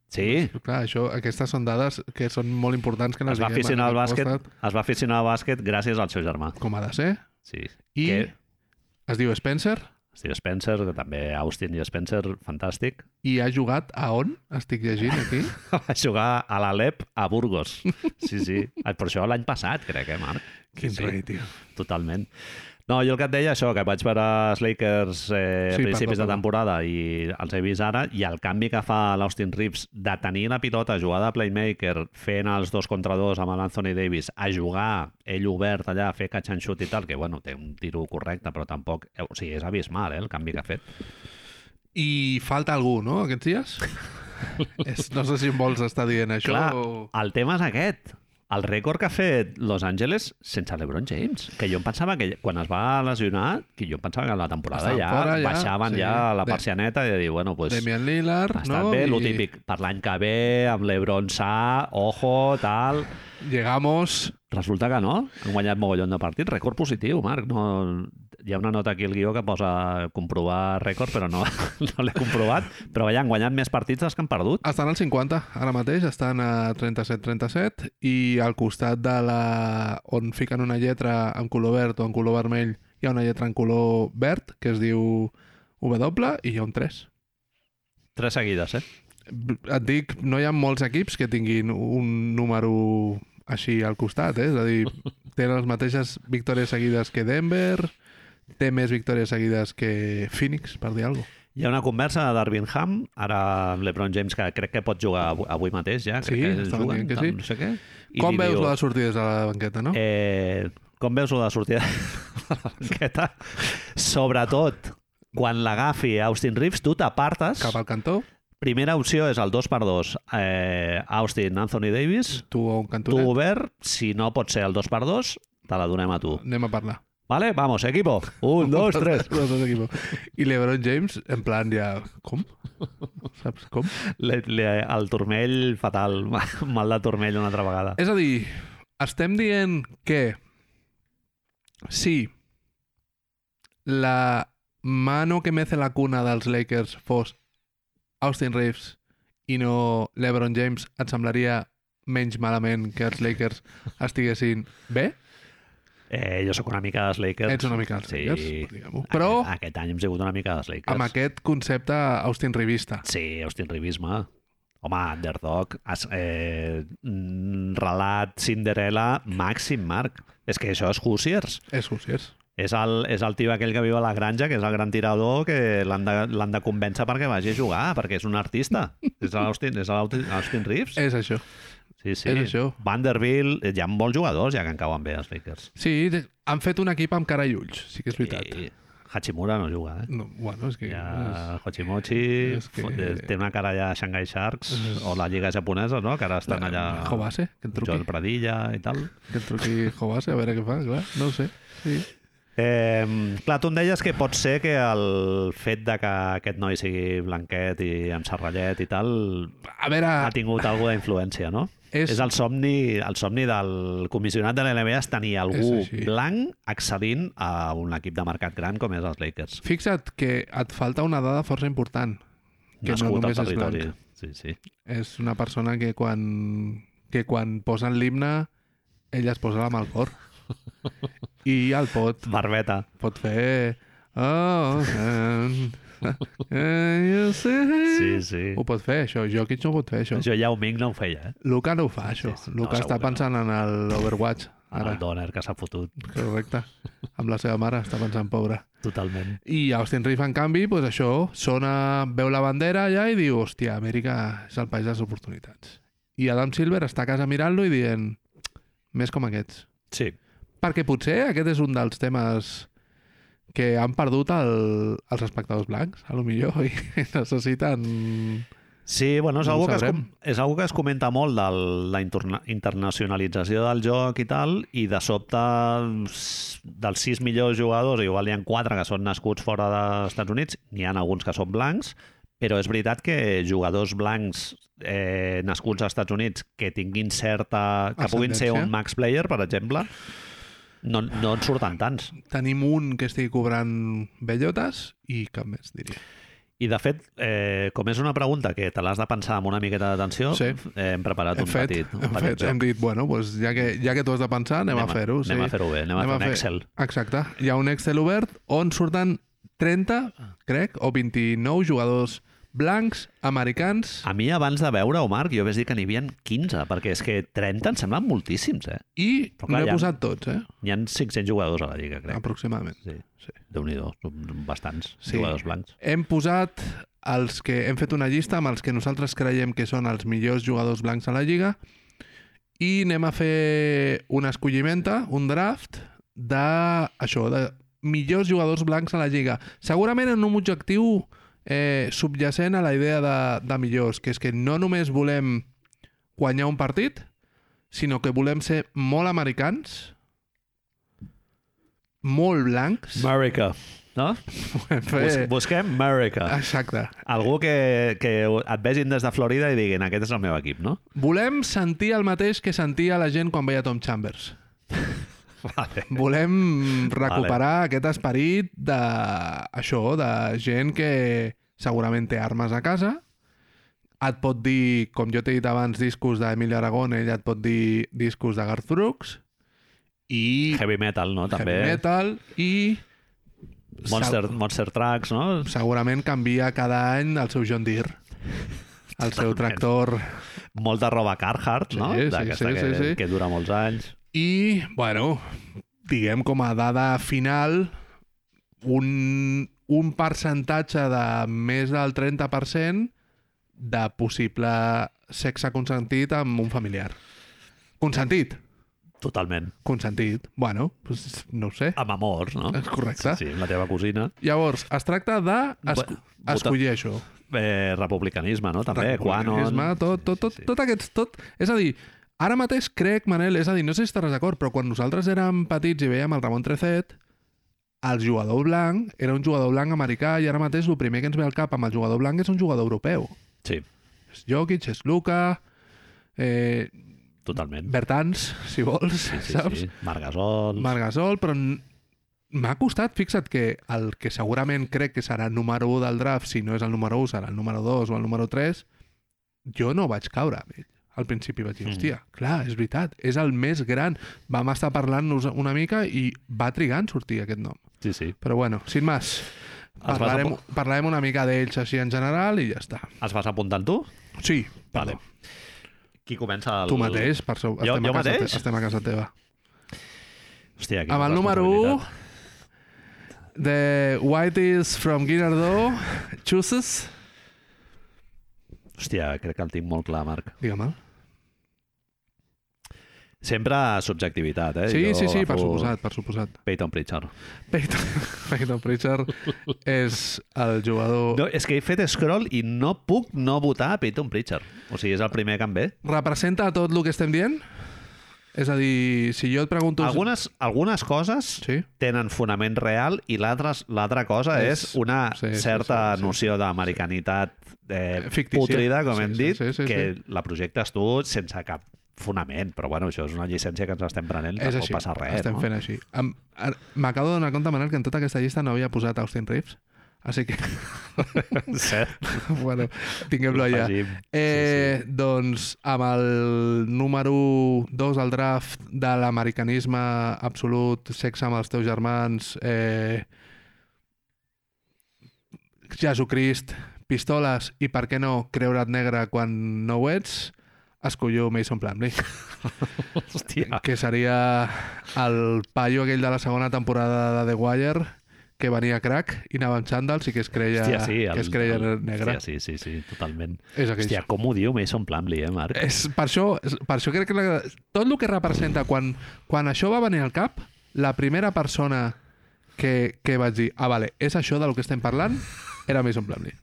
Sí,
Clar, això, aquestes són dades que són molt importants que les
es va
diguem
aficionar
a
al
cada
bàsquet,
costat,
es va aficionar al bàsquet gràcies al seu germà.
Com ha de ser.
Sí.
I
Que
es diu Spencer
Steve Spencer, que també Austin i Spencer, fantàstic.
i ha jugat a on? Estic llegint aquí.
va jugar a l'Alep a Burgos. Sí, sí. Per això l'any passat, crec, eh, Marc?
Quin
sí.
rei, tio.
Totalment. No, jo el que et deia això, que vaig veure els Lakers eh, sí, a
Sí,
principis
perdó,
de
perdó.
temporada i els he vist ara, i el canvi que fa l'Austin Reeves de tenir la pilota jugada a playmaker, fent els dos contra dos amb l'Anthony Davis, a jugar ell obert allà, a fer catch and shoot i tal, que bueno, té un tiro correcte, però tampoc... eh, O sigui, és abismal, eh, el canvi que ha fet.
I falta algú, no, aquests dies? És, no sé si em vols estar dient això
Clar,
o...
el tema és aquest. El rècord que ha fet Los Angeles sense LeBron James, que jo em pensava que quan es va lesionar, que jo em pensava que la temporada
Estava
ja,
fora, ja,
baixaven
sí.
ja la
De-
persianeta i de dir, bueno, pues,
Damian Lillard,
ha estat
no?
bé, lo
I
típic, per l'any que ve, amb l'Ebron sa, ojo, tal...
Llegamos...
Resulta que no, han guanyat mogollon de partits, rècord positiu, Marc. No, hi ha una nota aquí al guió que posa comprovar rècord, però no, no l'he comprovat. Però vaja, han guanyat més partits dels que han perdut.
Estan al 50, ara mateix, estan a 37-37, i al costat de la... on fiquen una lletra en color verd o en color vermell, hi ha una lletra en color verd, que es diu W, i hi ha un 3.
Tres seguides, eh?
Et dic, no hi ha molts equips que tinguin un número així al costat, eh? És a dir, tenen les mateixes victòries seguides que Denver, té més victòries seguides que Phoenix, per dir alguna cosa.
Hi ha una conversa de Darwin Ham, ara amb l'Ebron James, que crec que pot jugar avui, avui mateix ja. Crec
Sí,
que
estaven
juguen,
dient que
tal,
sí.
No sé què.
Com
li
veus la sortida des de la banqueta, no?
Eh, com veus la sortida de la banqueta? Sobretot, quan l'agafi Austin Reeves, tu t'apartes.
Cap al cantó,
Primera opció és el 2x2, eh, Austin, Anthony Davis.
tu a un
Tu
cantonet.
obert, si no pot ser el 2x2, te la donem a tu.
Anem a parlar.
Vale? Vamos, equipo. Un, dos, tres.
Los dos equipos. I l'Ebron James, en plan, ja... Com? Saps com?
Le, le, el turmell fatal. Mal de turmell una altra vegada.
És a dir, estem dient que si la mano que mece la cuna dels Lakers fos Austin Reeves i no l'Ebron James, et semblaria menys malament que els Lakers estiguessin bé?
Eh, jo sóc una mica dels Lakers.
Ets una mica els
Sí.
Lakers, diguem-ho. Però
Aquest, aquest any hem sigut una mica dels Lakers.
amb aquest concepte Austin Rivista.
Sí, Austin Rivisme. Home, underdog, es, eh, mm, relat, Cinderella, màxim, Marc. És que això és Hoosiers.
És Hoosiers.
És el, és el tio aquell que viu a la granja, que és el gran tirador, que l'han de, l'han de convèncer perquè vagi a jugar, perquè és un artista. És l'Austin és l'Austin- Austin Reeves.
És això.
Sí, sí.
Eh, és això.
Vanderbilt, hi ha molts jugadors ja que en cauen bé els Lakers.
Sí, han fet un equip amb cara i ulls, sí que és veritat.
I Hachimura no juga, eh?
No, bueno, és que...
Ja, Hochimochi,
és que-
té una cara ja a Shanghai Sharks, o la lliga japonesa, no? que ara estan allà...
Jovase, que et truqui.
Joel Pradilla i tal.
Que et truqui Jovase, a veure què fa, clar. No ho sé. Sí.
Eh, clar, tu em deies que pot ser que el fet de que aquest noi sigui blanquet i amb serrallet i tal
A veure,
ha tingut alguna influència, no?
Ah.
És,
És-
és el, somni, el somni del comissionat de l'NBA és tenir algú
És així.
blanc accedint a un equip de mercat gran com és els Lakers.
fixa't que et falta una dada força important. Que no
Nascut al
només és
territori.
blanc.
Sí, sí.
És una persona que quan, que quan posen l'himne, ella es posa la mà al cor. I el pot,
Barbeta.
pot fer... Oh, can, can you see?
Sí, sí.
Ho pot fer, això. Jokic no ho pot fer, això.
Això ja un Ming no ho feia, eh?
Luca no ho fa, això.
Sí, sí, no,
Luca
segur
està
que no.
pensant en el Overwatch,
En
ara.
el Donner que s'ha fotut
Correcte. Amb la seva mare està pensant, pobra.
totalment.
I Austin Reeves, en canvi, doncs això, sona, veu la bandera allà i diu, hòstia, Amèrica és el país de les oportunitats. I Adam Silver està a casa mirant-lo i dient, més com aquests.
Sí.
Perquè potser aquest és un dels temes que han perdut el, els espectadors blancs, a lo millor, i necessiten...
Sí, bueno, és
No ho
algo, que es,
sabrem.
com- és algo que es comenta molt de la interna- internacionalització del joc i tal, i de sobte s- dels sis millors jugadors, igual hi ha quatre que són nascuts fora dels Estats Units, n'hi ha alguns que són blancs, però és veritat que jugadors blancs eh, nascuts als Estats Units que tinguin certa... que puguin ser
Ascendència.
un max player, per exemple, no, no en surten tants.
Tenim un que estigui cobrant bellotes i cap més, diria.
I, de fet, eh, com és una pregunta que te l'has de pensar amb una miqueta d'atenció,
Sí.
eh, hem preparat
Hem
un
fet,
petit... un
hem,
petit
fet,
joc.
hem dit, bueno, doncs ja, que, ja que tu has de pensar, anem,
Anem a-
a fer-ho.
anem
sí.
a fer-ho bé, anem a fer un Excel.
Exacte. Hi ha un Excel obert on surten 30, crec, o 29 jugadors blancs, americans,
A mi, abans de veure-ho, Marc, jo vaig dir que n'hi havia 15, perquè és que 30 em semblen moltíssims, eh?
i
Però
no
clar,
he
ja-
posat tots, eh?
N'hi han 500 jugadors a la Lliga, crec.
Aproximadament.
Sí.
Ah, Sí.
Déu-n'hi-do, són bastants
Sí.
jugadors blancs.
Hem posat els que hem fet una llista amb els que nosaltres creiem que són els millors jugadors blancs a la Lliga i anem a fer una escollimenta, un draft de això, de millors jugadors blancs a la Lliga. Segurament en un objectiu eh, subjacent a la idea de, de millors, que és que no només volem guanyar un partit, sinó que volem ser molt americans, molt blancs.
America. No?
volem
Bus
fer...
busquem America.
Exacte.
Algú que, que et vegin des de Florida i diguin aquest és el meu equip, no?
Volem sentir el mateix que sentia la gent quan veia Tom Chambers.
Vale.
Volem recuperar aquest esperit de... això, de gent que segurament té armes a casa, et pot dir, com jo t'he dit abans, discos d'Emili Aragón, ell et pot dir discos de Garth Brooks, i
Heavy metal, no? També. eh?
heavy metal, i
Monster, Monster Trucks, no?
segurament canvia cada any el seu John Deere el seu tractor
Molt de roba Carhartt, no?
Sí, sí,
D'aquesta
sí,
que,
sí, sí.
que dura molts anys.
i, bueno diguem com a dada final un, un percentatge de més del 30% de possible sexe consentit amb un familiar consentit,
Totalment.
consentit bueno, doncs, no ho sé
Amb amors, no?
És correcte.
Ah. Sí, sí, amb la teva cosina.
llavors, es tracta de es
Bueno, votar-
escollir això
Eh, republicanisme, no? També,
republicanisme,
Quanon...
Tot, tot, tot,
Sí, sí.
tot aquests... Tot, és a dir, ara mateix crec, Manel, és a dir, no sé si estaràs d'acord, però quan nosaltres érem petits i veiem el Ramon Trecet, el jugador blanc era un jugador blanc americà i ara mateix el primer que ens ve al cap amb el jugador blanc és un jugador europeu.
Sí,
És Jokic, és Luka, eh,
totalment.
Bertans, si vols,
Sí,
saps?
sí. Marc Gasol...
Margasol, però n- m'ha costat, fixa't, que el que segurament crec que serà el número 1 del draft, si no és el número 1, serà el número 2 o el número 3, jo no vaig caure amb ell. Al principi vaig dir,
Mm.
hòstia, clar, és veritat, és el més gran. Vam estar parlant-nos una mica i va trigar en sortir aquest nom.
Sí, sí.
Però bueno, sin més,
vas
parlarem, parlarem una mica d'ells així en general i ja està.
Els vas apuntant tu?
Sí,
Vale.
perdó.
Qui comença el...
Tu mateix, per so...
Jo-
estem,
jo
a casa te-
mateix?
estem a casa teva.
Hòstia, quina
Amb el número 1,
responsabilitat.
The Whitey's from Guinardó, Chooses.
Hòstia, crec que el tinc molt clar, Marc.
Digue'm. eh?
Sempre subjectivitat, eh?
Sí,
Jo
sí, sí, per
agafo
suposat, per suposat.
Peyton Pritchard.
Peyton, Peyton Pritchard és el jugador...
No, és que he fet scroll i no puc no votar a Peyton Pritchard. O sigui, és el primer que em ve.
Representa tot el que estem dient? És a dir, si jo et pregunto...
Algunes, algunes coses
Sí.
tenen fonament real i l'altra l'altra cosa és,
És-
una
sí, sí,
certa
sí, sí,
noció de americanitat eh,
Fictícia.
putrida, com
Sí,
hem
sí,
dit,
sí, sí,
que la projectes tu sense cap fonament, però bueno, això és una llicència que ens estem prenent,
És
tampoc
així,
passa res.
estem
no?
fent així. Em- ara- M'acabo d'adonar compte, Manel, que en tota aquesta llista no havia posat Austin Reeves, així que,
Cert,
bueno, tinguem-lo allà.
Afegim.
Eh, Doncs amb el número 2 del draft de l'americanisme absolut, sexe amb els teus germans, eh, Jesucrist, pistoles i, per què no, creure't negre quan no ho ets, escollo Mason Plumlee,
sí. Hòstia,
que seria el paio aquell de la segona temporada de The Wire que venia crack i anava amb xandals i que es creia,
hòstia, sí.
que es creia negre.
Hòstia, sí, sí, sí, totalment.
És aquell.
Hòstia, com ho diu Mason Plumlee, eh, Marc?
És, per, això, és, per això crec que la, tot el que representa quan, quan això va venir al cap, la primera persona que, que vaig dir, ah, vale, és això del que estem parlant, era Mason Plumlee.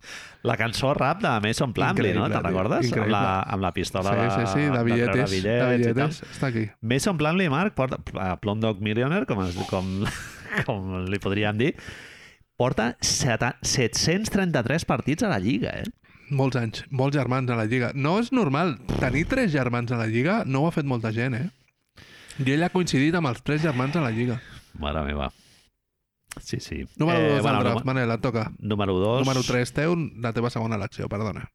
La cançó rap de Mason Plumlee, no?
Increïble,
Te'n
tio,
recordes? Amb
increïble.
la, amb la pistola
sí, sí, sí, de
treure
bitlletes. De
bitllets i tal.
bitlletes, està aquí.
Mason Plumlee, Marc, porta, a Plum Dog Millionaire, com, es, com, com li podríem dir, porta seta- 733 partits a la Lliga, eh?
Molts anys, molts germans a la Lliga. No és normal, tenir tres germans a la Lliga no ho ha fet molta gent, eh? I ell ha coincidit amb els tres germans a la Lliga.
Mare meva. Sí, sí.
Número 2 eh,
bueno,
del draft,
número-
Manel, et toca.
Número 2.
Número 3 teu, la teva segona elecció, perdona.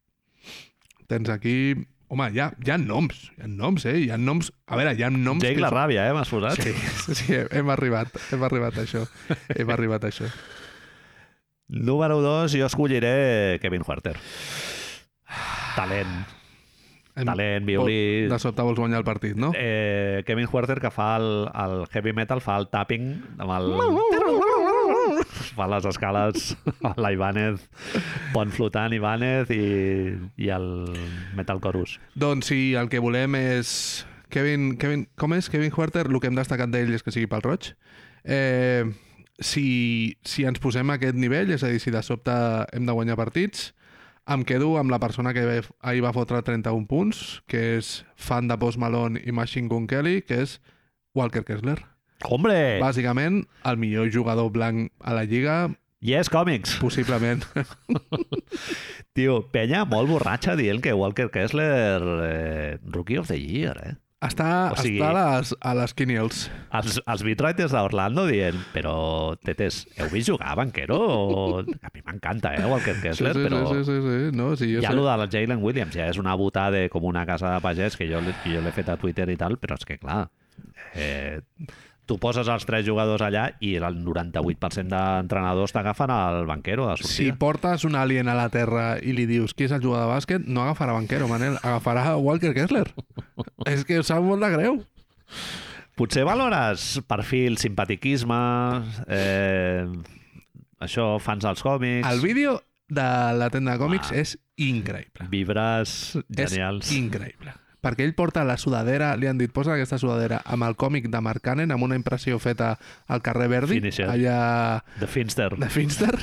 Tens aquí... Home, hi ha, hi ha noms, hi ha noms, eh? Hi ha noms... A veure, hi ha noms...
Jake
que-
la ràbia, eh? M'has posat?
Sí, sí, sí, hem arribat, hem arribat a això. Hem arribat a això.
Número 2, jo escolliré Kevin Huerter.
Ah.
Talent,
Hem...
talent, violí...
De sobte vols guanyar el partit, no?
Eh, Kevin Huerter que fa el, el heavy metal, fa el tapping amb el... fa les escales a l'Ibanez pont flotant Ibanez i, i el Metal Chorus
Doncs si el que volem és... Kevin, Kevin, com és? Kevin Huerter, el que hem destacat d'ell és que sigui pel roig. Eh, si, si ens posem a aquest nivell, és a dir, si de sobte hem de guanyar partits, Em quedo amb la persona que ve- ahir va fotre 31 punts, que és fan de Post Malone i Machine Gun Kelly, que és Walker Kessler.
Hombre!
Bàsicament, el millor jugador blanc a la Lliga,
Yes, còmics!
possiblement.
Tio, penya molt borratxa dient que Walker Kessler, eh, Rookie of the Year, eh?
Està,
O sigui-
està a, les, a les Quiniels.
Els, els Beatwriters d'Orlando dient però, tetes, heu vist jugar a banquero? A mi m'encanta, eh, Walker Kessler,
sí, sí,
però...
sí, sí, sí, sí. No, sí, jo
Ja
sé.
lo del Jalen Williams ja és una botada com una casa de pagès que jo, l'he- que jo l'he fet a Twitter i tal, però és que, clar, eh, tu poses els tres jugadors allà i el 98% d'entrenadors t'agafen al banquero de
Si
sortida.
portes un alien a la Terra i li dius qui és el jugador de bàsquet, no agafarà Banquero, Manel, agafarà Walker Kessler. és que em sap molt de greu.
Potser valores perfil, simpatiquisme, eh, això, fans dels còmics,
El vídeo de la tenda de còmics
Ah.
és increïble.
vibres genials.
És increïble. Perquè ell porta la sudadera, li han dit, posa aquesta sudadera amb el còmic de Mark Cannon, amb una impressió feta al carrer Verdi,
Finisher.
allà
The Finster.
de Finster,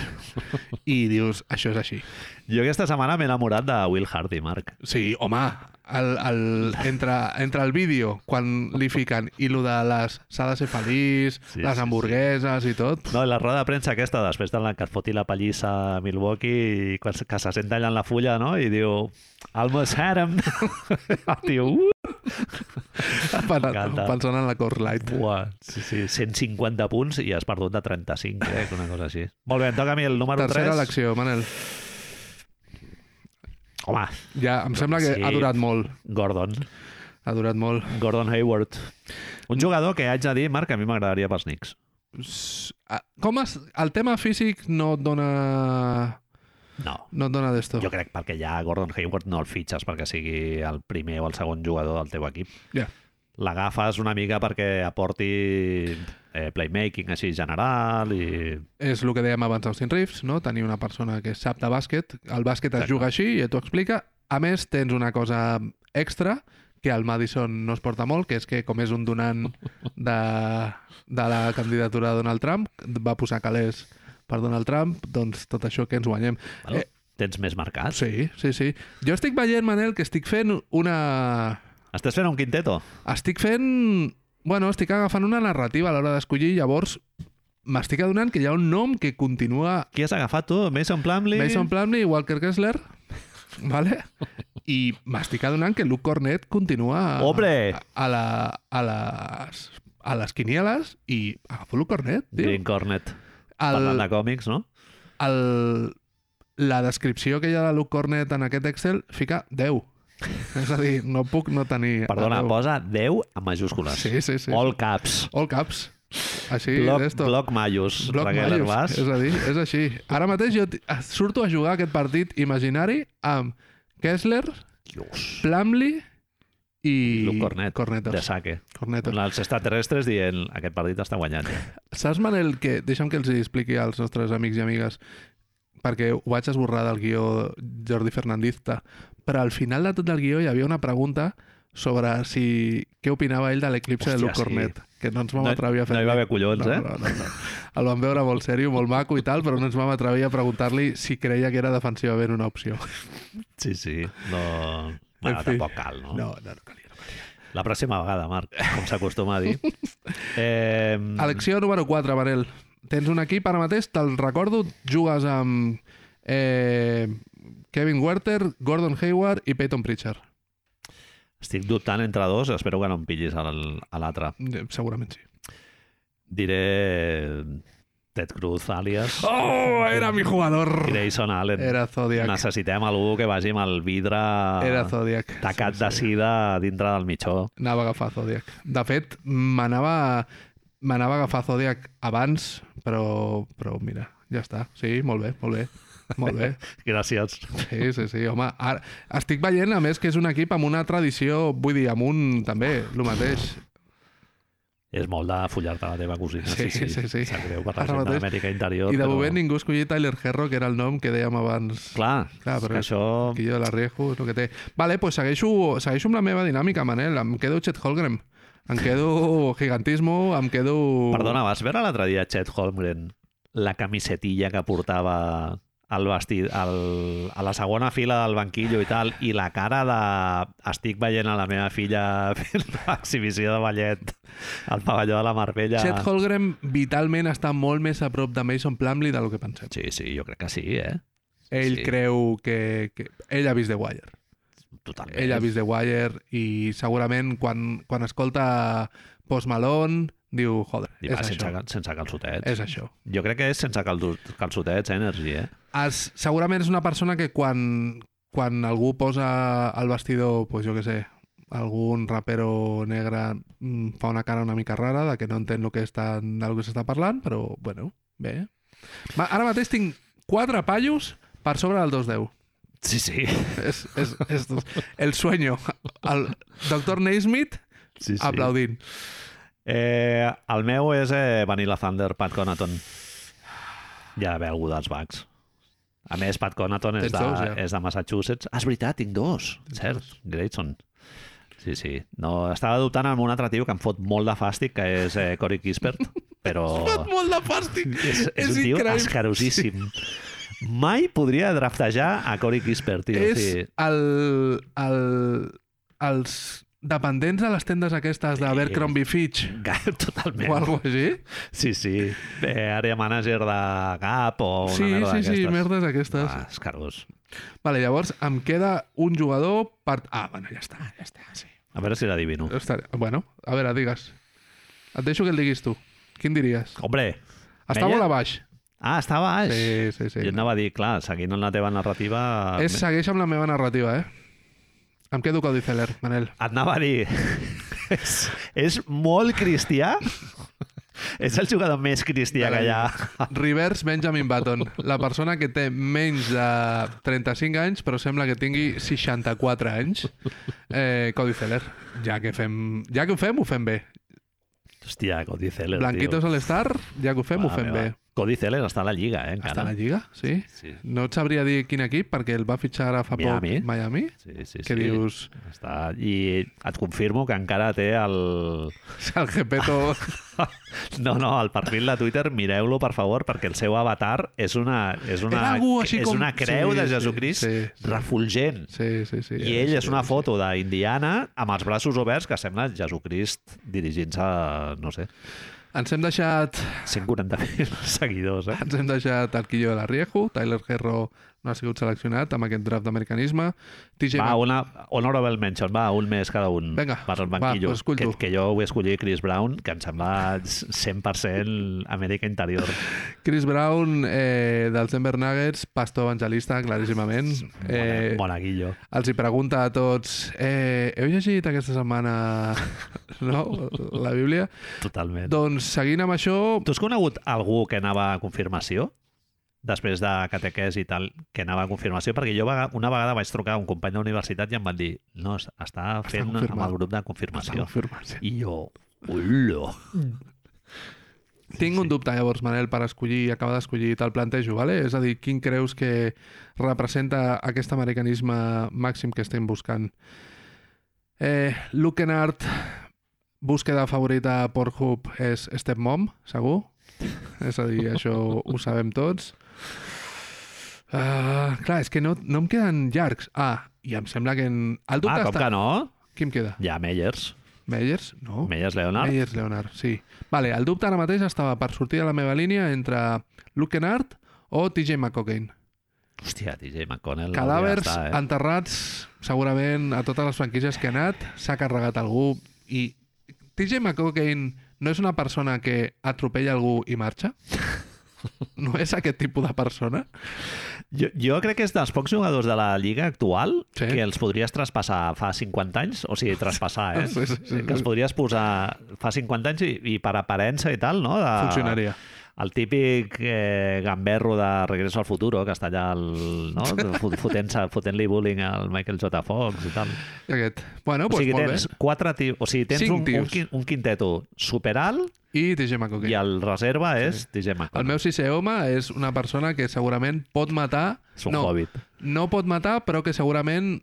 i dius, això és així.
Jo aquesta setmana m'he enamorat de Will Hardy, Marc.
Sí, home, el, el, entre, entre el vídeo, quan li fiquen, i lo de les s'ha de ser feliç,
Sí,
sí, les
sí,
hamburgueses sí. i tot...
No, i la roda de premsa aquesta, després de la que es foti la pallissa a Milwaukee i quan se- que se senta allà en la fulla, no? I diu, almost had him. El tio, uh, M'encanta.
M'encanta. Pensant en la Coors Light.
buah, sí, sí, 150 punts i has perdut de 35, crec, una cosa així. Molt bé, em toca a mi el número
Tercera
3.
elecció, Manel.
Home,
Ja, em sembla que
Sí.
ha durat molt.
Gordon.
Ha durat molt.
Gordon Hayward. Un jugador que haig de dir, Marc, a mi m'agradaria pels Knicks.
S- ah, Com es, el tema físic no et dona...
No.
No et dona d'esto.
Jo crec perquè ja Gordon Hayward no el fitxes perquè sigui el primer o el segon jugador del teu equip.
Ja.
l'agafes una mica perquè aporti eh, playmaking així general i...
És el que dèiem abans d'Austin Reeves, no? Tenir una persona que sap de bàsquet. El bàsquet es
Exacte.
juga així i t'ho explica. A més, tens una cosa extra que al Madison no es porta molt, que és que com és un donant de, de la candidatura de Donald Trump, va posar calés per Donald Trump, doncs tot això que ens guanyem.
Bueno,
Eh.
Tens més mercat.
Sí, sí, sí. Jo estic veient, Manel, que estic fent una,
Estàs fent un quinteto?
Estic fent... Bueno, estic agafant una narrativa a l'hora d'escollir, llavors m'estic adonant que hi ha un nom que continua
Qui has agafat tu? Mason Plumlee?
Mason Plumlee i Walker Kessler, vale? i m'estic adonant que Luke Cornet continua a-
Hombre!
a, a, la, a, les, a les quinieles i agafo Luke Cornet, tio.
Green Cornet. Parlant
El,
de còmics, no?
el, la descripció que hi ha de Luke Cornet en aquest Excel fica 10. És a dir, no puc no tenir...
Perdona,
el 10.
posa 10 amb majúscules.
Sí, sí, sí.
All caps.
All caps. Així,
bloc,
d'esto.
bloc majus.
Bloc
Raquel
Maius,
Herbàs.
és a dir, és així. Ara mateix jo t- surto a jugar aquest partit imaginari amb Kessler,
Dios.
Plumlee i...
Luke Cornet.
Cornetos.
De saque.
Cornetos.
Els extraterrestres dient aquest partit està guanyat.
Saps, Manel, que... Deixa'm que els hi expliqui als nostres amics i amigues, perquè ho vaig esborrar del guió Jordi Fernandista, però al final de tot el guió hi havia una pregunta sobre si què opinava ell de l'eclipse de
Hòstia,
Luke
sí.
Cornet, que no ens vam
No-
atrevir a fer
no hi va haver collons,
no,
eh?
No, no, no. El vam veure molt seriós, molt maco i tal, però no ens vam atrevir a preguntar-li si creia que era defensivament una opció.
Sí, sí. No... Bueno,
En fi.
tampoc cal, no?
No, no, no calia. No calia.
La pròxima vegada, Marc, com s'acostuma a dir. Eh,
Elecció número 4, Manel. Tens un equip ara mateix, te'l recordo, jugues amb eh, Kevin Werther, Gordon Hayward i Peyton Pritchard.
Estic dubtant entre dos, espero que no em pillis al- a l'altre.
Eh, Segurament sí.
Diré eh, Ted Cruz, alias
Oh, era mi jugador!
Grayson Allen.
Era Zodiac.
Necessitem algú que vagi amb el vidre
Era Zodiac.
tacat
Sí,
de
sí.
sida dintre del mitjó.
Anava a agafar Zodiac. De fet, m'anava m'anava a agafar Zodiac abans, però, però mira, ja està. Sí, molt bé, molt bé. Molt bé.
Gràcies.
Sí, sí, sí, home. Ara, estic veient, a més, que és un equip amb una tradició, vull dir, amb un, també, el mateix.
És molt de follar-te la teva cosina. Sí, sí, sí.
sí.
Sap greu per la
Ara
gent
mateix.
d'Amèrica Interior.
I de
però-
moment ningú ha escollit Tyler Herro, que era el nom que dèiem abans.
Clar,
Clar, però
que
és-
això...
Quillo de la Riejo, és el que té. Vale, doncs pues segueixo, segueixo amb la meva dinàmica, Manel. Em quedo Chet Holgrim. Em quedo Gigantismo, em quedo...
Perdona, vas veure l'altre dia Chet Holmgren la camisetilla que portava el vestit, el, a la segona fila del banquillo i tal, i la cara de... Estic veient a la meva filla fent l'exhibició de ballet al pavelló de la Marbella.
Chet Holgren vitalment està molt més a prop de Mason Plumlee del que pensem.
Sí, sí, jo crec que sí, eh?
Ell
Sí.
creu que, que... Ell ha vist The Wire.
Totalment.
Ell ha vist The Wire i segurament quan, quan escolta Post Malone diu, joder,
I va,
és
sense,
això.
cal- sense calçotets.
És això.
Jo crec que és sense caldo- calçotets, eh, Energy, eh?
Es, segurament és una persona que quan, quan algú posa al vestidor, pues jo que sé, algun rapero negre mm, fa una cara una mica rara de que no entén el que està, del que s'està parlant, però, bueno, bé. Va, ara mateix tinc quatre pallos per sobre del 210.
Sí, sí.
És, és, és el sueño. El doctor Naismith
sí, sí.
aplaudint.
Eh, el meu és eh, Vanilla Thunder, Pat Conaton. Ja ve algú dels Bucks. A més, Pat Conaton és,
Tens
de,
dos, ja.
és de Massachusetts. Ah, és veritat, tinc dos. Cert, Grayson. Sí, sí. No, estava dubtant amb un altre tio que em fot molt de fàstic, que és eh, Cory Kispert, però
Fot molt de fàstic.
és,
és
és un tio
increïble.
escarosíssim. Mai podria draftejar a Cory Kispert, tio.
és
Sí.
el, el, els dependents de les tendes aquestes d'Abercrombie Fitch
Totalment.
o alguna cosa així.
Sí, sí. Eh, àrea manager de GAP o una
sí,
merda
sí, sí,
d'aquestes.
merdes aquestes.
Ah, escarós.
Vale, llavors em queda un jugador per... Ah, bueno, ja està, ja està, sí.
A veure si l'adivino.
Està... Bueno, a veure, digues. Et deixo que el diguis tu. Quin diries?
Hombre,
Està
Meia?
molt a baix.
ah, està baix.
Sí, sí, sí.
Jo anava a dir, clar, seguint amb la teva narrativa...
És, segueix amb la meva narrativa, eh? Em quedo Cody Feller, Manel.
Et anava a dir... és, és molt cristià? és el jugador més cristià que hi ha.
Rivers Benjamin Button, la persona que té menys de 35 anys, però sembla que tingui 64 anys. Eh, Cody Feller, ja que, fem, ja que ho fem, ho fem bé.
Hòstia, Cody Zeller,
Blanquitos
tio.
a l'Star, ja que ho fem, ho fem bé.
Cody Zeller està a la Lliga, eh, encara.
Està a la Lliga, sí?
Sí,
No et sabria dir quin equip, perquè el va fitxar ara fa
Miami.
poc Miami.
sí, sí.
Que
sí.
dius,
Està... I et confirmo que encara té el...
el Gepeto...
No, no, el perfil de Twitter, mireu-lo, per favor, perquè el seu avatar és una, és
Era
una,
algú així
és
com-
una creu
sí,
de
sí,
Jesucrist
sí, sí.
refulgent.
Sí, sí, sí.
I ell és una foto d'Indiana amb els braços oberts que sembla Jesucrist dirigint-se a, no sé,
Ens hem deixat
140.000 seguidors, eh?
Ens hem deixat el Quillo de la Riejo, Tyler Herro no ha sigut seleccionat amb aquest draft d'americanisme. TJ
Va,
Mc-
una honorable mention, va, un més cada un
Vinga,
per al
va,
banquillo.
pues escull
que,
tu.
que jo vull escollir Chris Brown, que em sembla 100% Amèrica Interior.
Chris Brown, eh, dels Denver Nuggets, pastor evangelista, claríssimament. Eh,
Monaguillo.
els hi pregunta a tots eh, heu llegit aquesta setmana no? la Bíblia?
Totalment.
Doncs seguint amb això,
Tu has conegut algú que anava a confirmació? Després de catequès i tal, que anava a confirmació? Perquè jo vega- una vegada vaig trucar a un company de universitat i em van dir no, es- està fent
confirmat.
amb el grup de
Està
confirmació.
confirmat, sí.
I jo, ullo.
Tinc un dubte, llavors, Manel, per escollir, acabar d'escollir, te'l plantejo, vale? És a dir, quin creus que representa aquest americanisme màxim que estem buscant? Eh, Lukenart, búsqueda favorita a Pornhub és Stepmom, segur? És a dir, això ho sabem tots. Uh, clar, és que no, no em queden llargs. Ah, i em sembla que... En... El
Ah,
dubte
com que
està...
no?
Qui em queda?
Ja, Meyers.
Meyers? No.
Meyers Leonard.
Meyers Leonard, sí. Vale, el dubte ara mateix estava per sortir de la meva línia entre Lukenard o TJ McCocaine.
Hòstia, DJ McConnell. hauria
Cadàvers
d'estar, eh?
enterrats segurament a totes les franquícies que ha anat, s'ha carregat algú i TJ McCocaine no és una persona que atropella algú i marxa? No és aquest tipus de persona?
Jo, jo crec que és dels pocs jugadors de la lliga actual
Sí.
sí. que els podries traspassar fa 50 anys, o sigui, traspassar, eh?
Sí, sí, sí,
que els
sí.
podries posar fa 50 anys i, i per aparença i tal, no? De,
Funcionaria.
El típic eh, gamberro de Regreso al Futuro, que està allà el, no? Fot- fotent-se- fotent-li fotent bullying al Michael J. Fox i tal.
I Aquest. Bueno,
o
Ah, doncs
sigui,
molt
tens quatre tios, o sigui, tens
Cinc
un, un,
tios.
quin- un quinteto superalt
bé. I TJ
okay. i
McCocaine.
el reserva és sí. DJ
El
McConnell.
meu sisè home és una persona que segurament pot matar...
És un hobbit.
no pot matar, però que segurament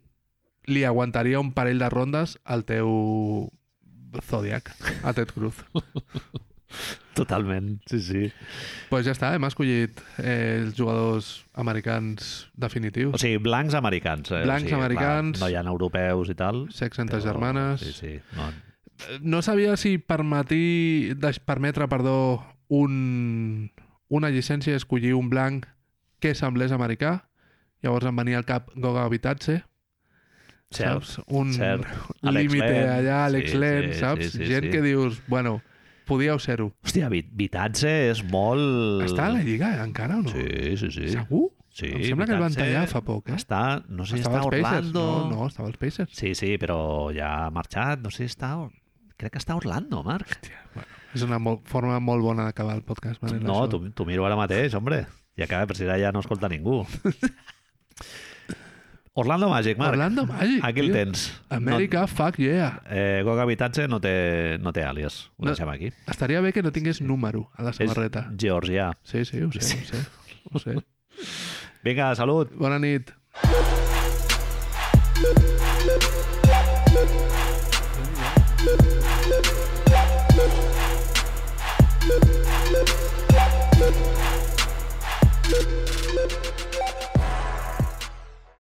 li aguantaria un parell de rondes al teu Zodiac, a Ted Cruz.
Totalment, sí, sí.
pues ja està, hem escollit eh, els jugadors americans definitius.
O sigui, blancs americans. Eh?
Blancs
o sigui,
americans.
Clar, no hi ha europeus i tal.
Sex entre germanes.
Sí, sí. No,
No sabia si permetí, deix- permetre perdó, un, una llicència i escollir un blanc que semblés americà. Llavors em venia al cap Goga Habitatse,
cert.
saps? Un
cert. Alex
Mm, límite
Len.
allà, Alex
Sí,
Len,
sí,
saps?
sí, sí,
Gent
sí.
que dius, bueno, podíeu ser-ho.
Hòstia, Vit- Vitadze és molt...
Està a la Lliga encara o no?
Sí, sí, sí.
Segur?
sí
em sembla que el van
Vitadze
tallar fa poc, eh?
Està, no sé si
estava
està a
als Pacers.
Orlando...
No, no, estava als Pacers.
Sí, sí, però ja ha marxat. No sé si està... Crec que està a Orlando, Marc.
És una molt, forma molt bona d'acabar el podcast. Manel,
No,
això.
t'ho t'ho miro ara mateix, hombre. I acaba, per si ara ja no escolta ningú. Orlando Magic, Marc.
Orlando Magic,
Aquí el
tio.
tens.
Amèrica, fuck yeah.
No, eh, Gog Habitatge no té, no té àlies. Ho
No.
deixem aquí.
Estaria bé que no tingués número a la samarreta.
És georgià.
Sí, sí, ho sé, ho sé. Ho sé.
Vinga, salut!
Bona nit.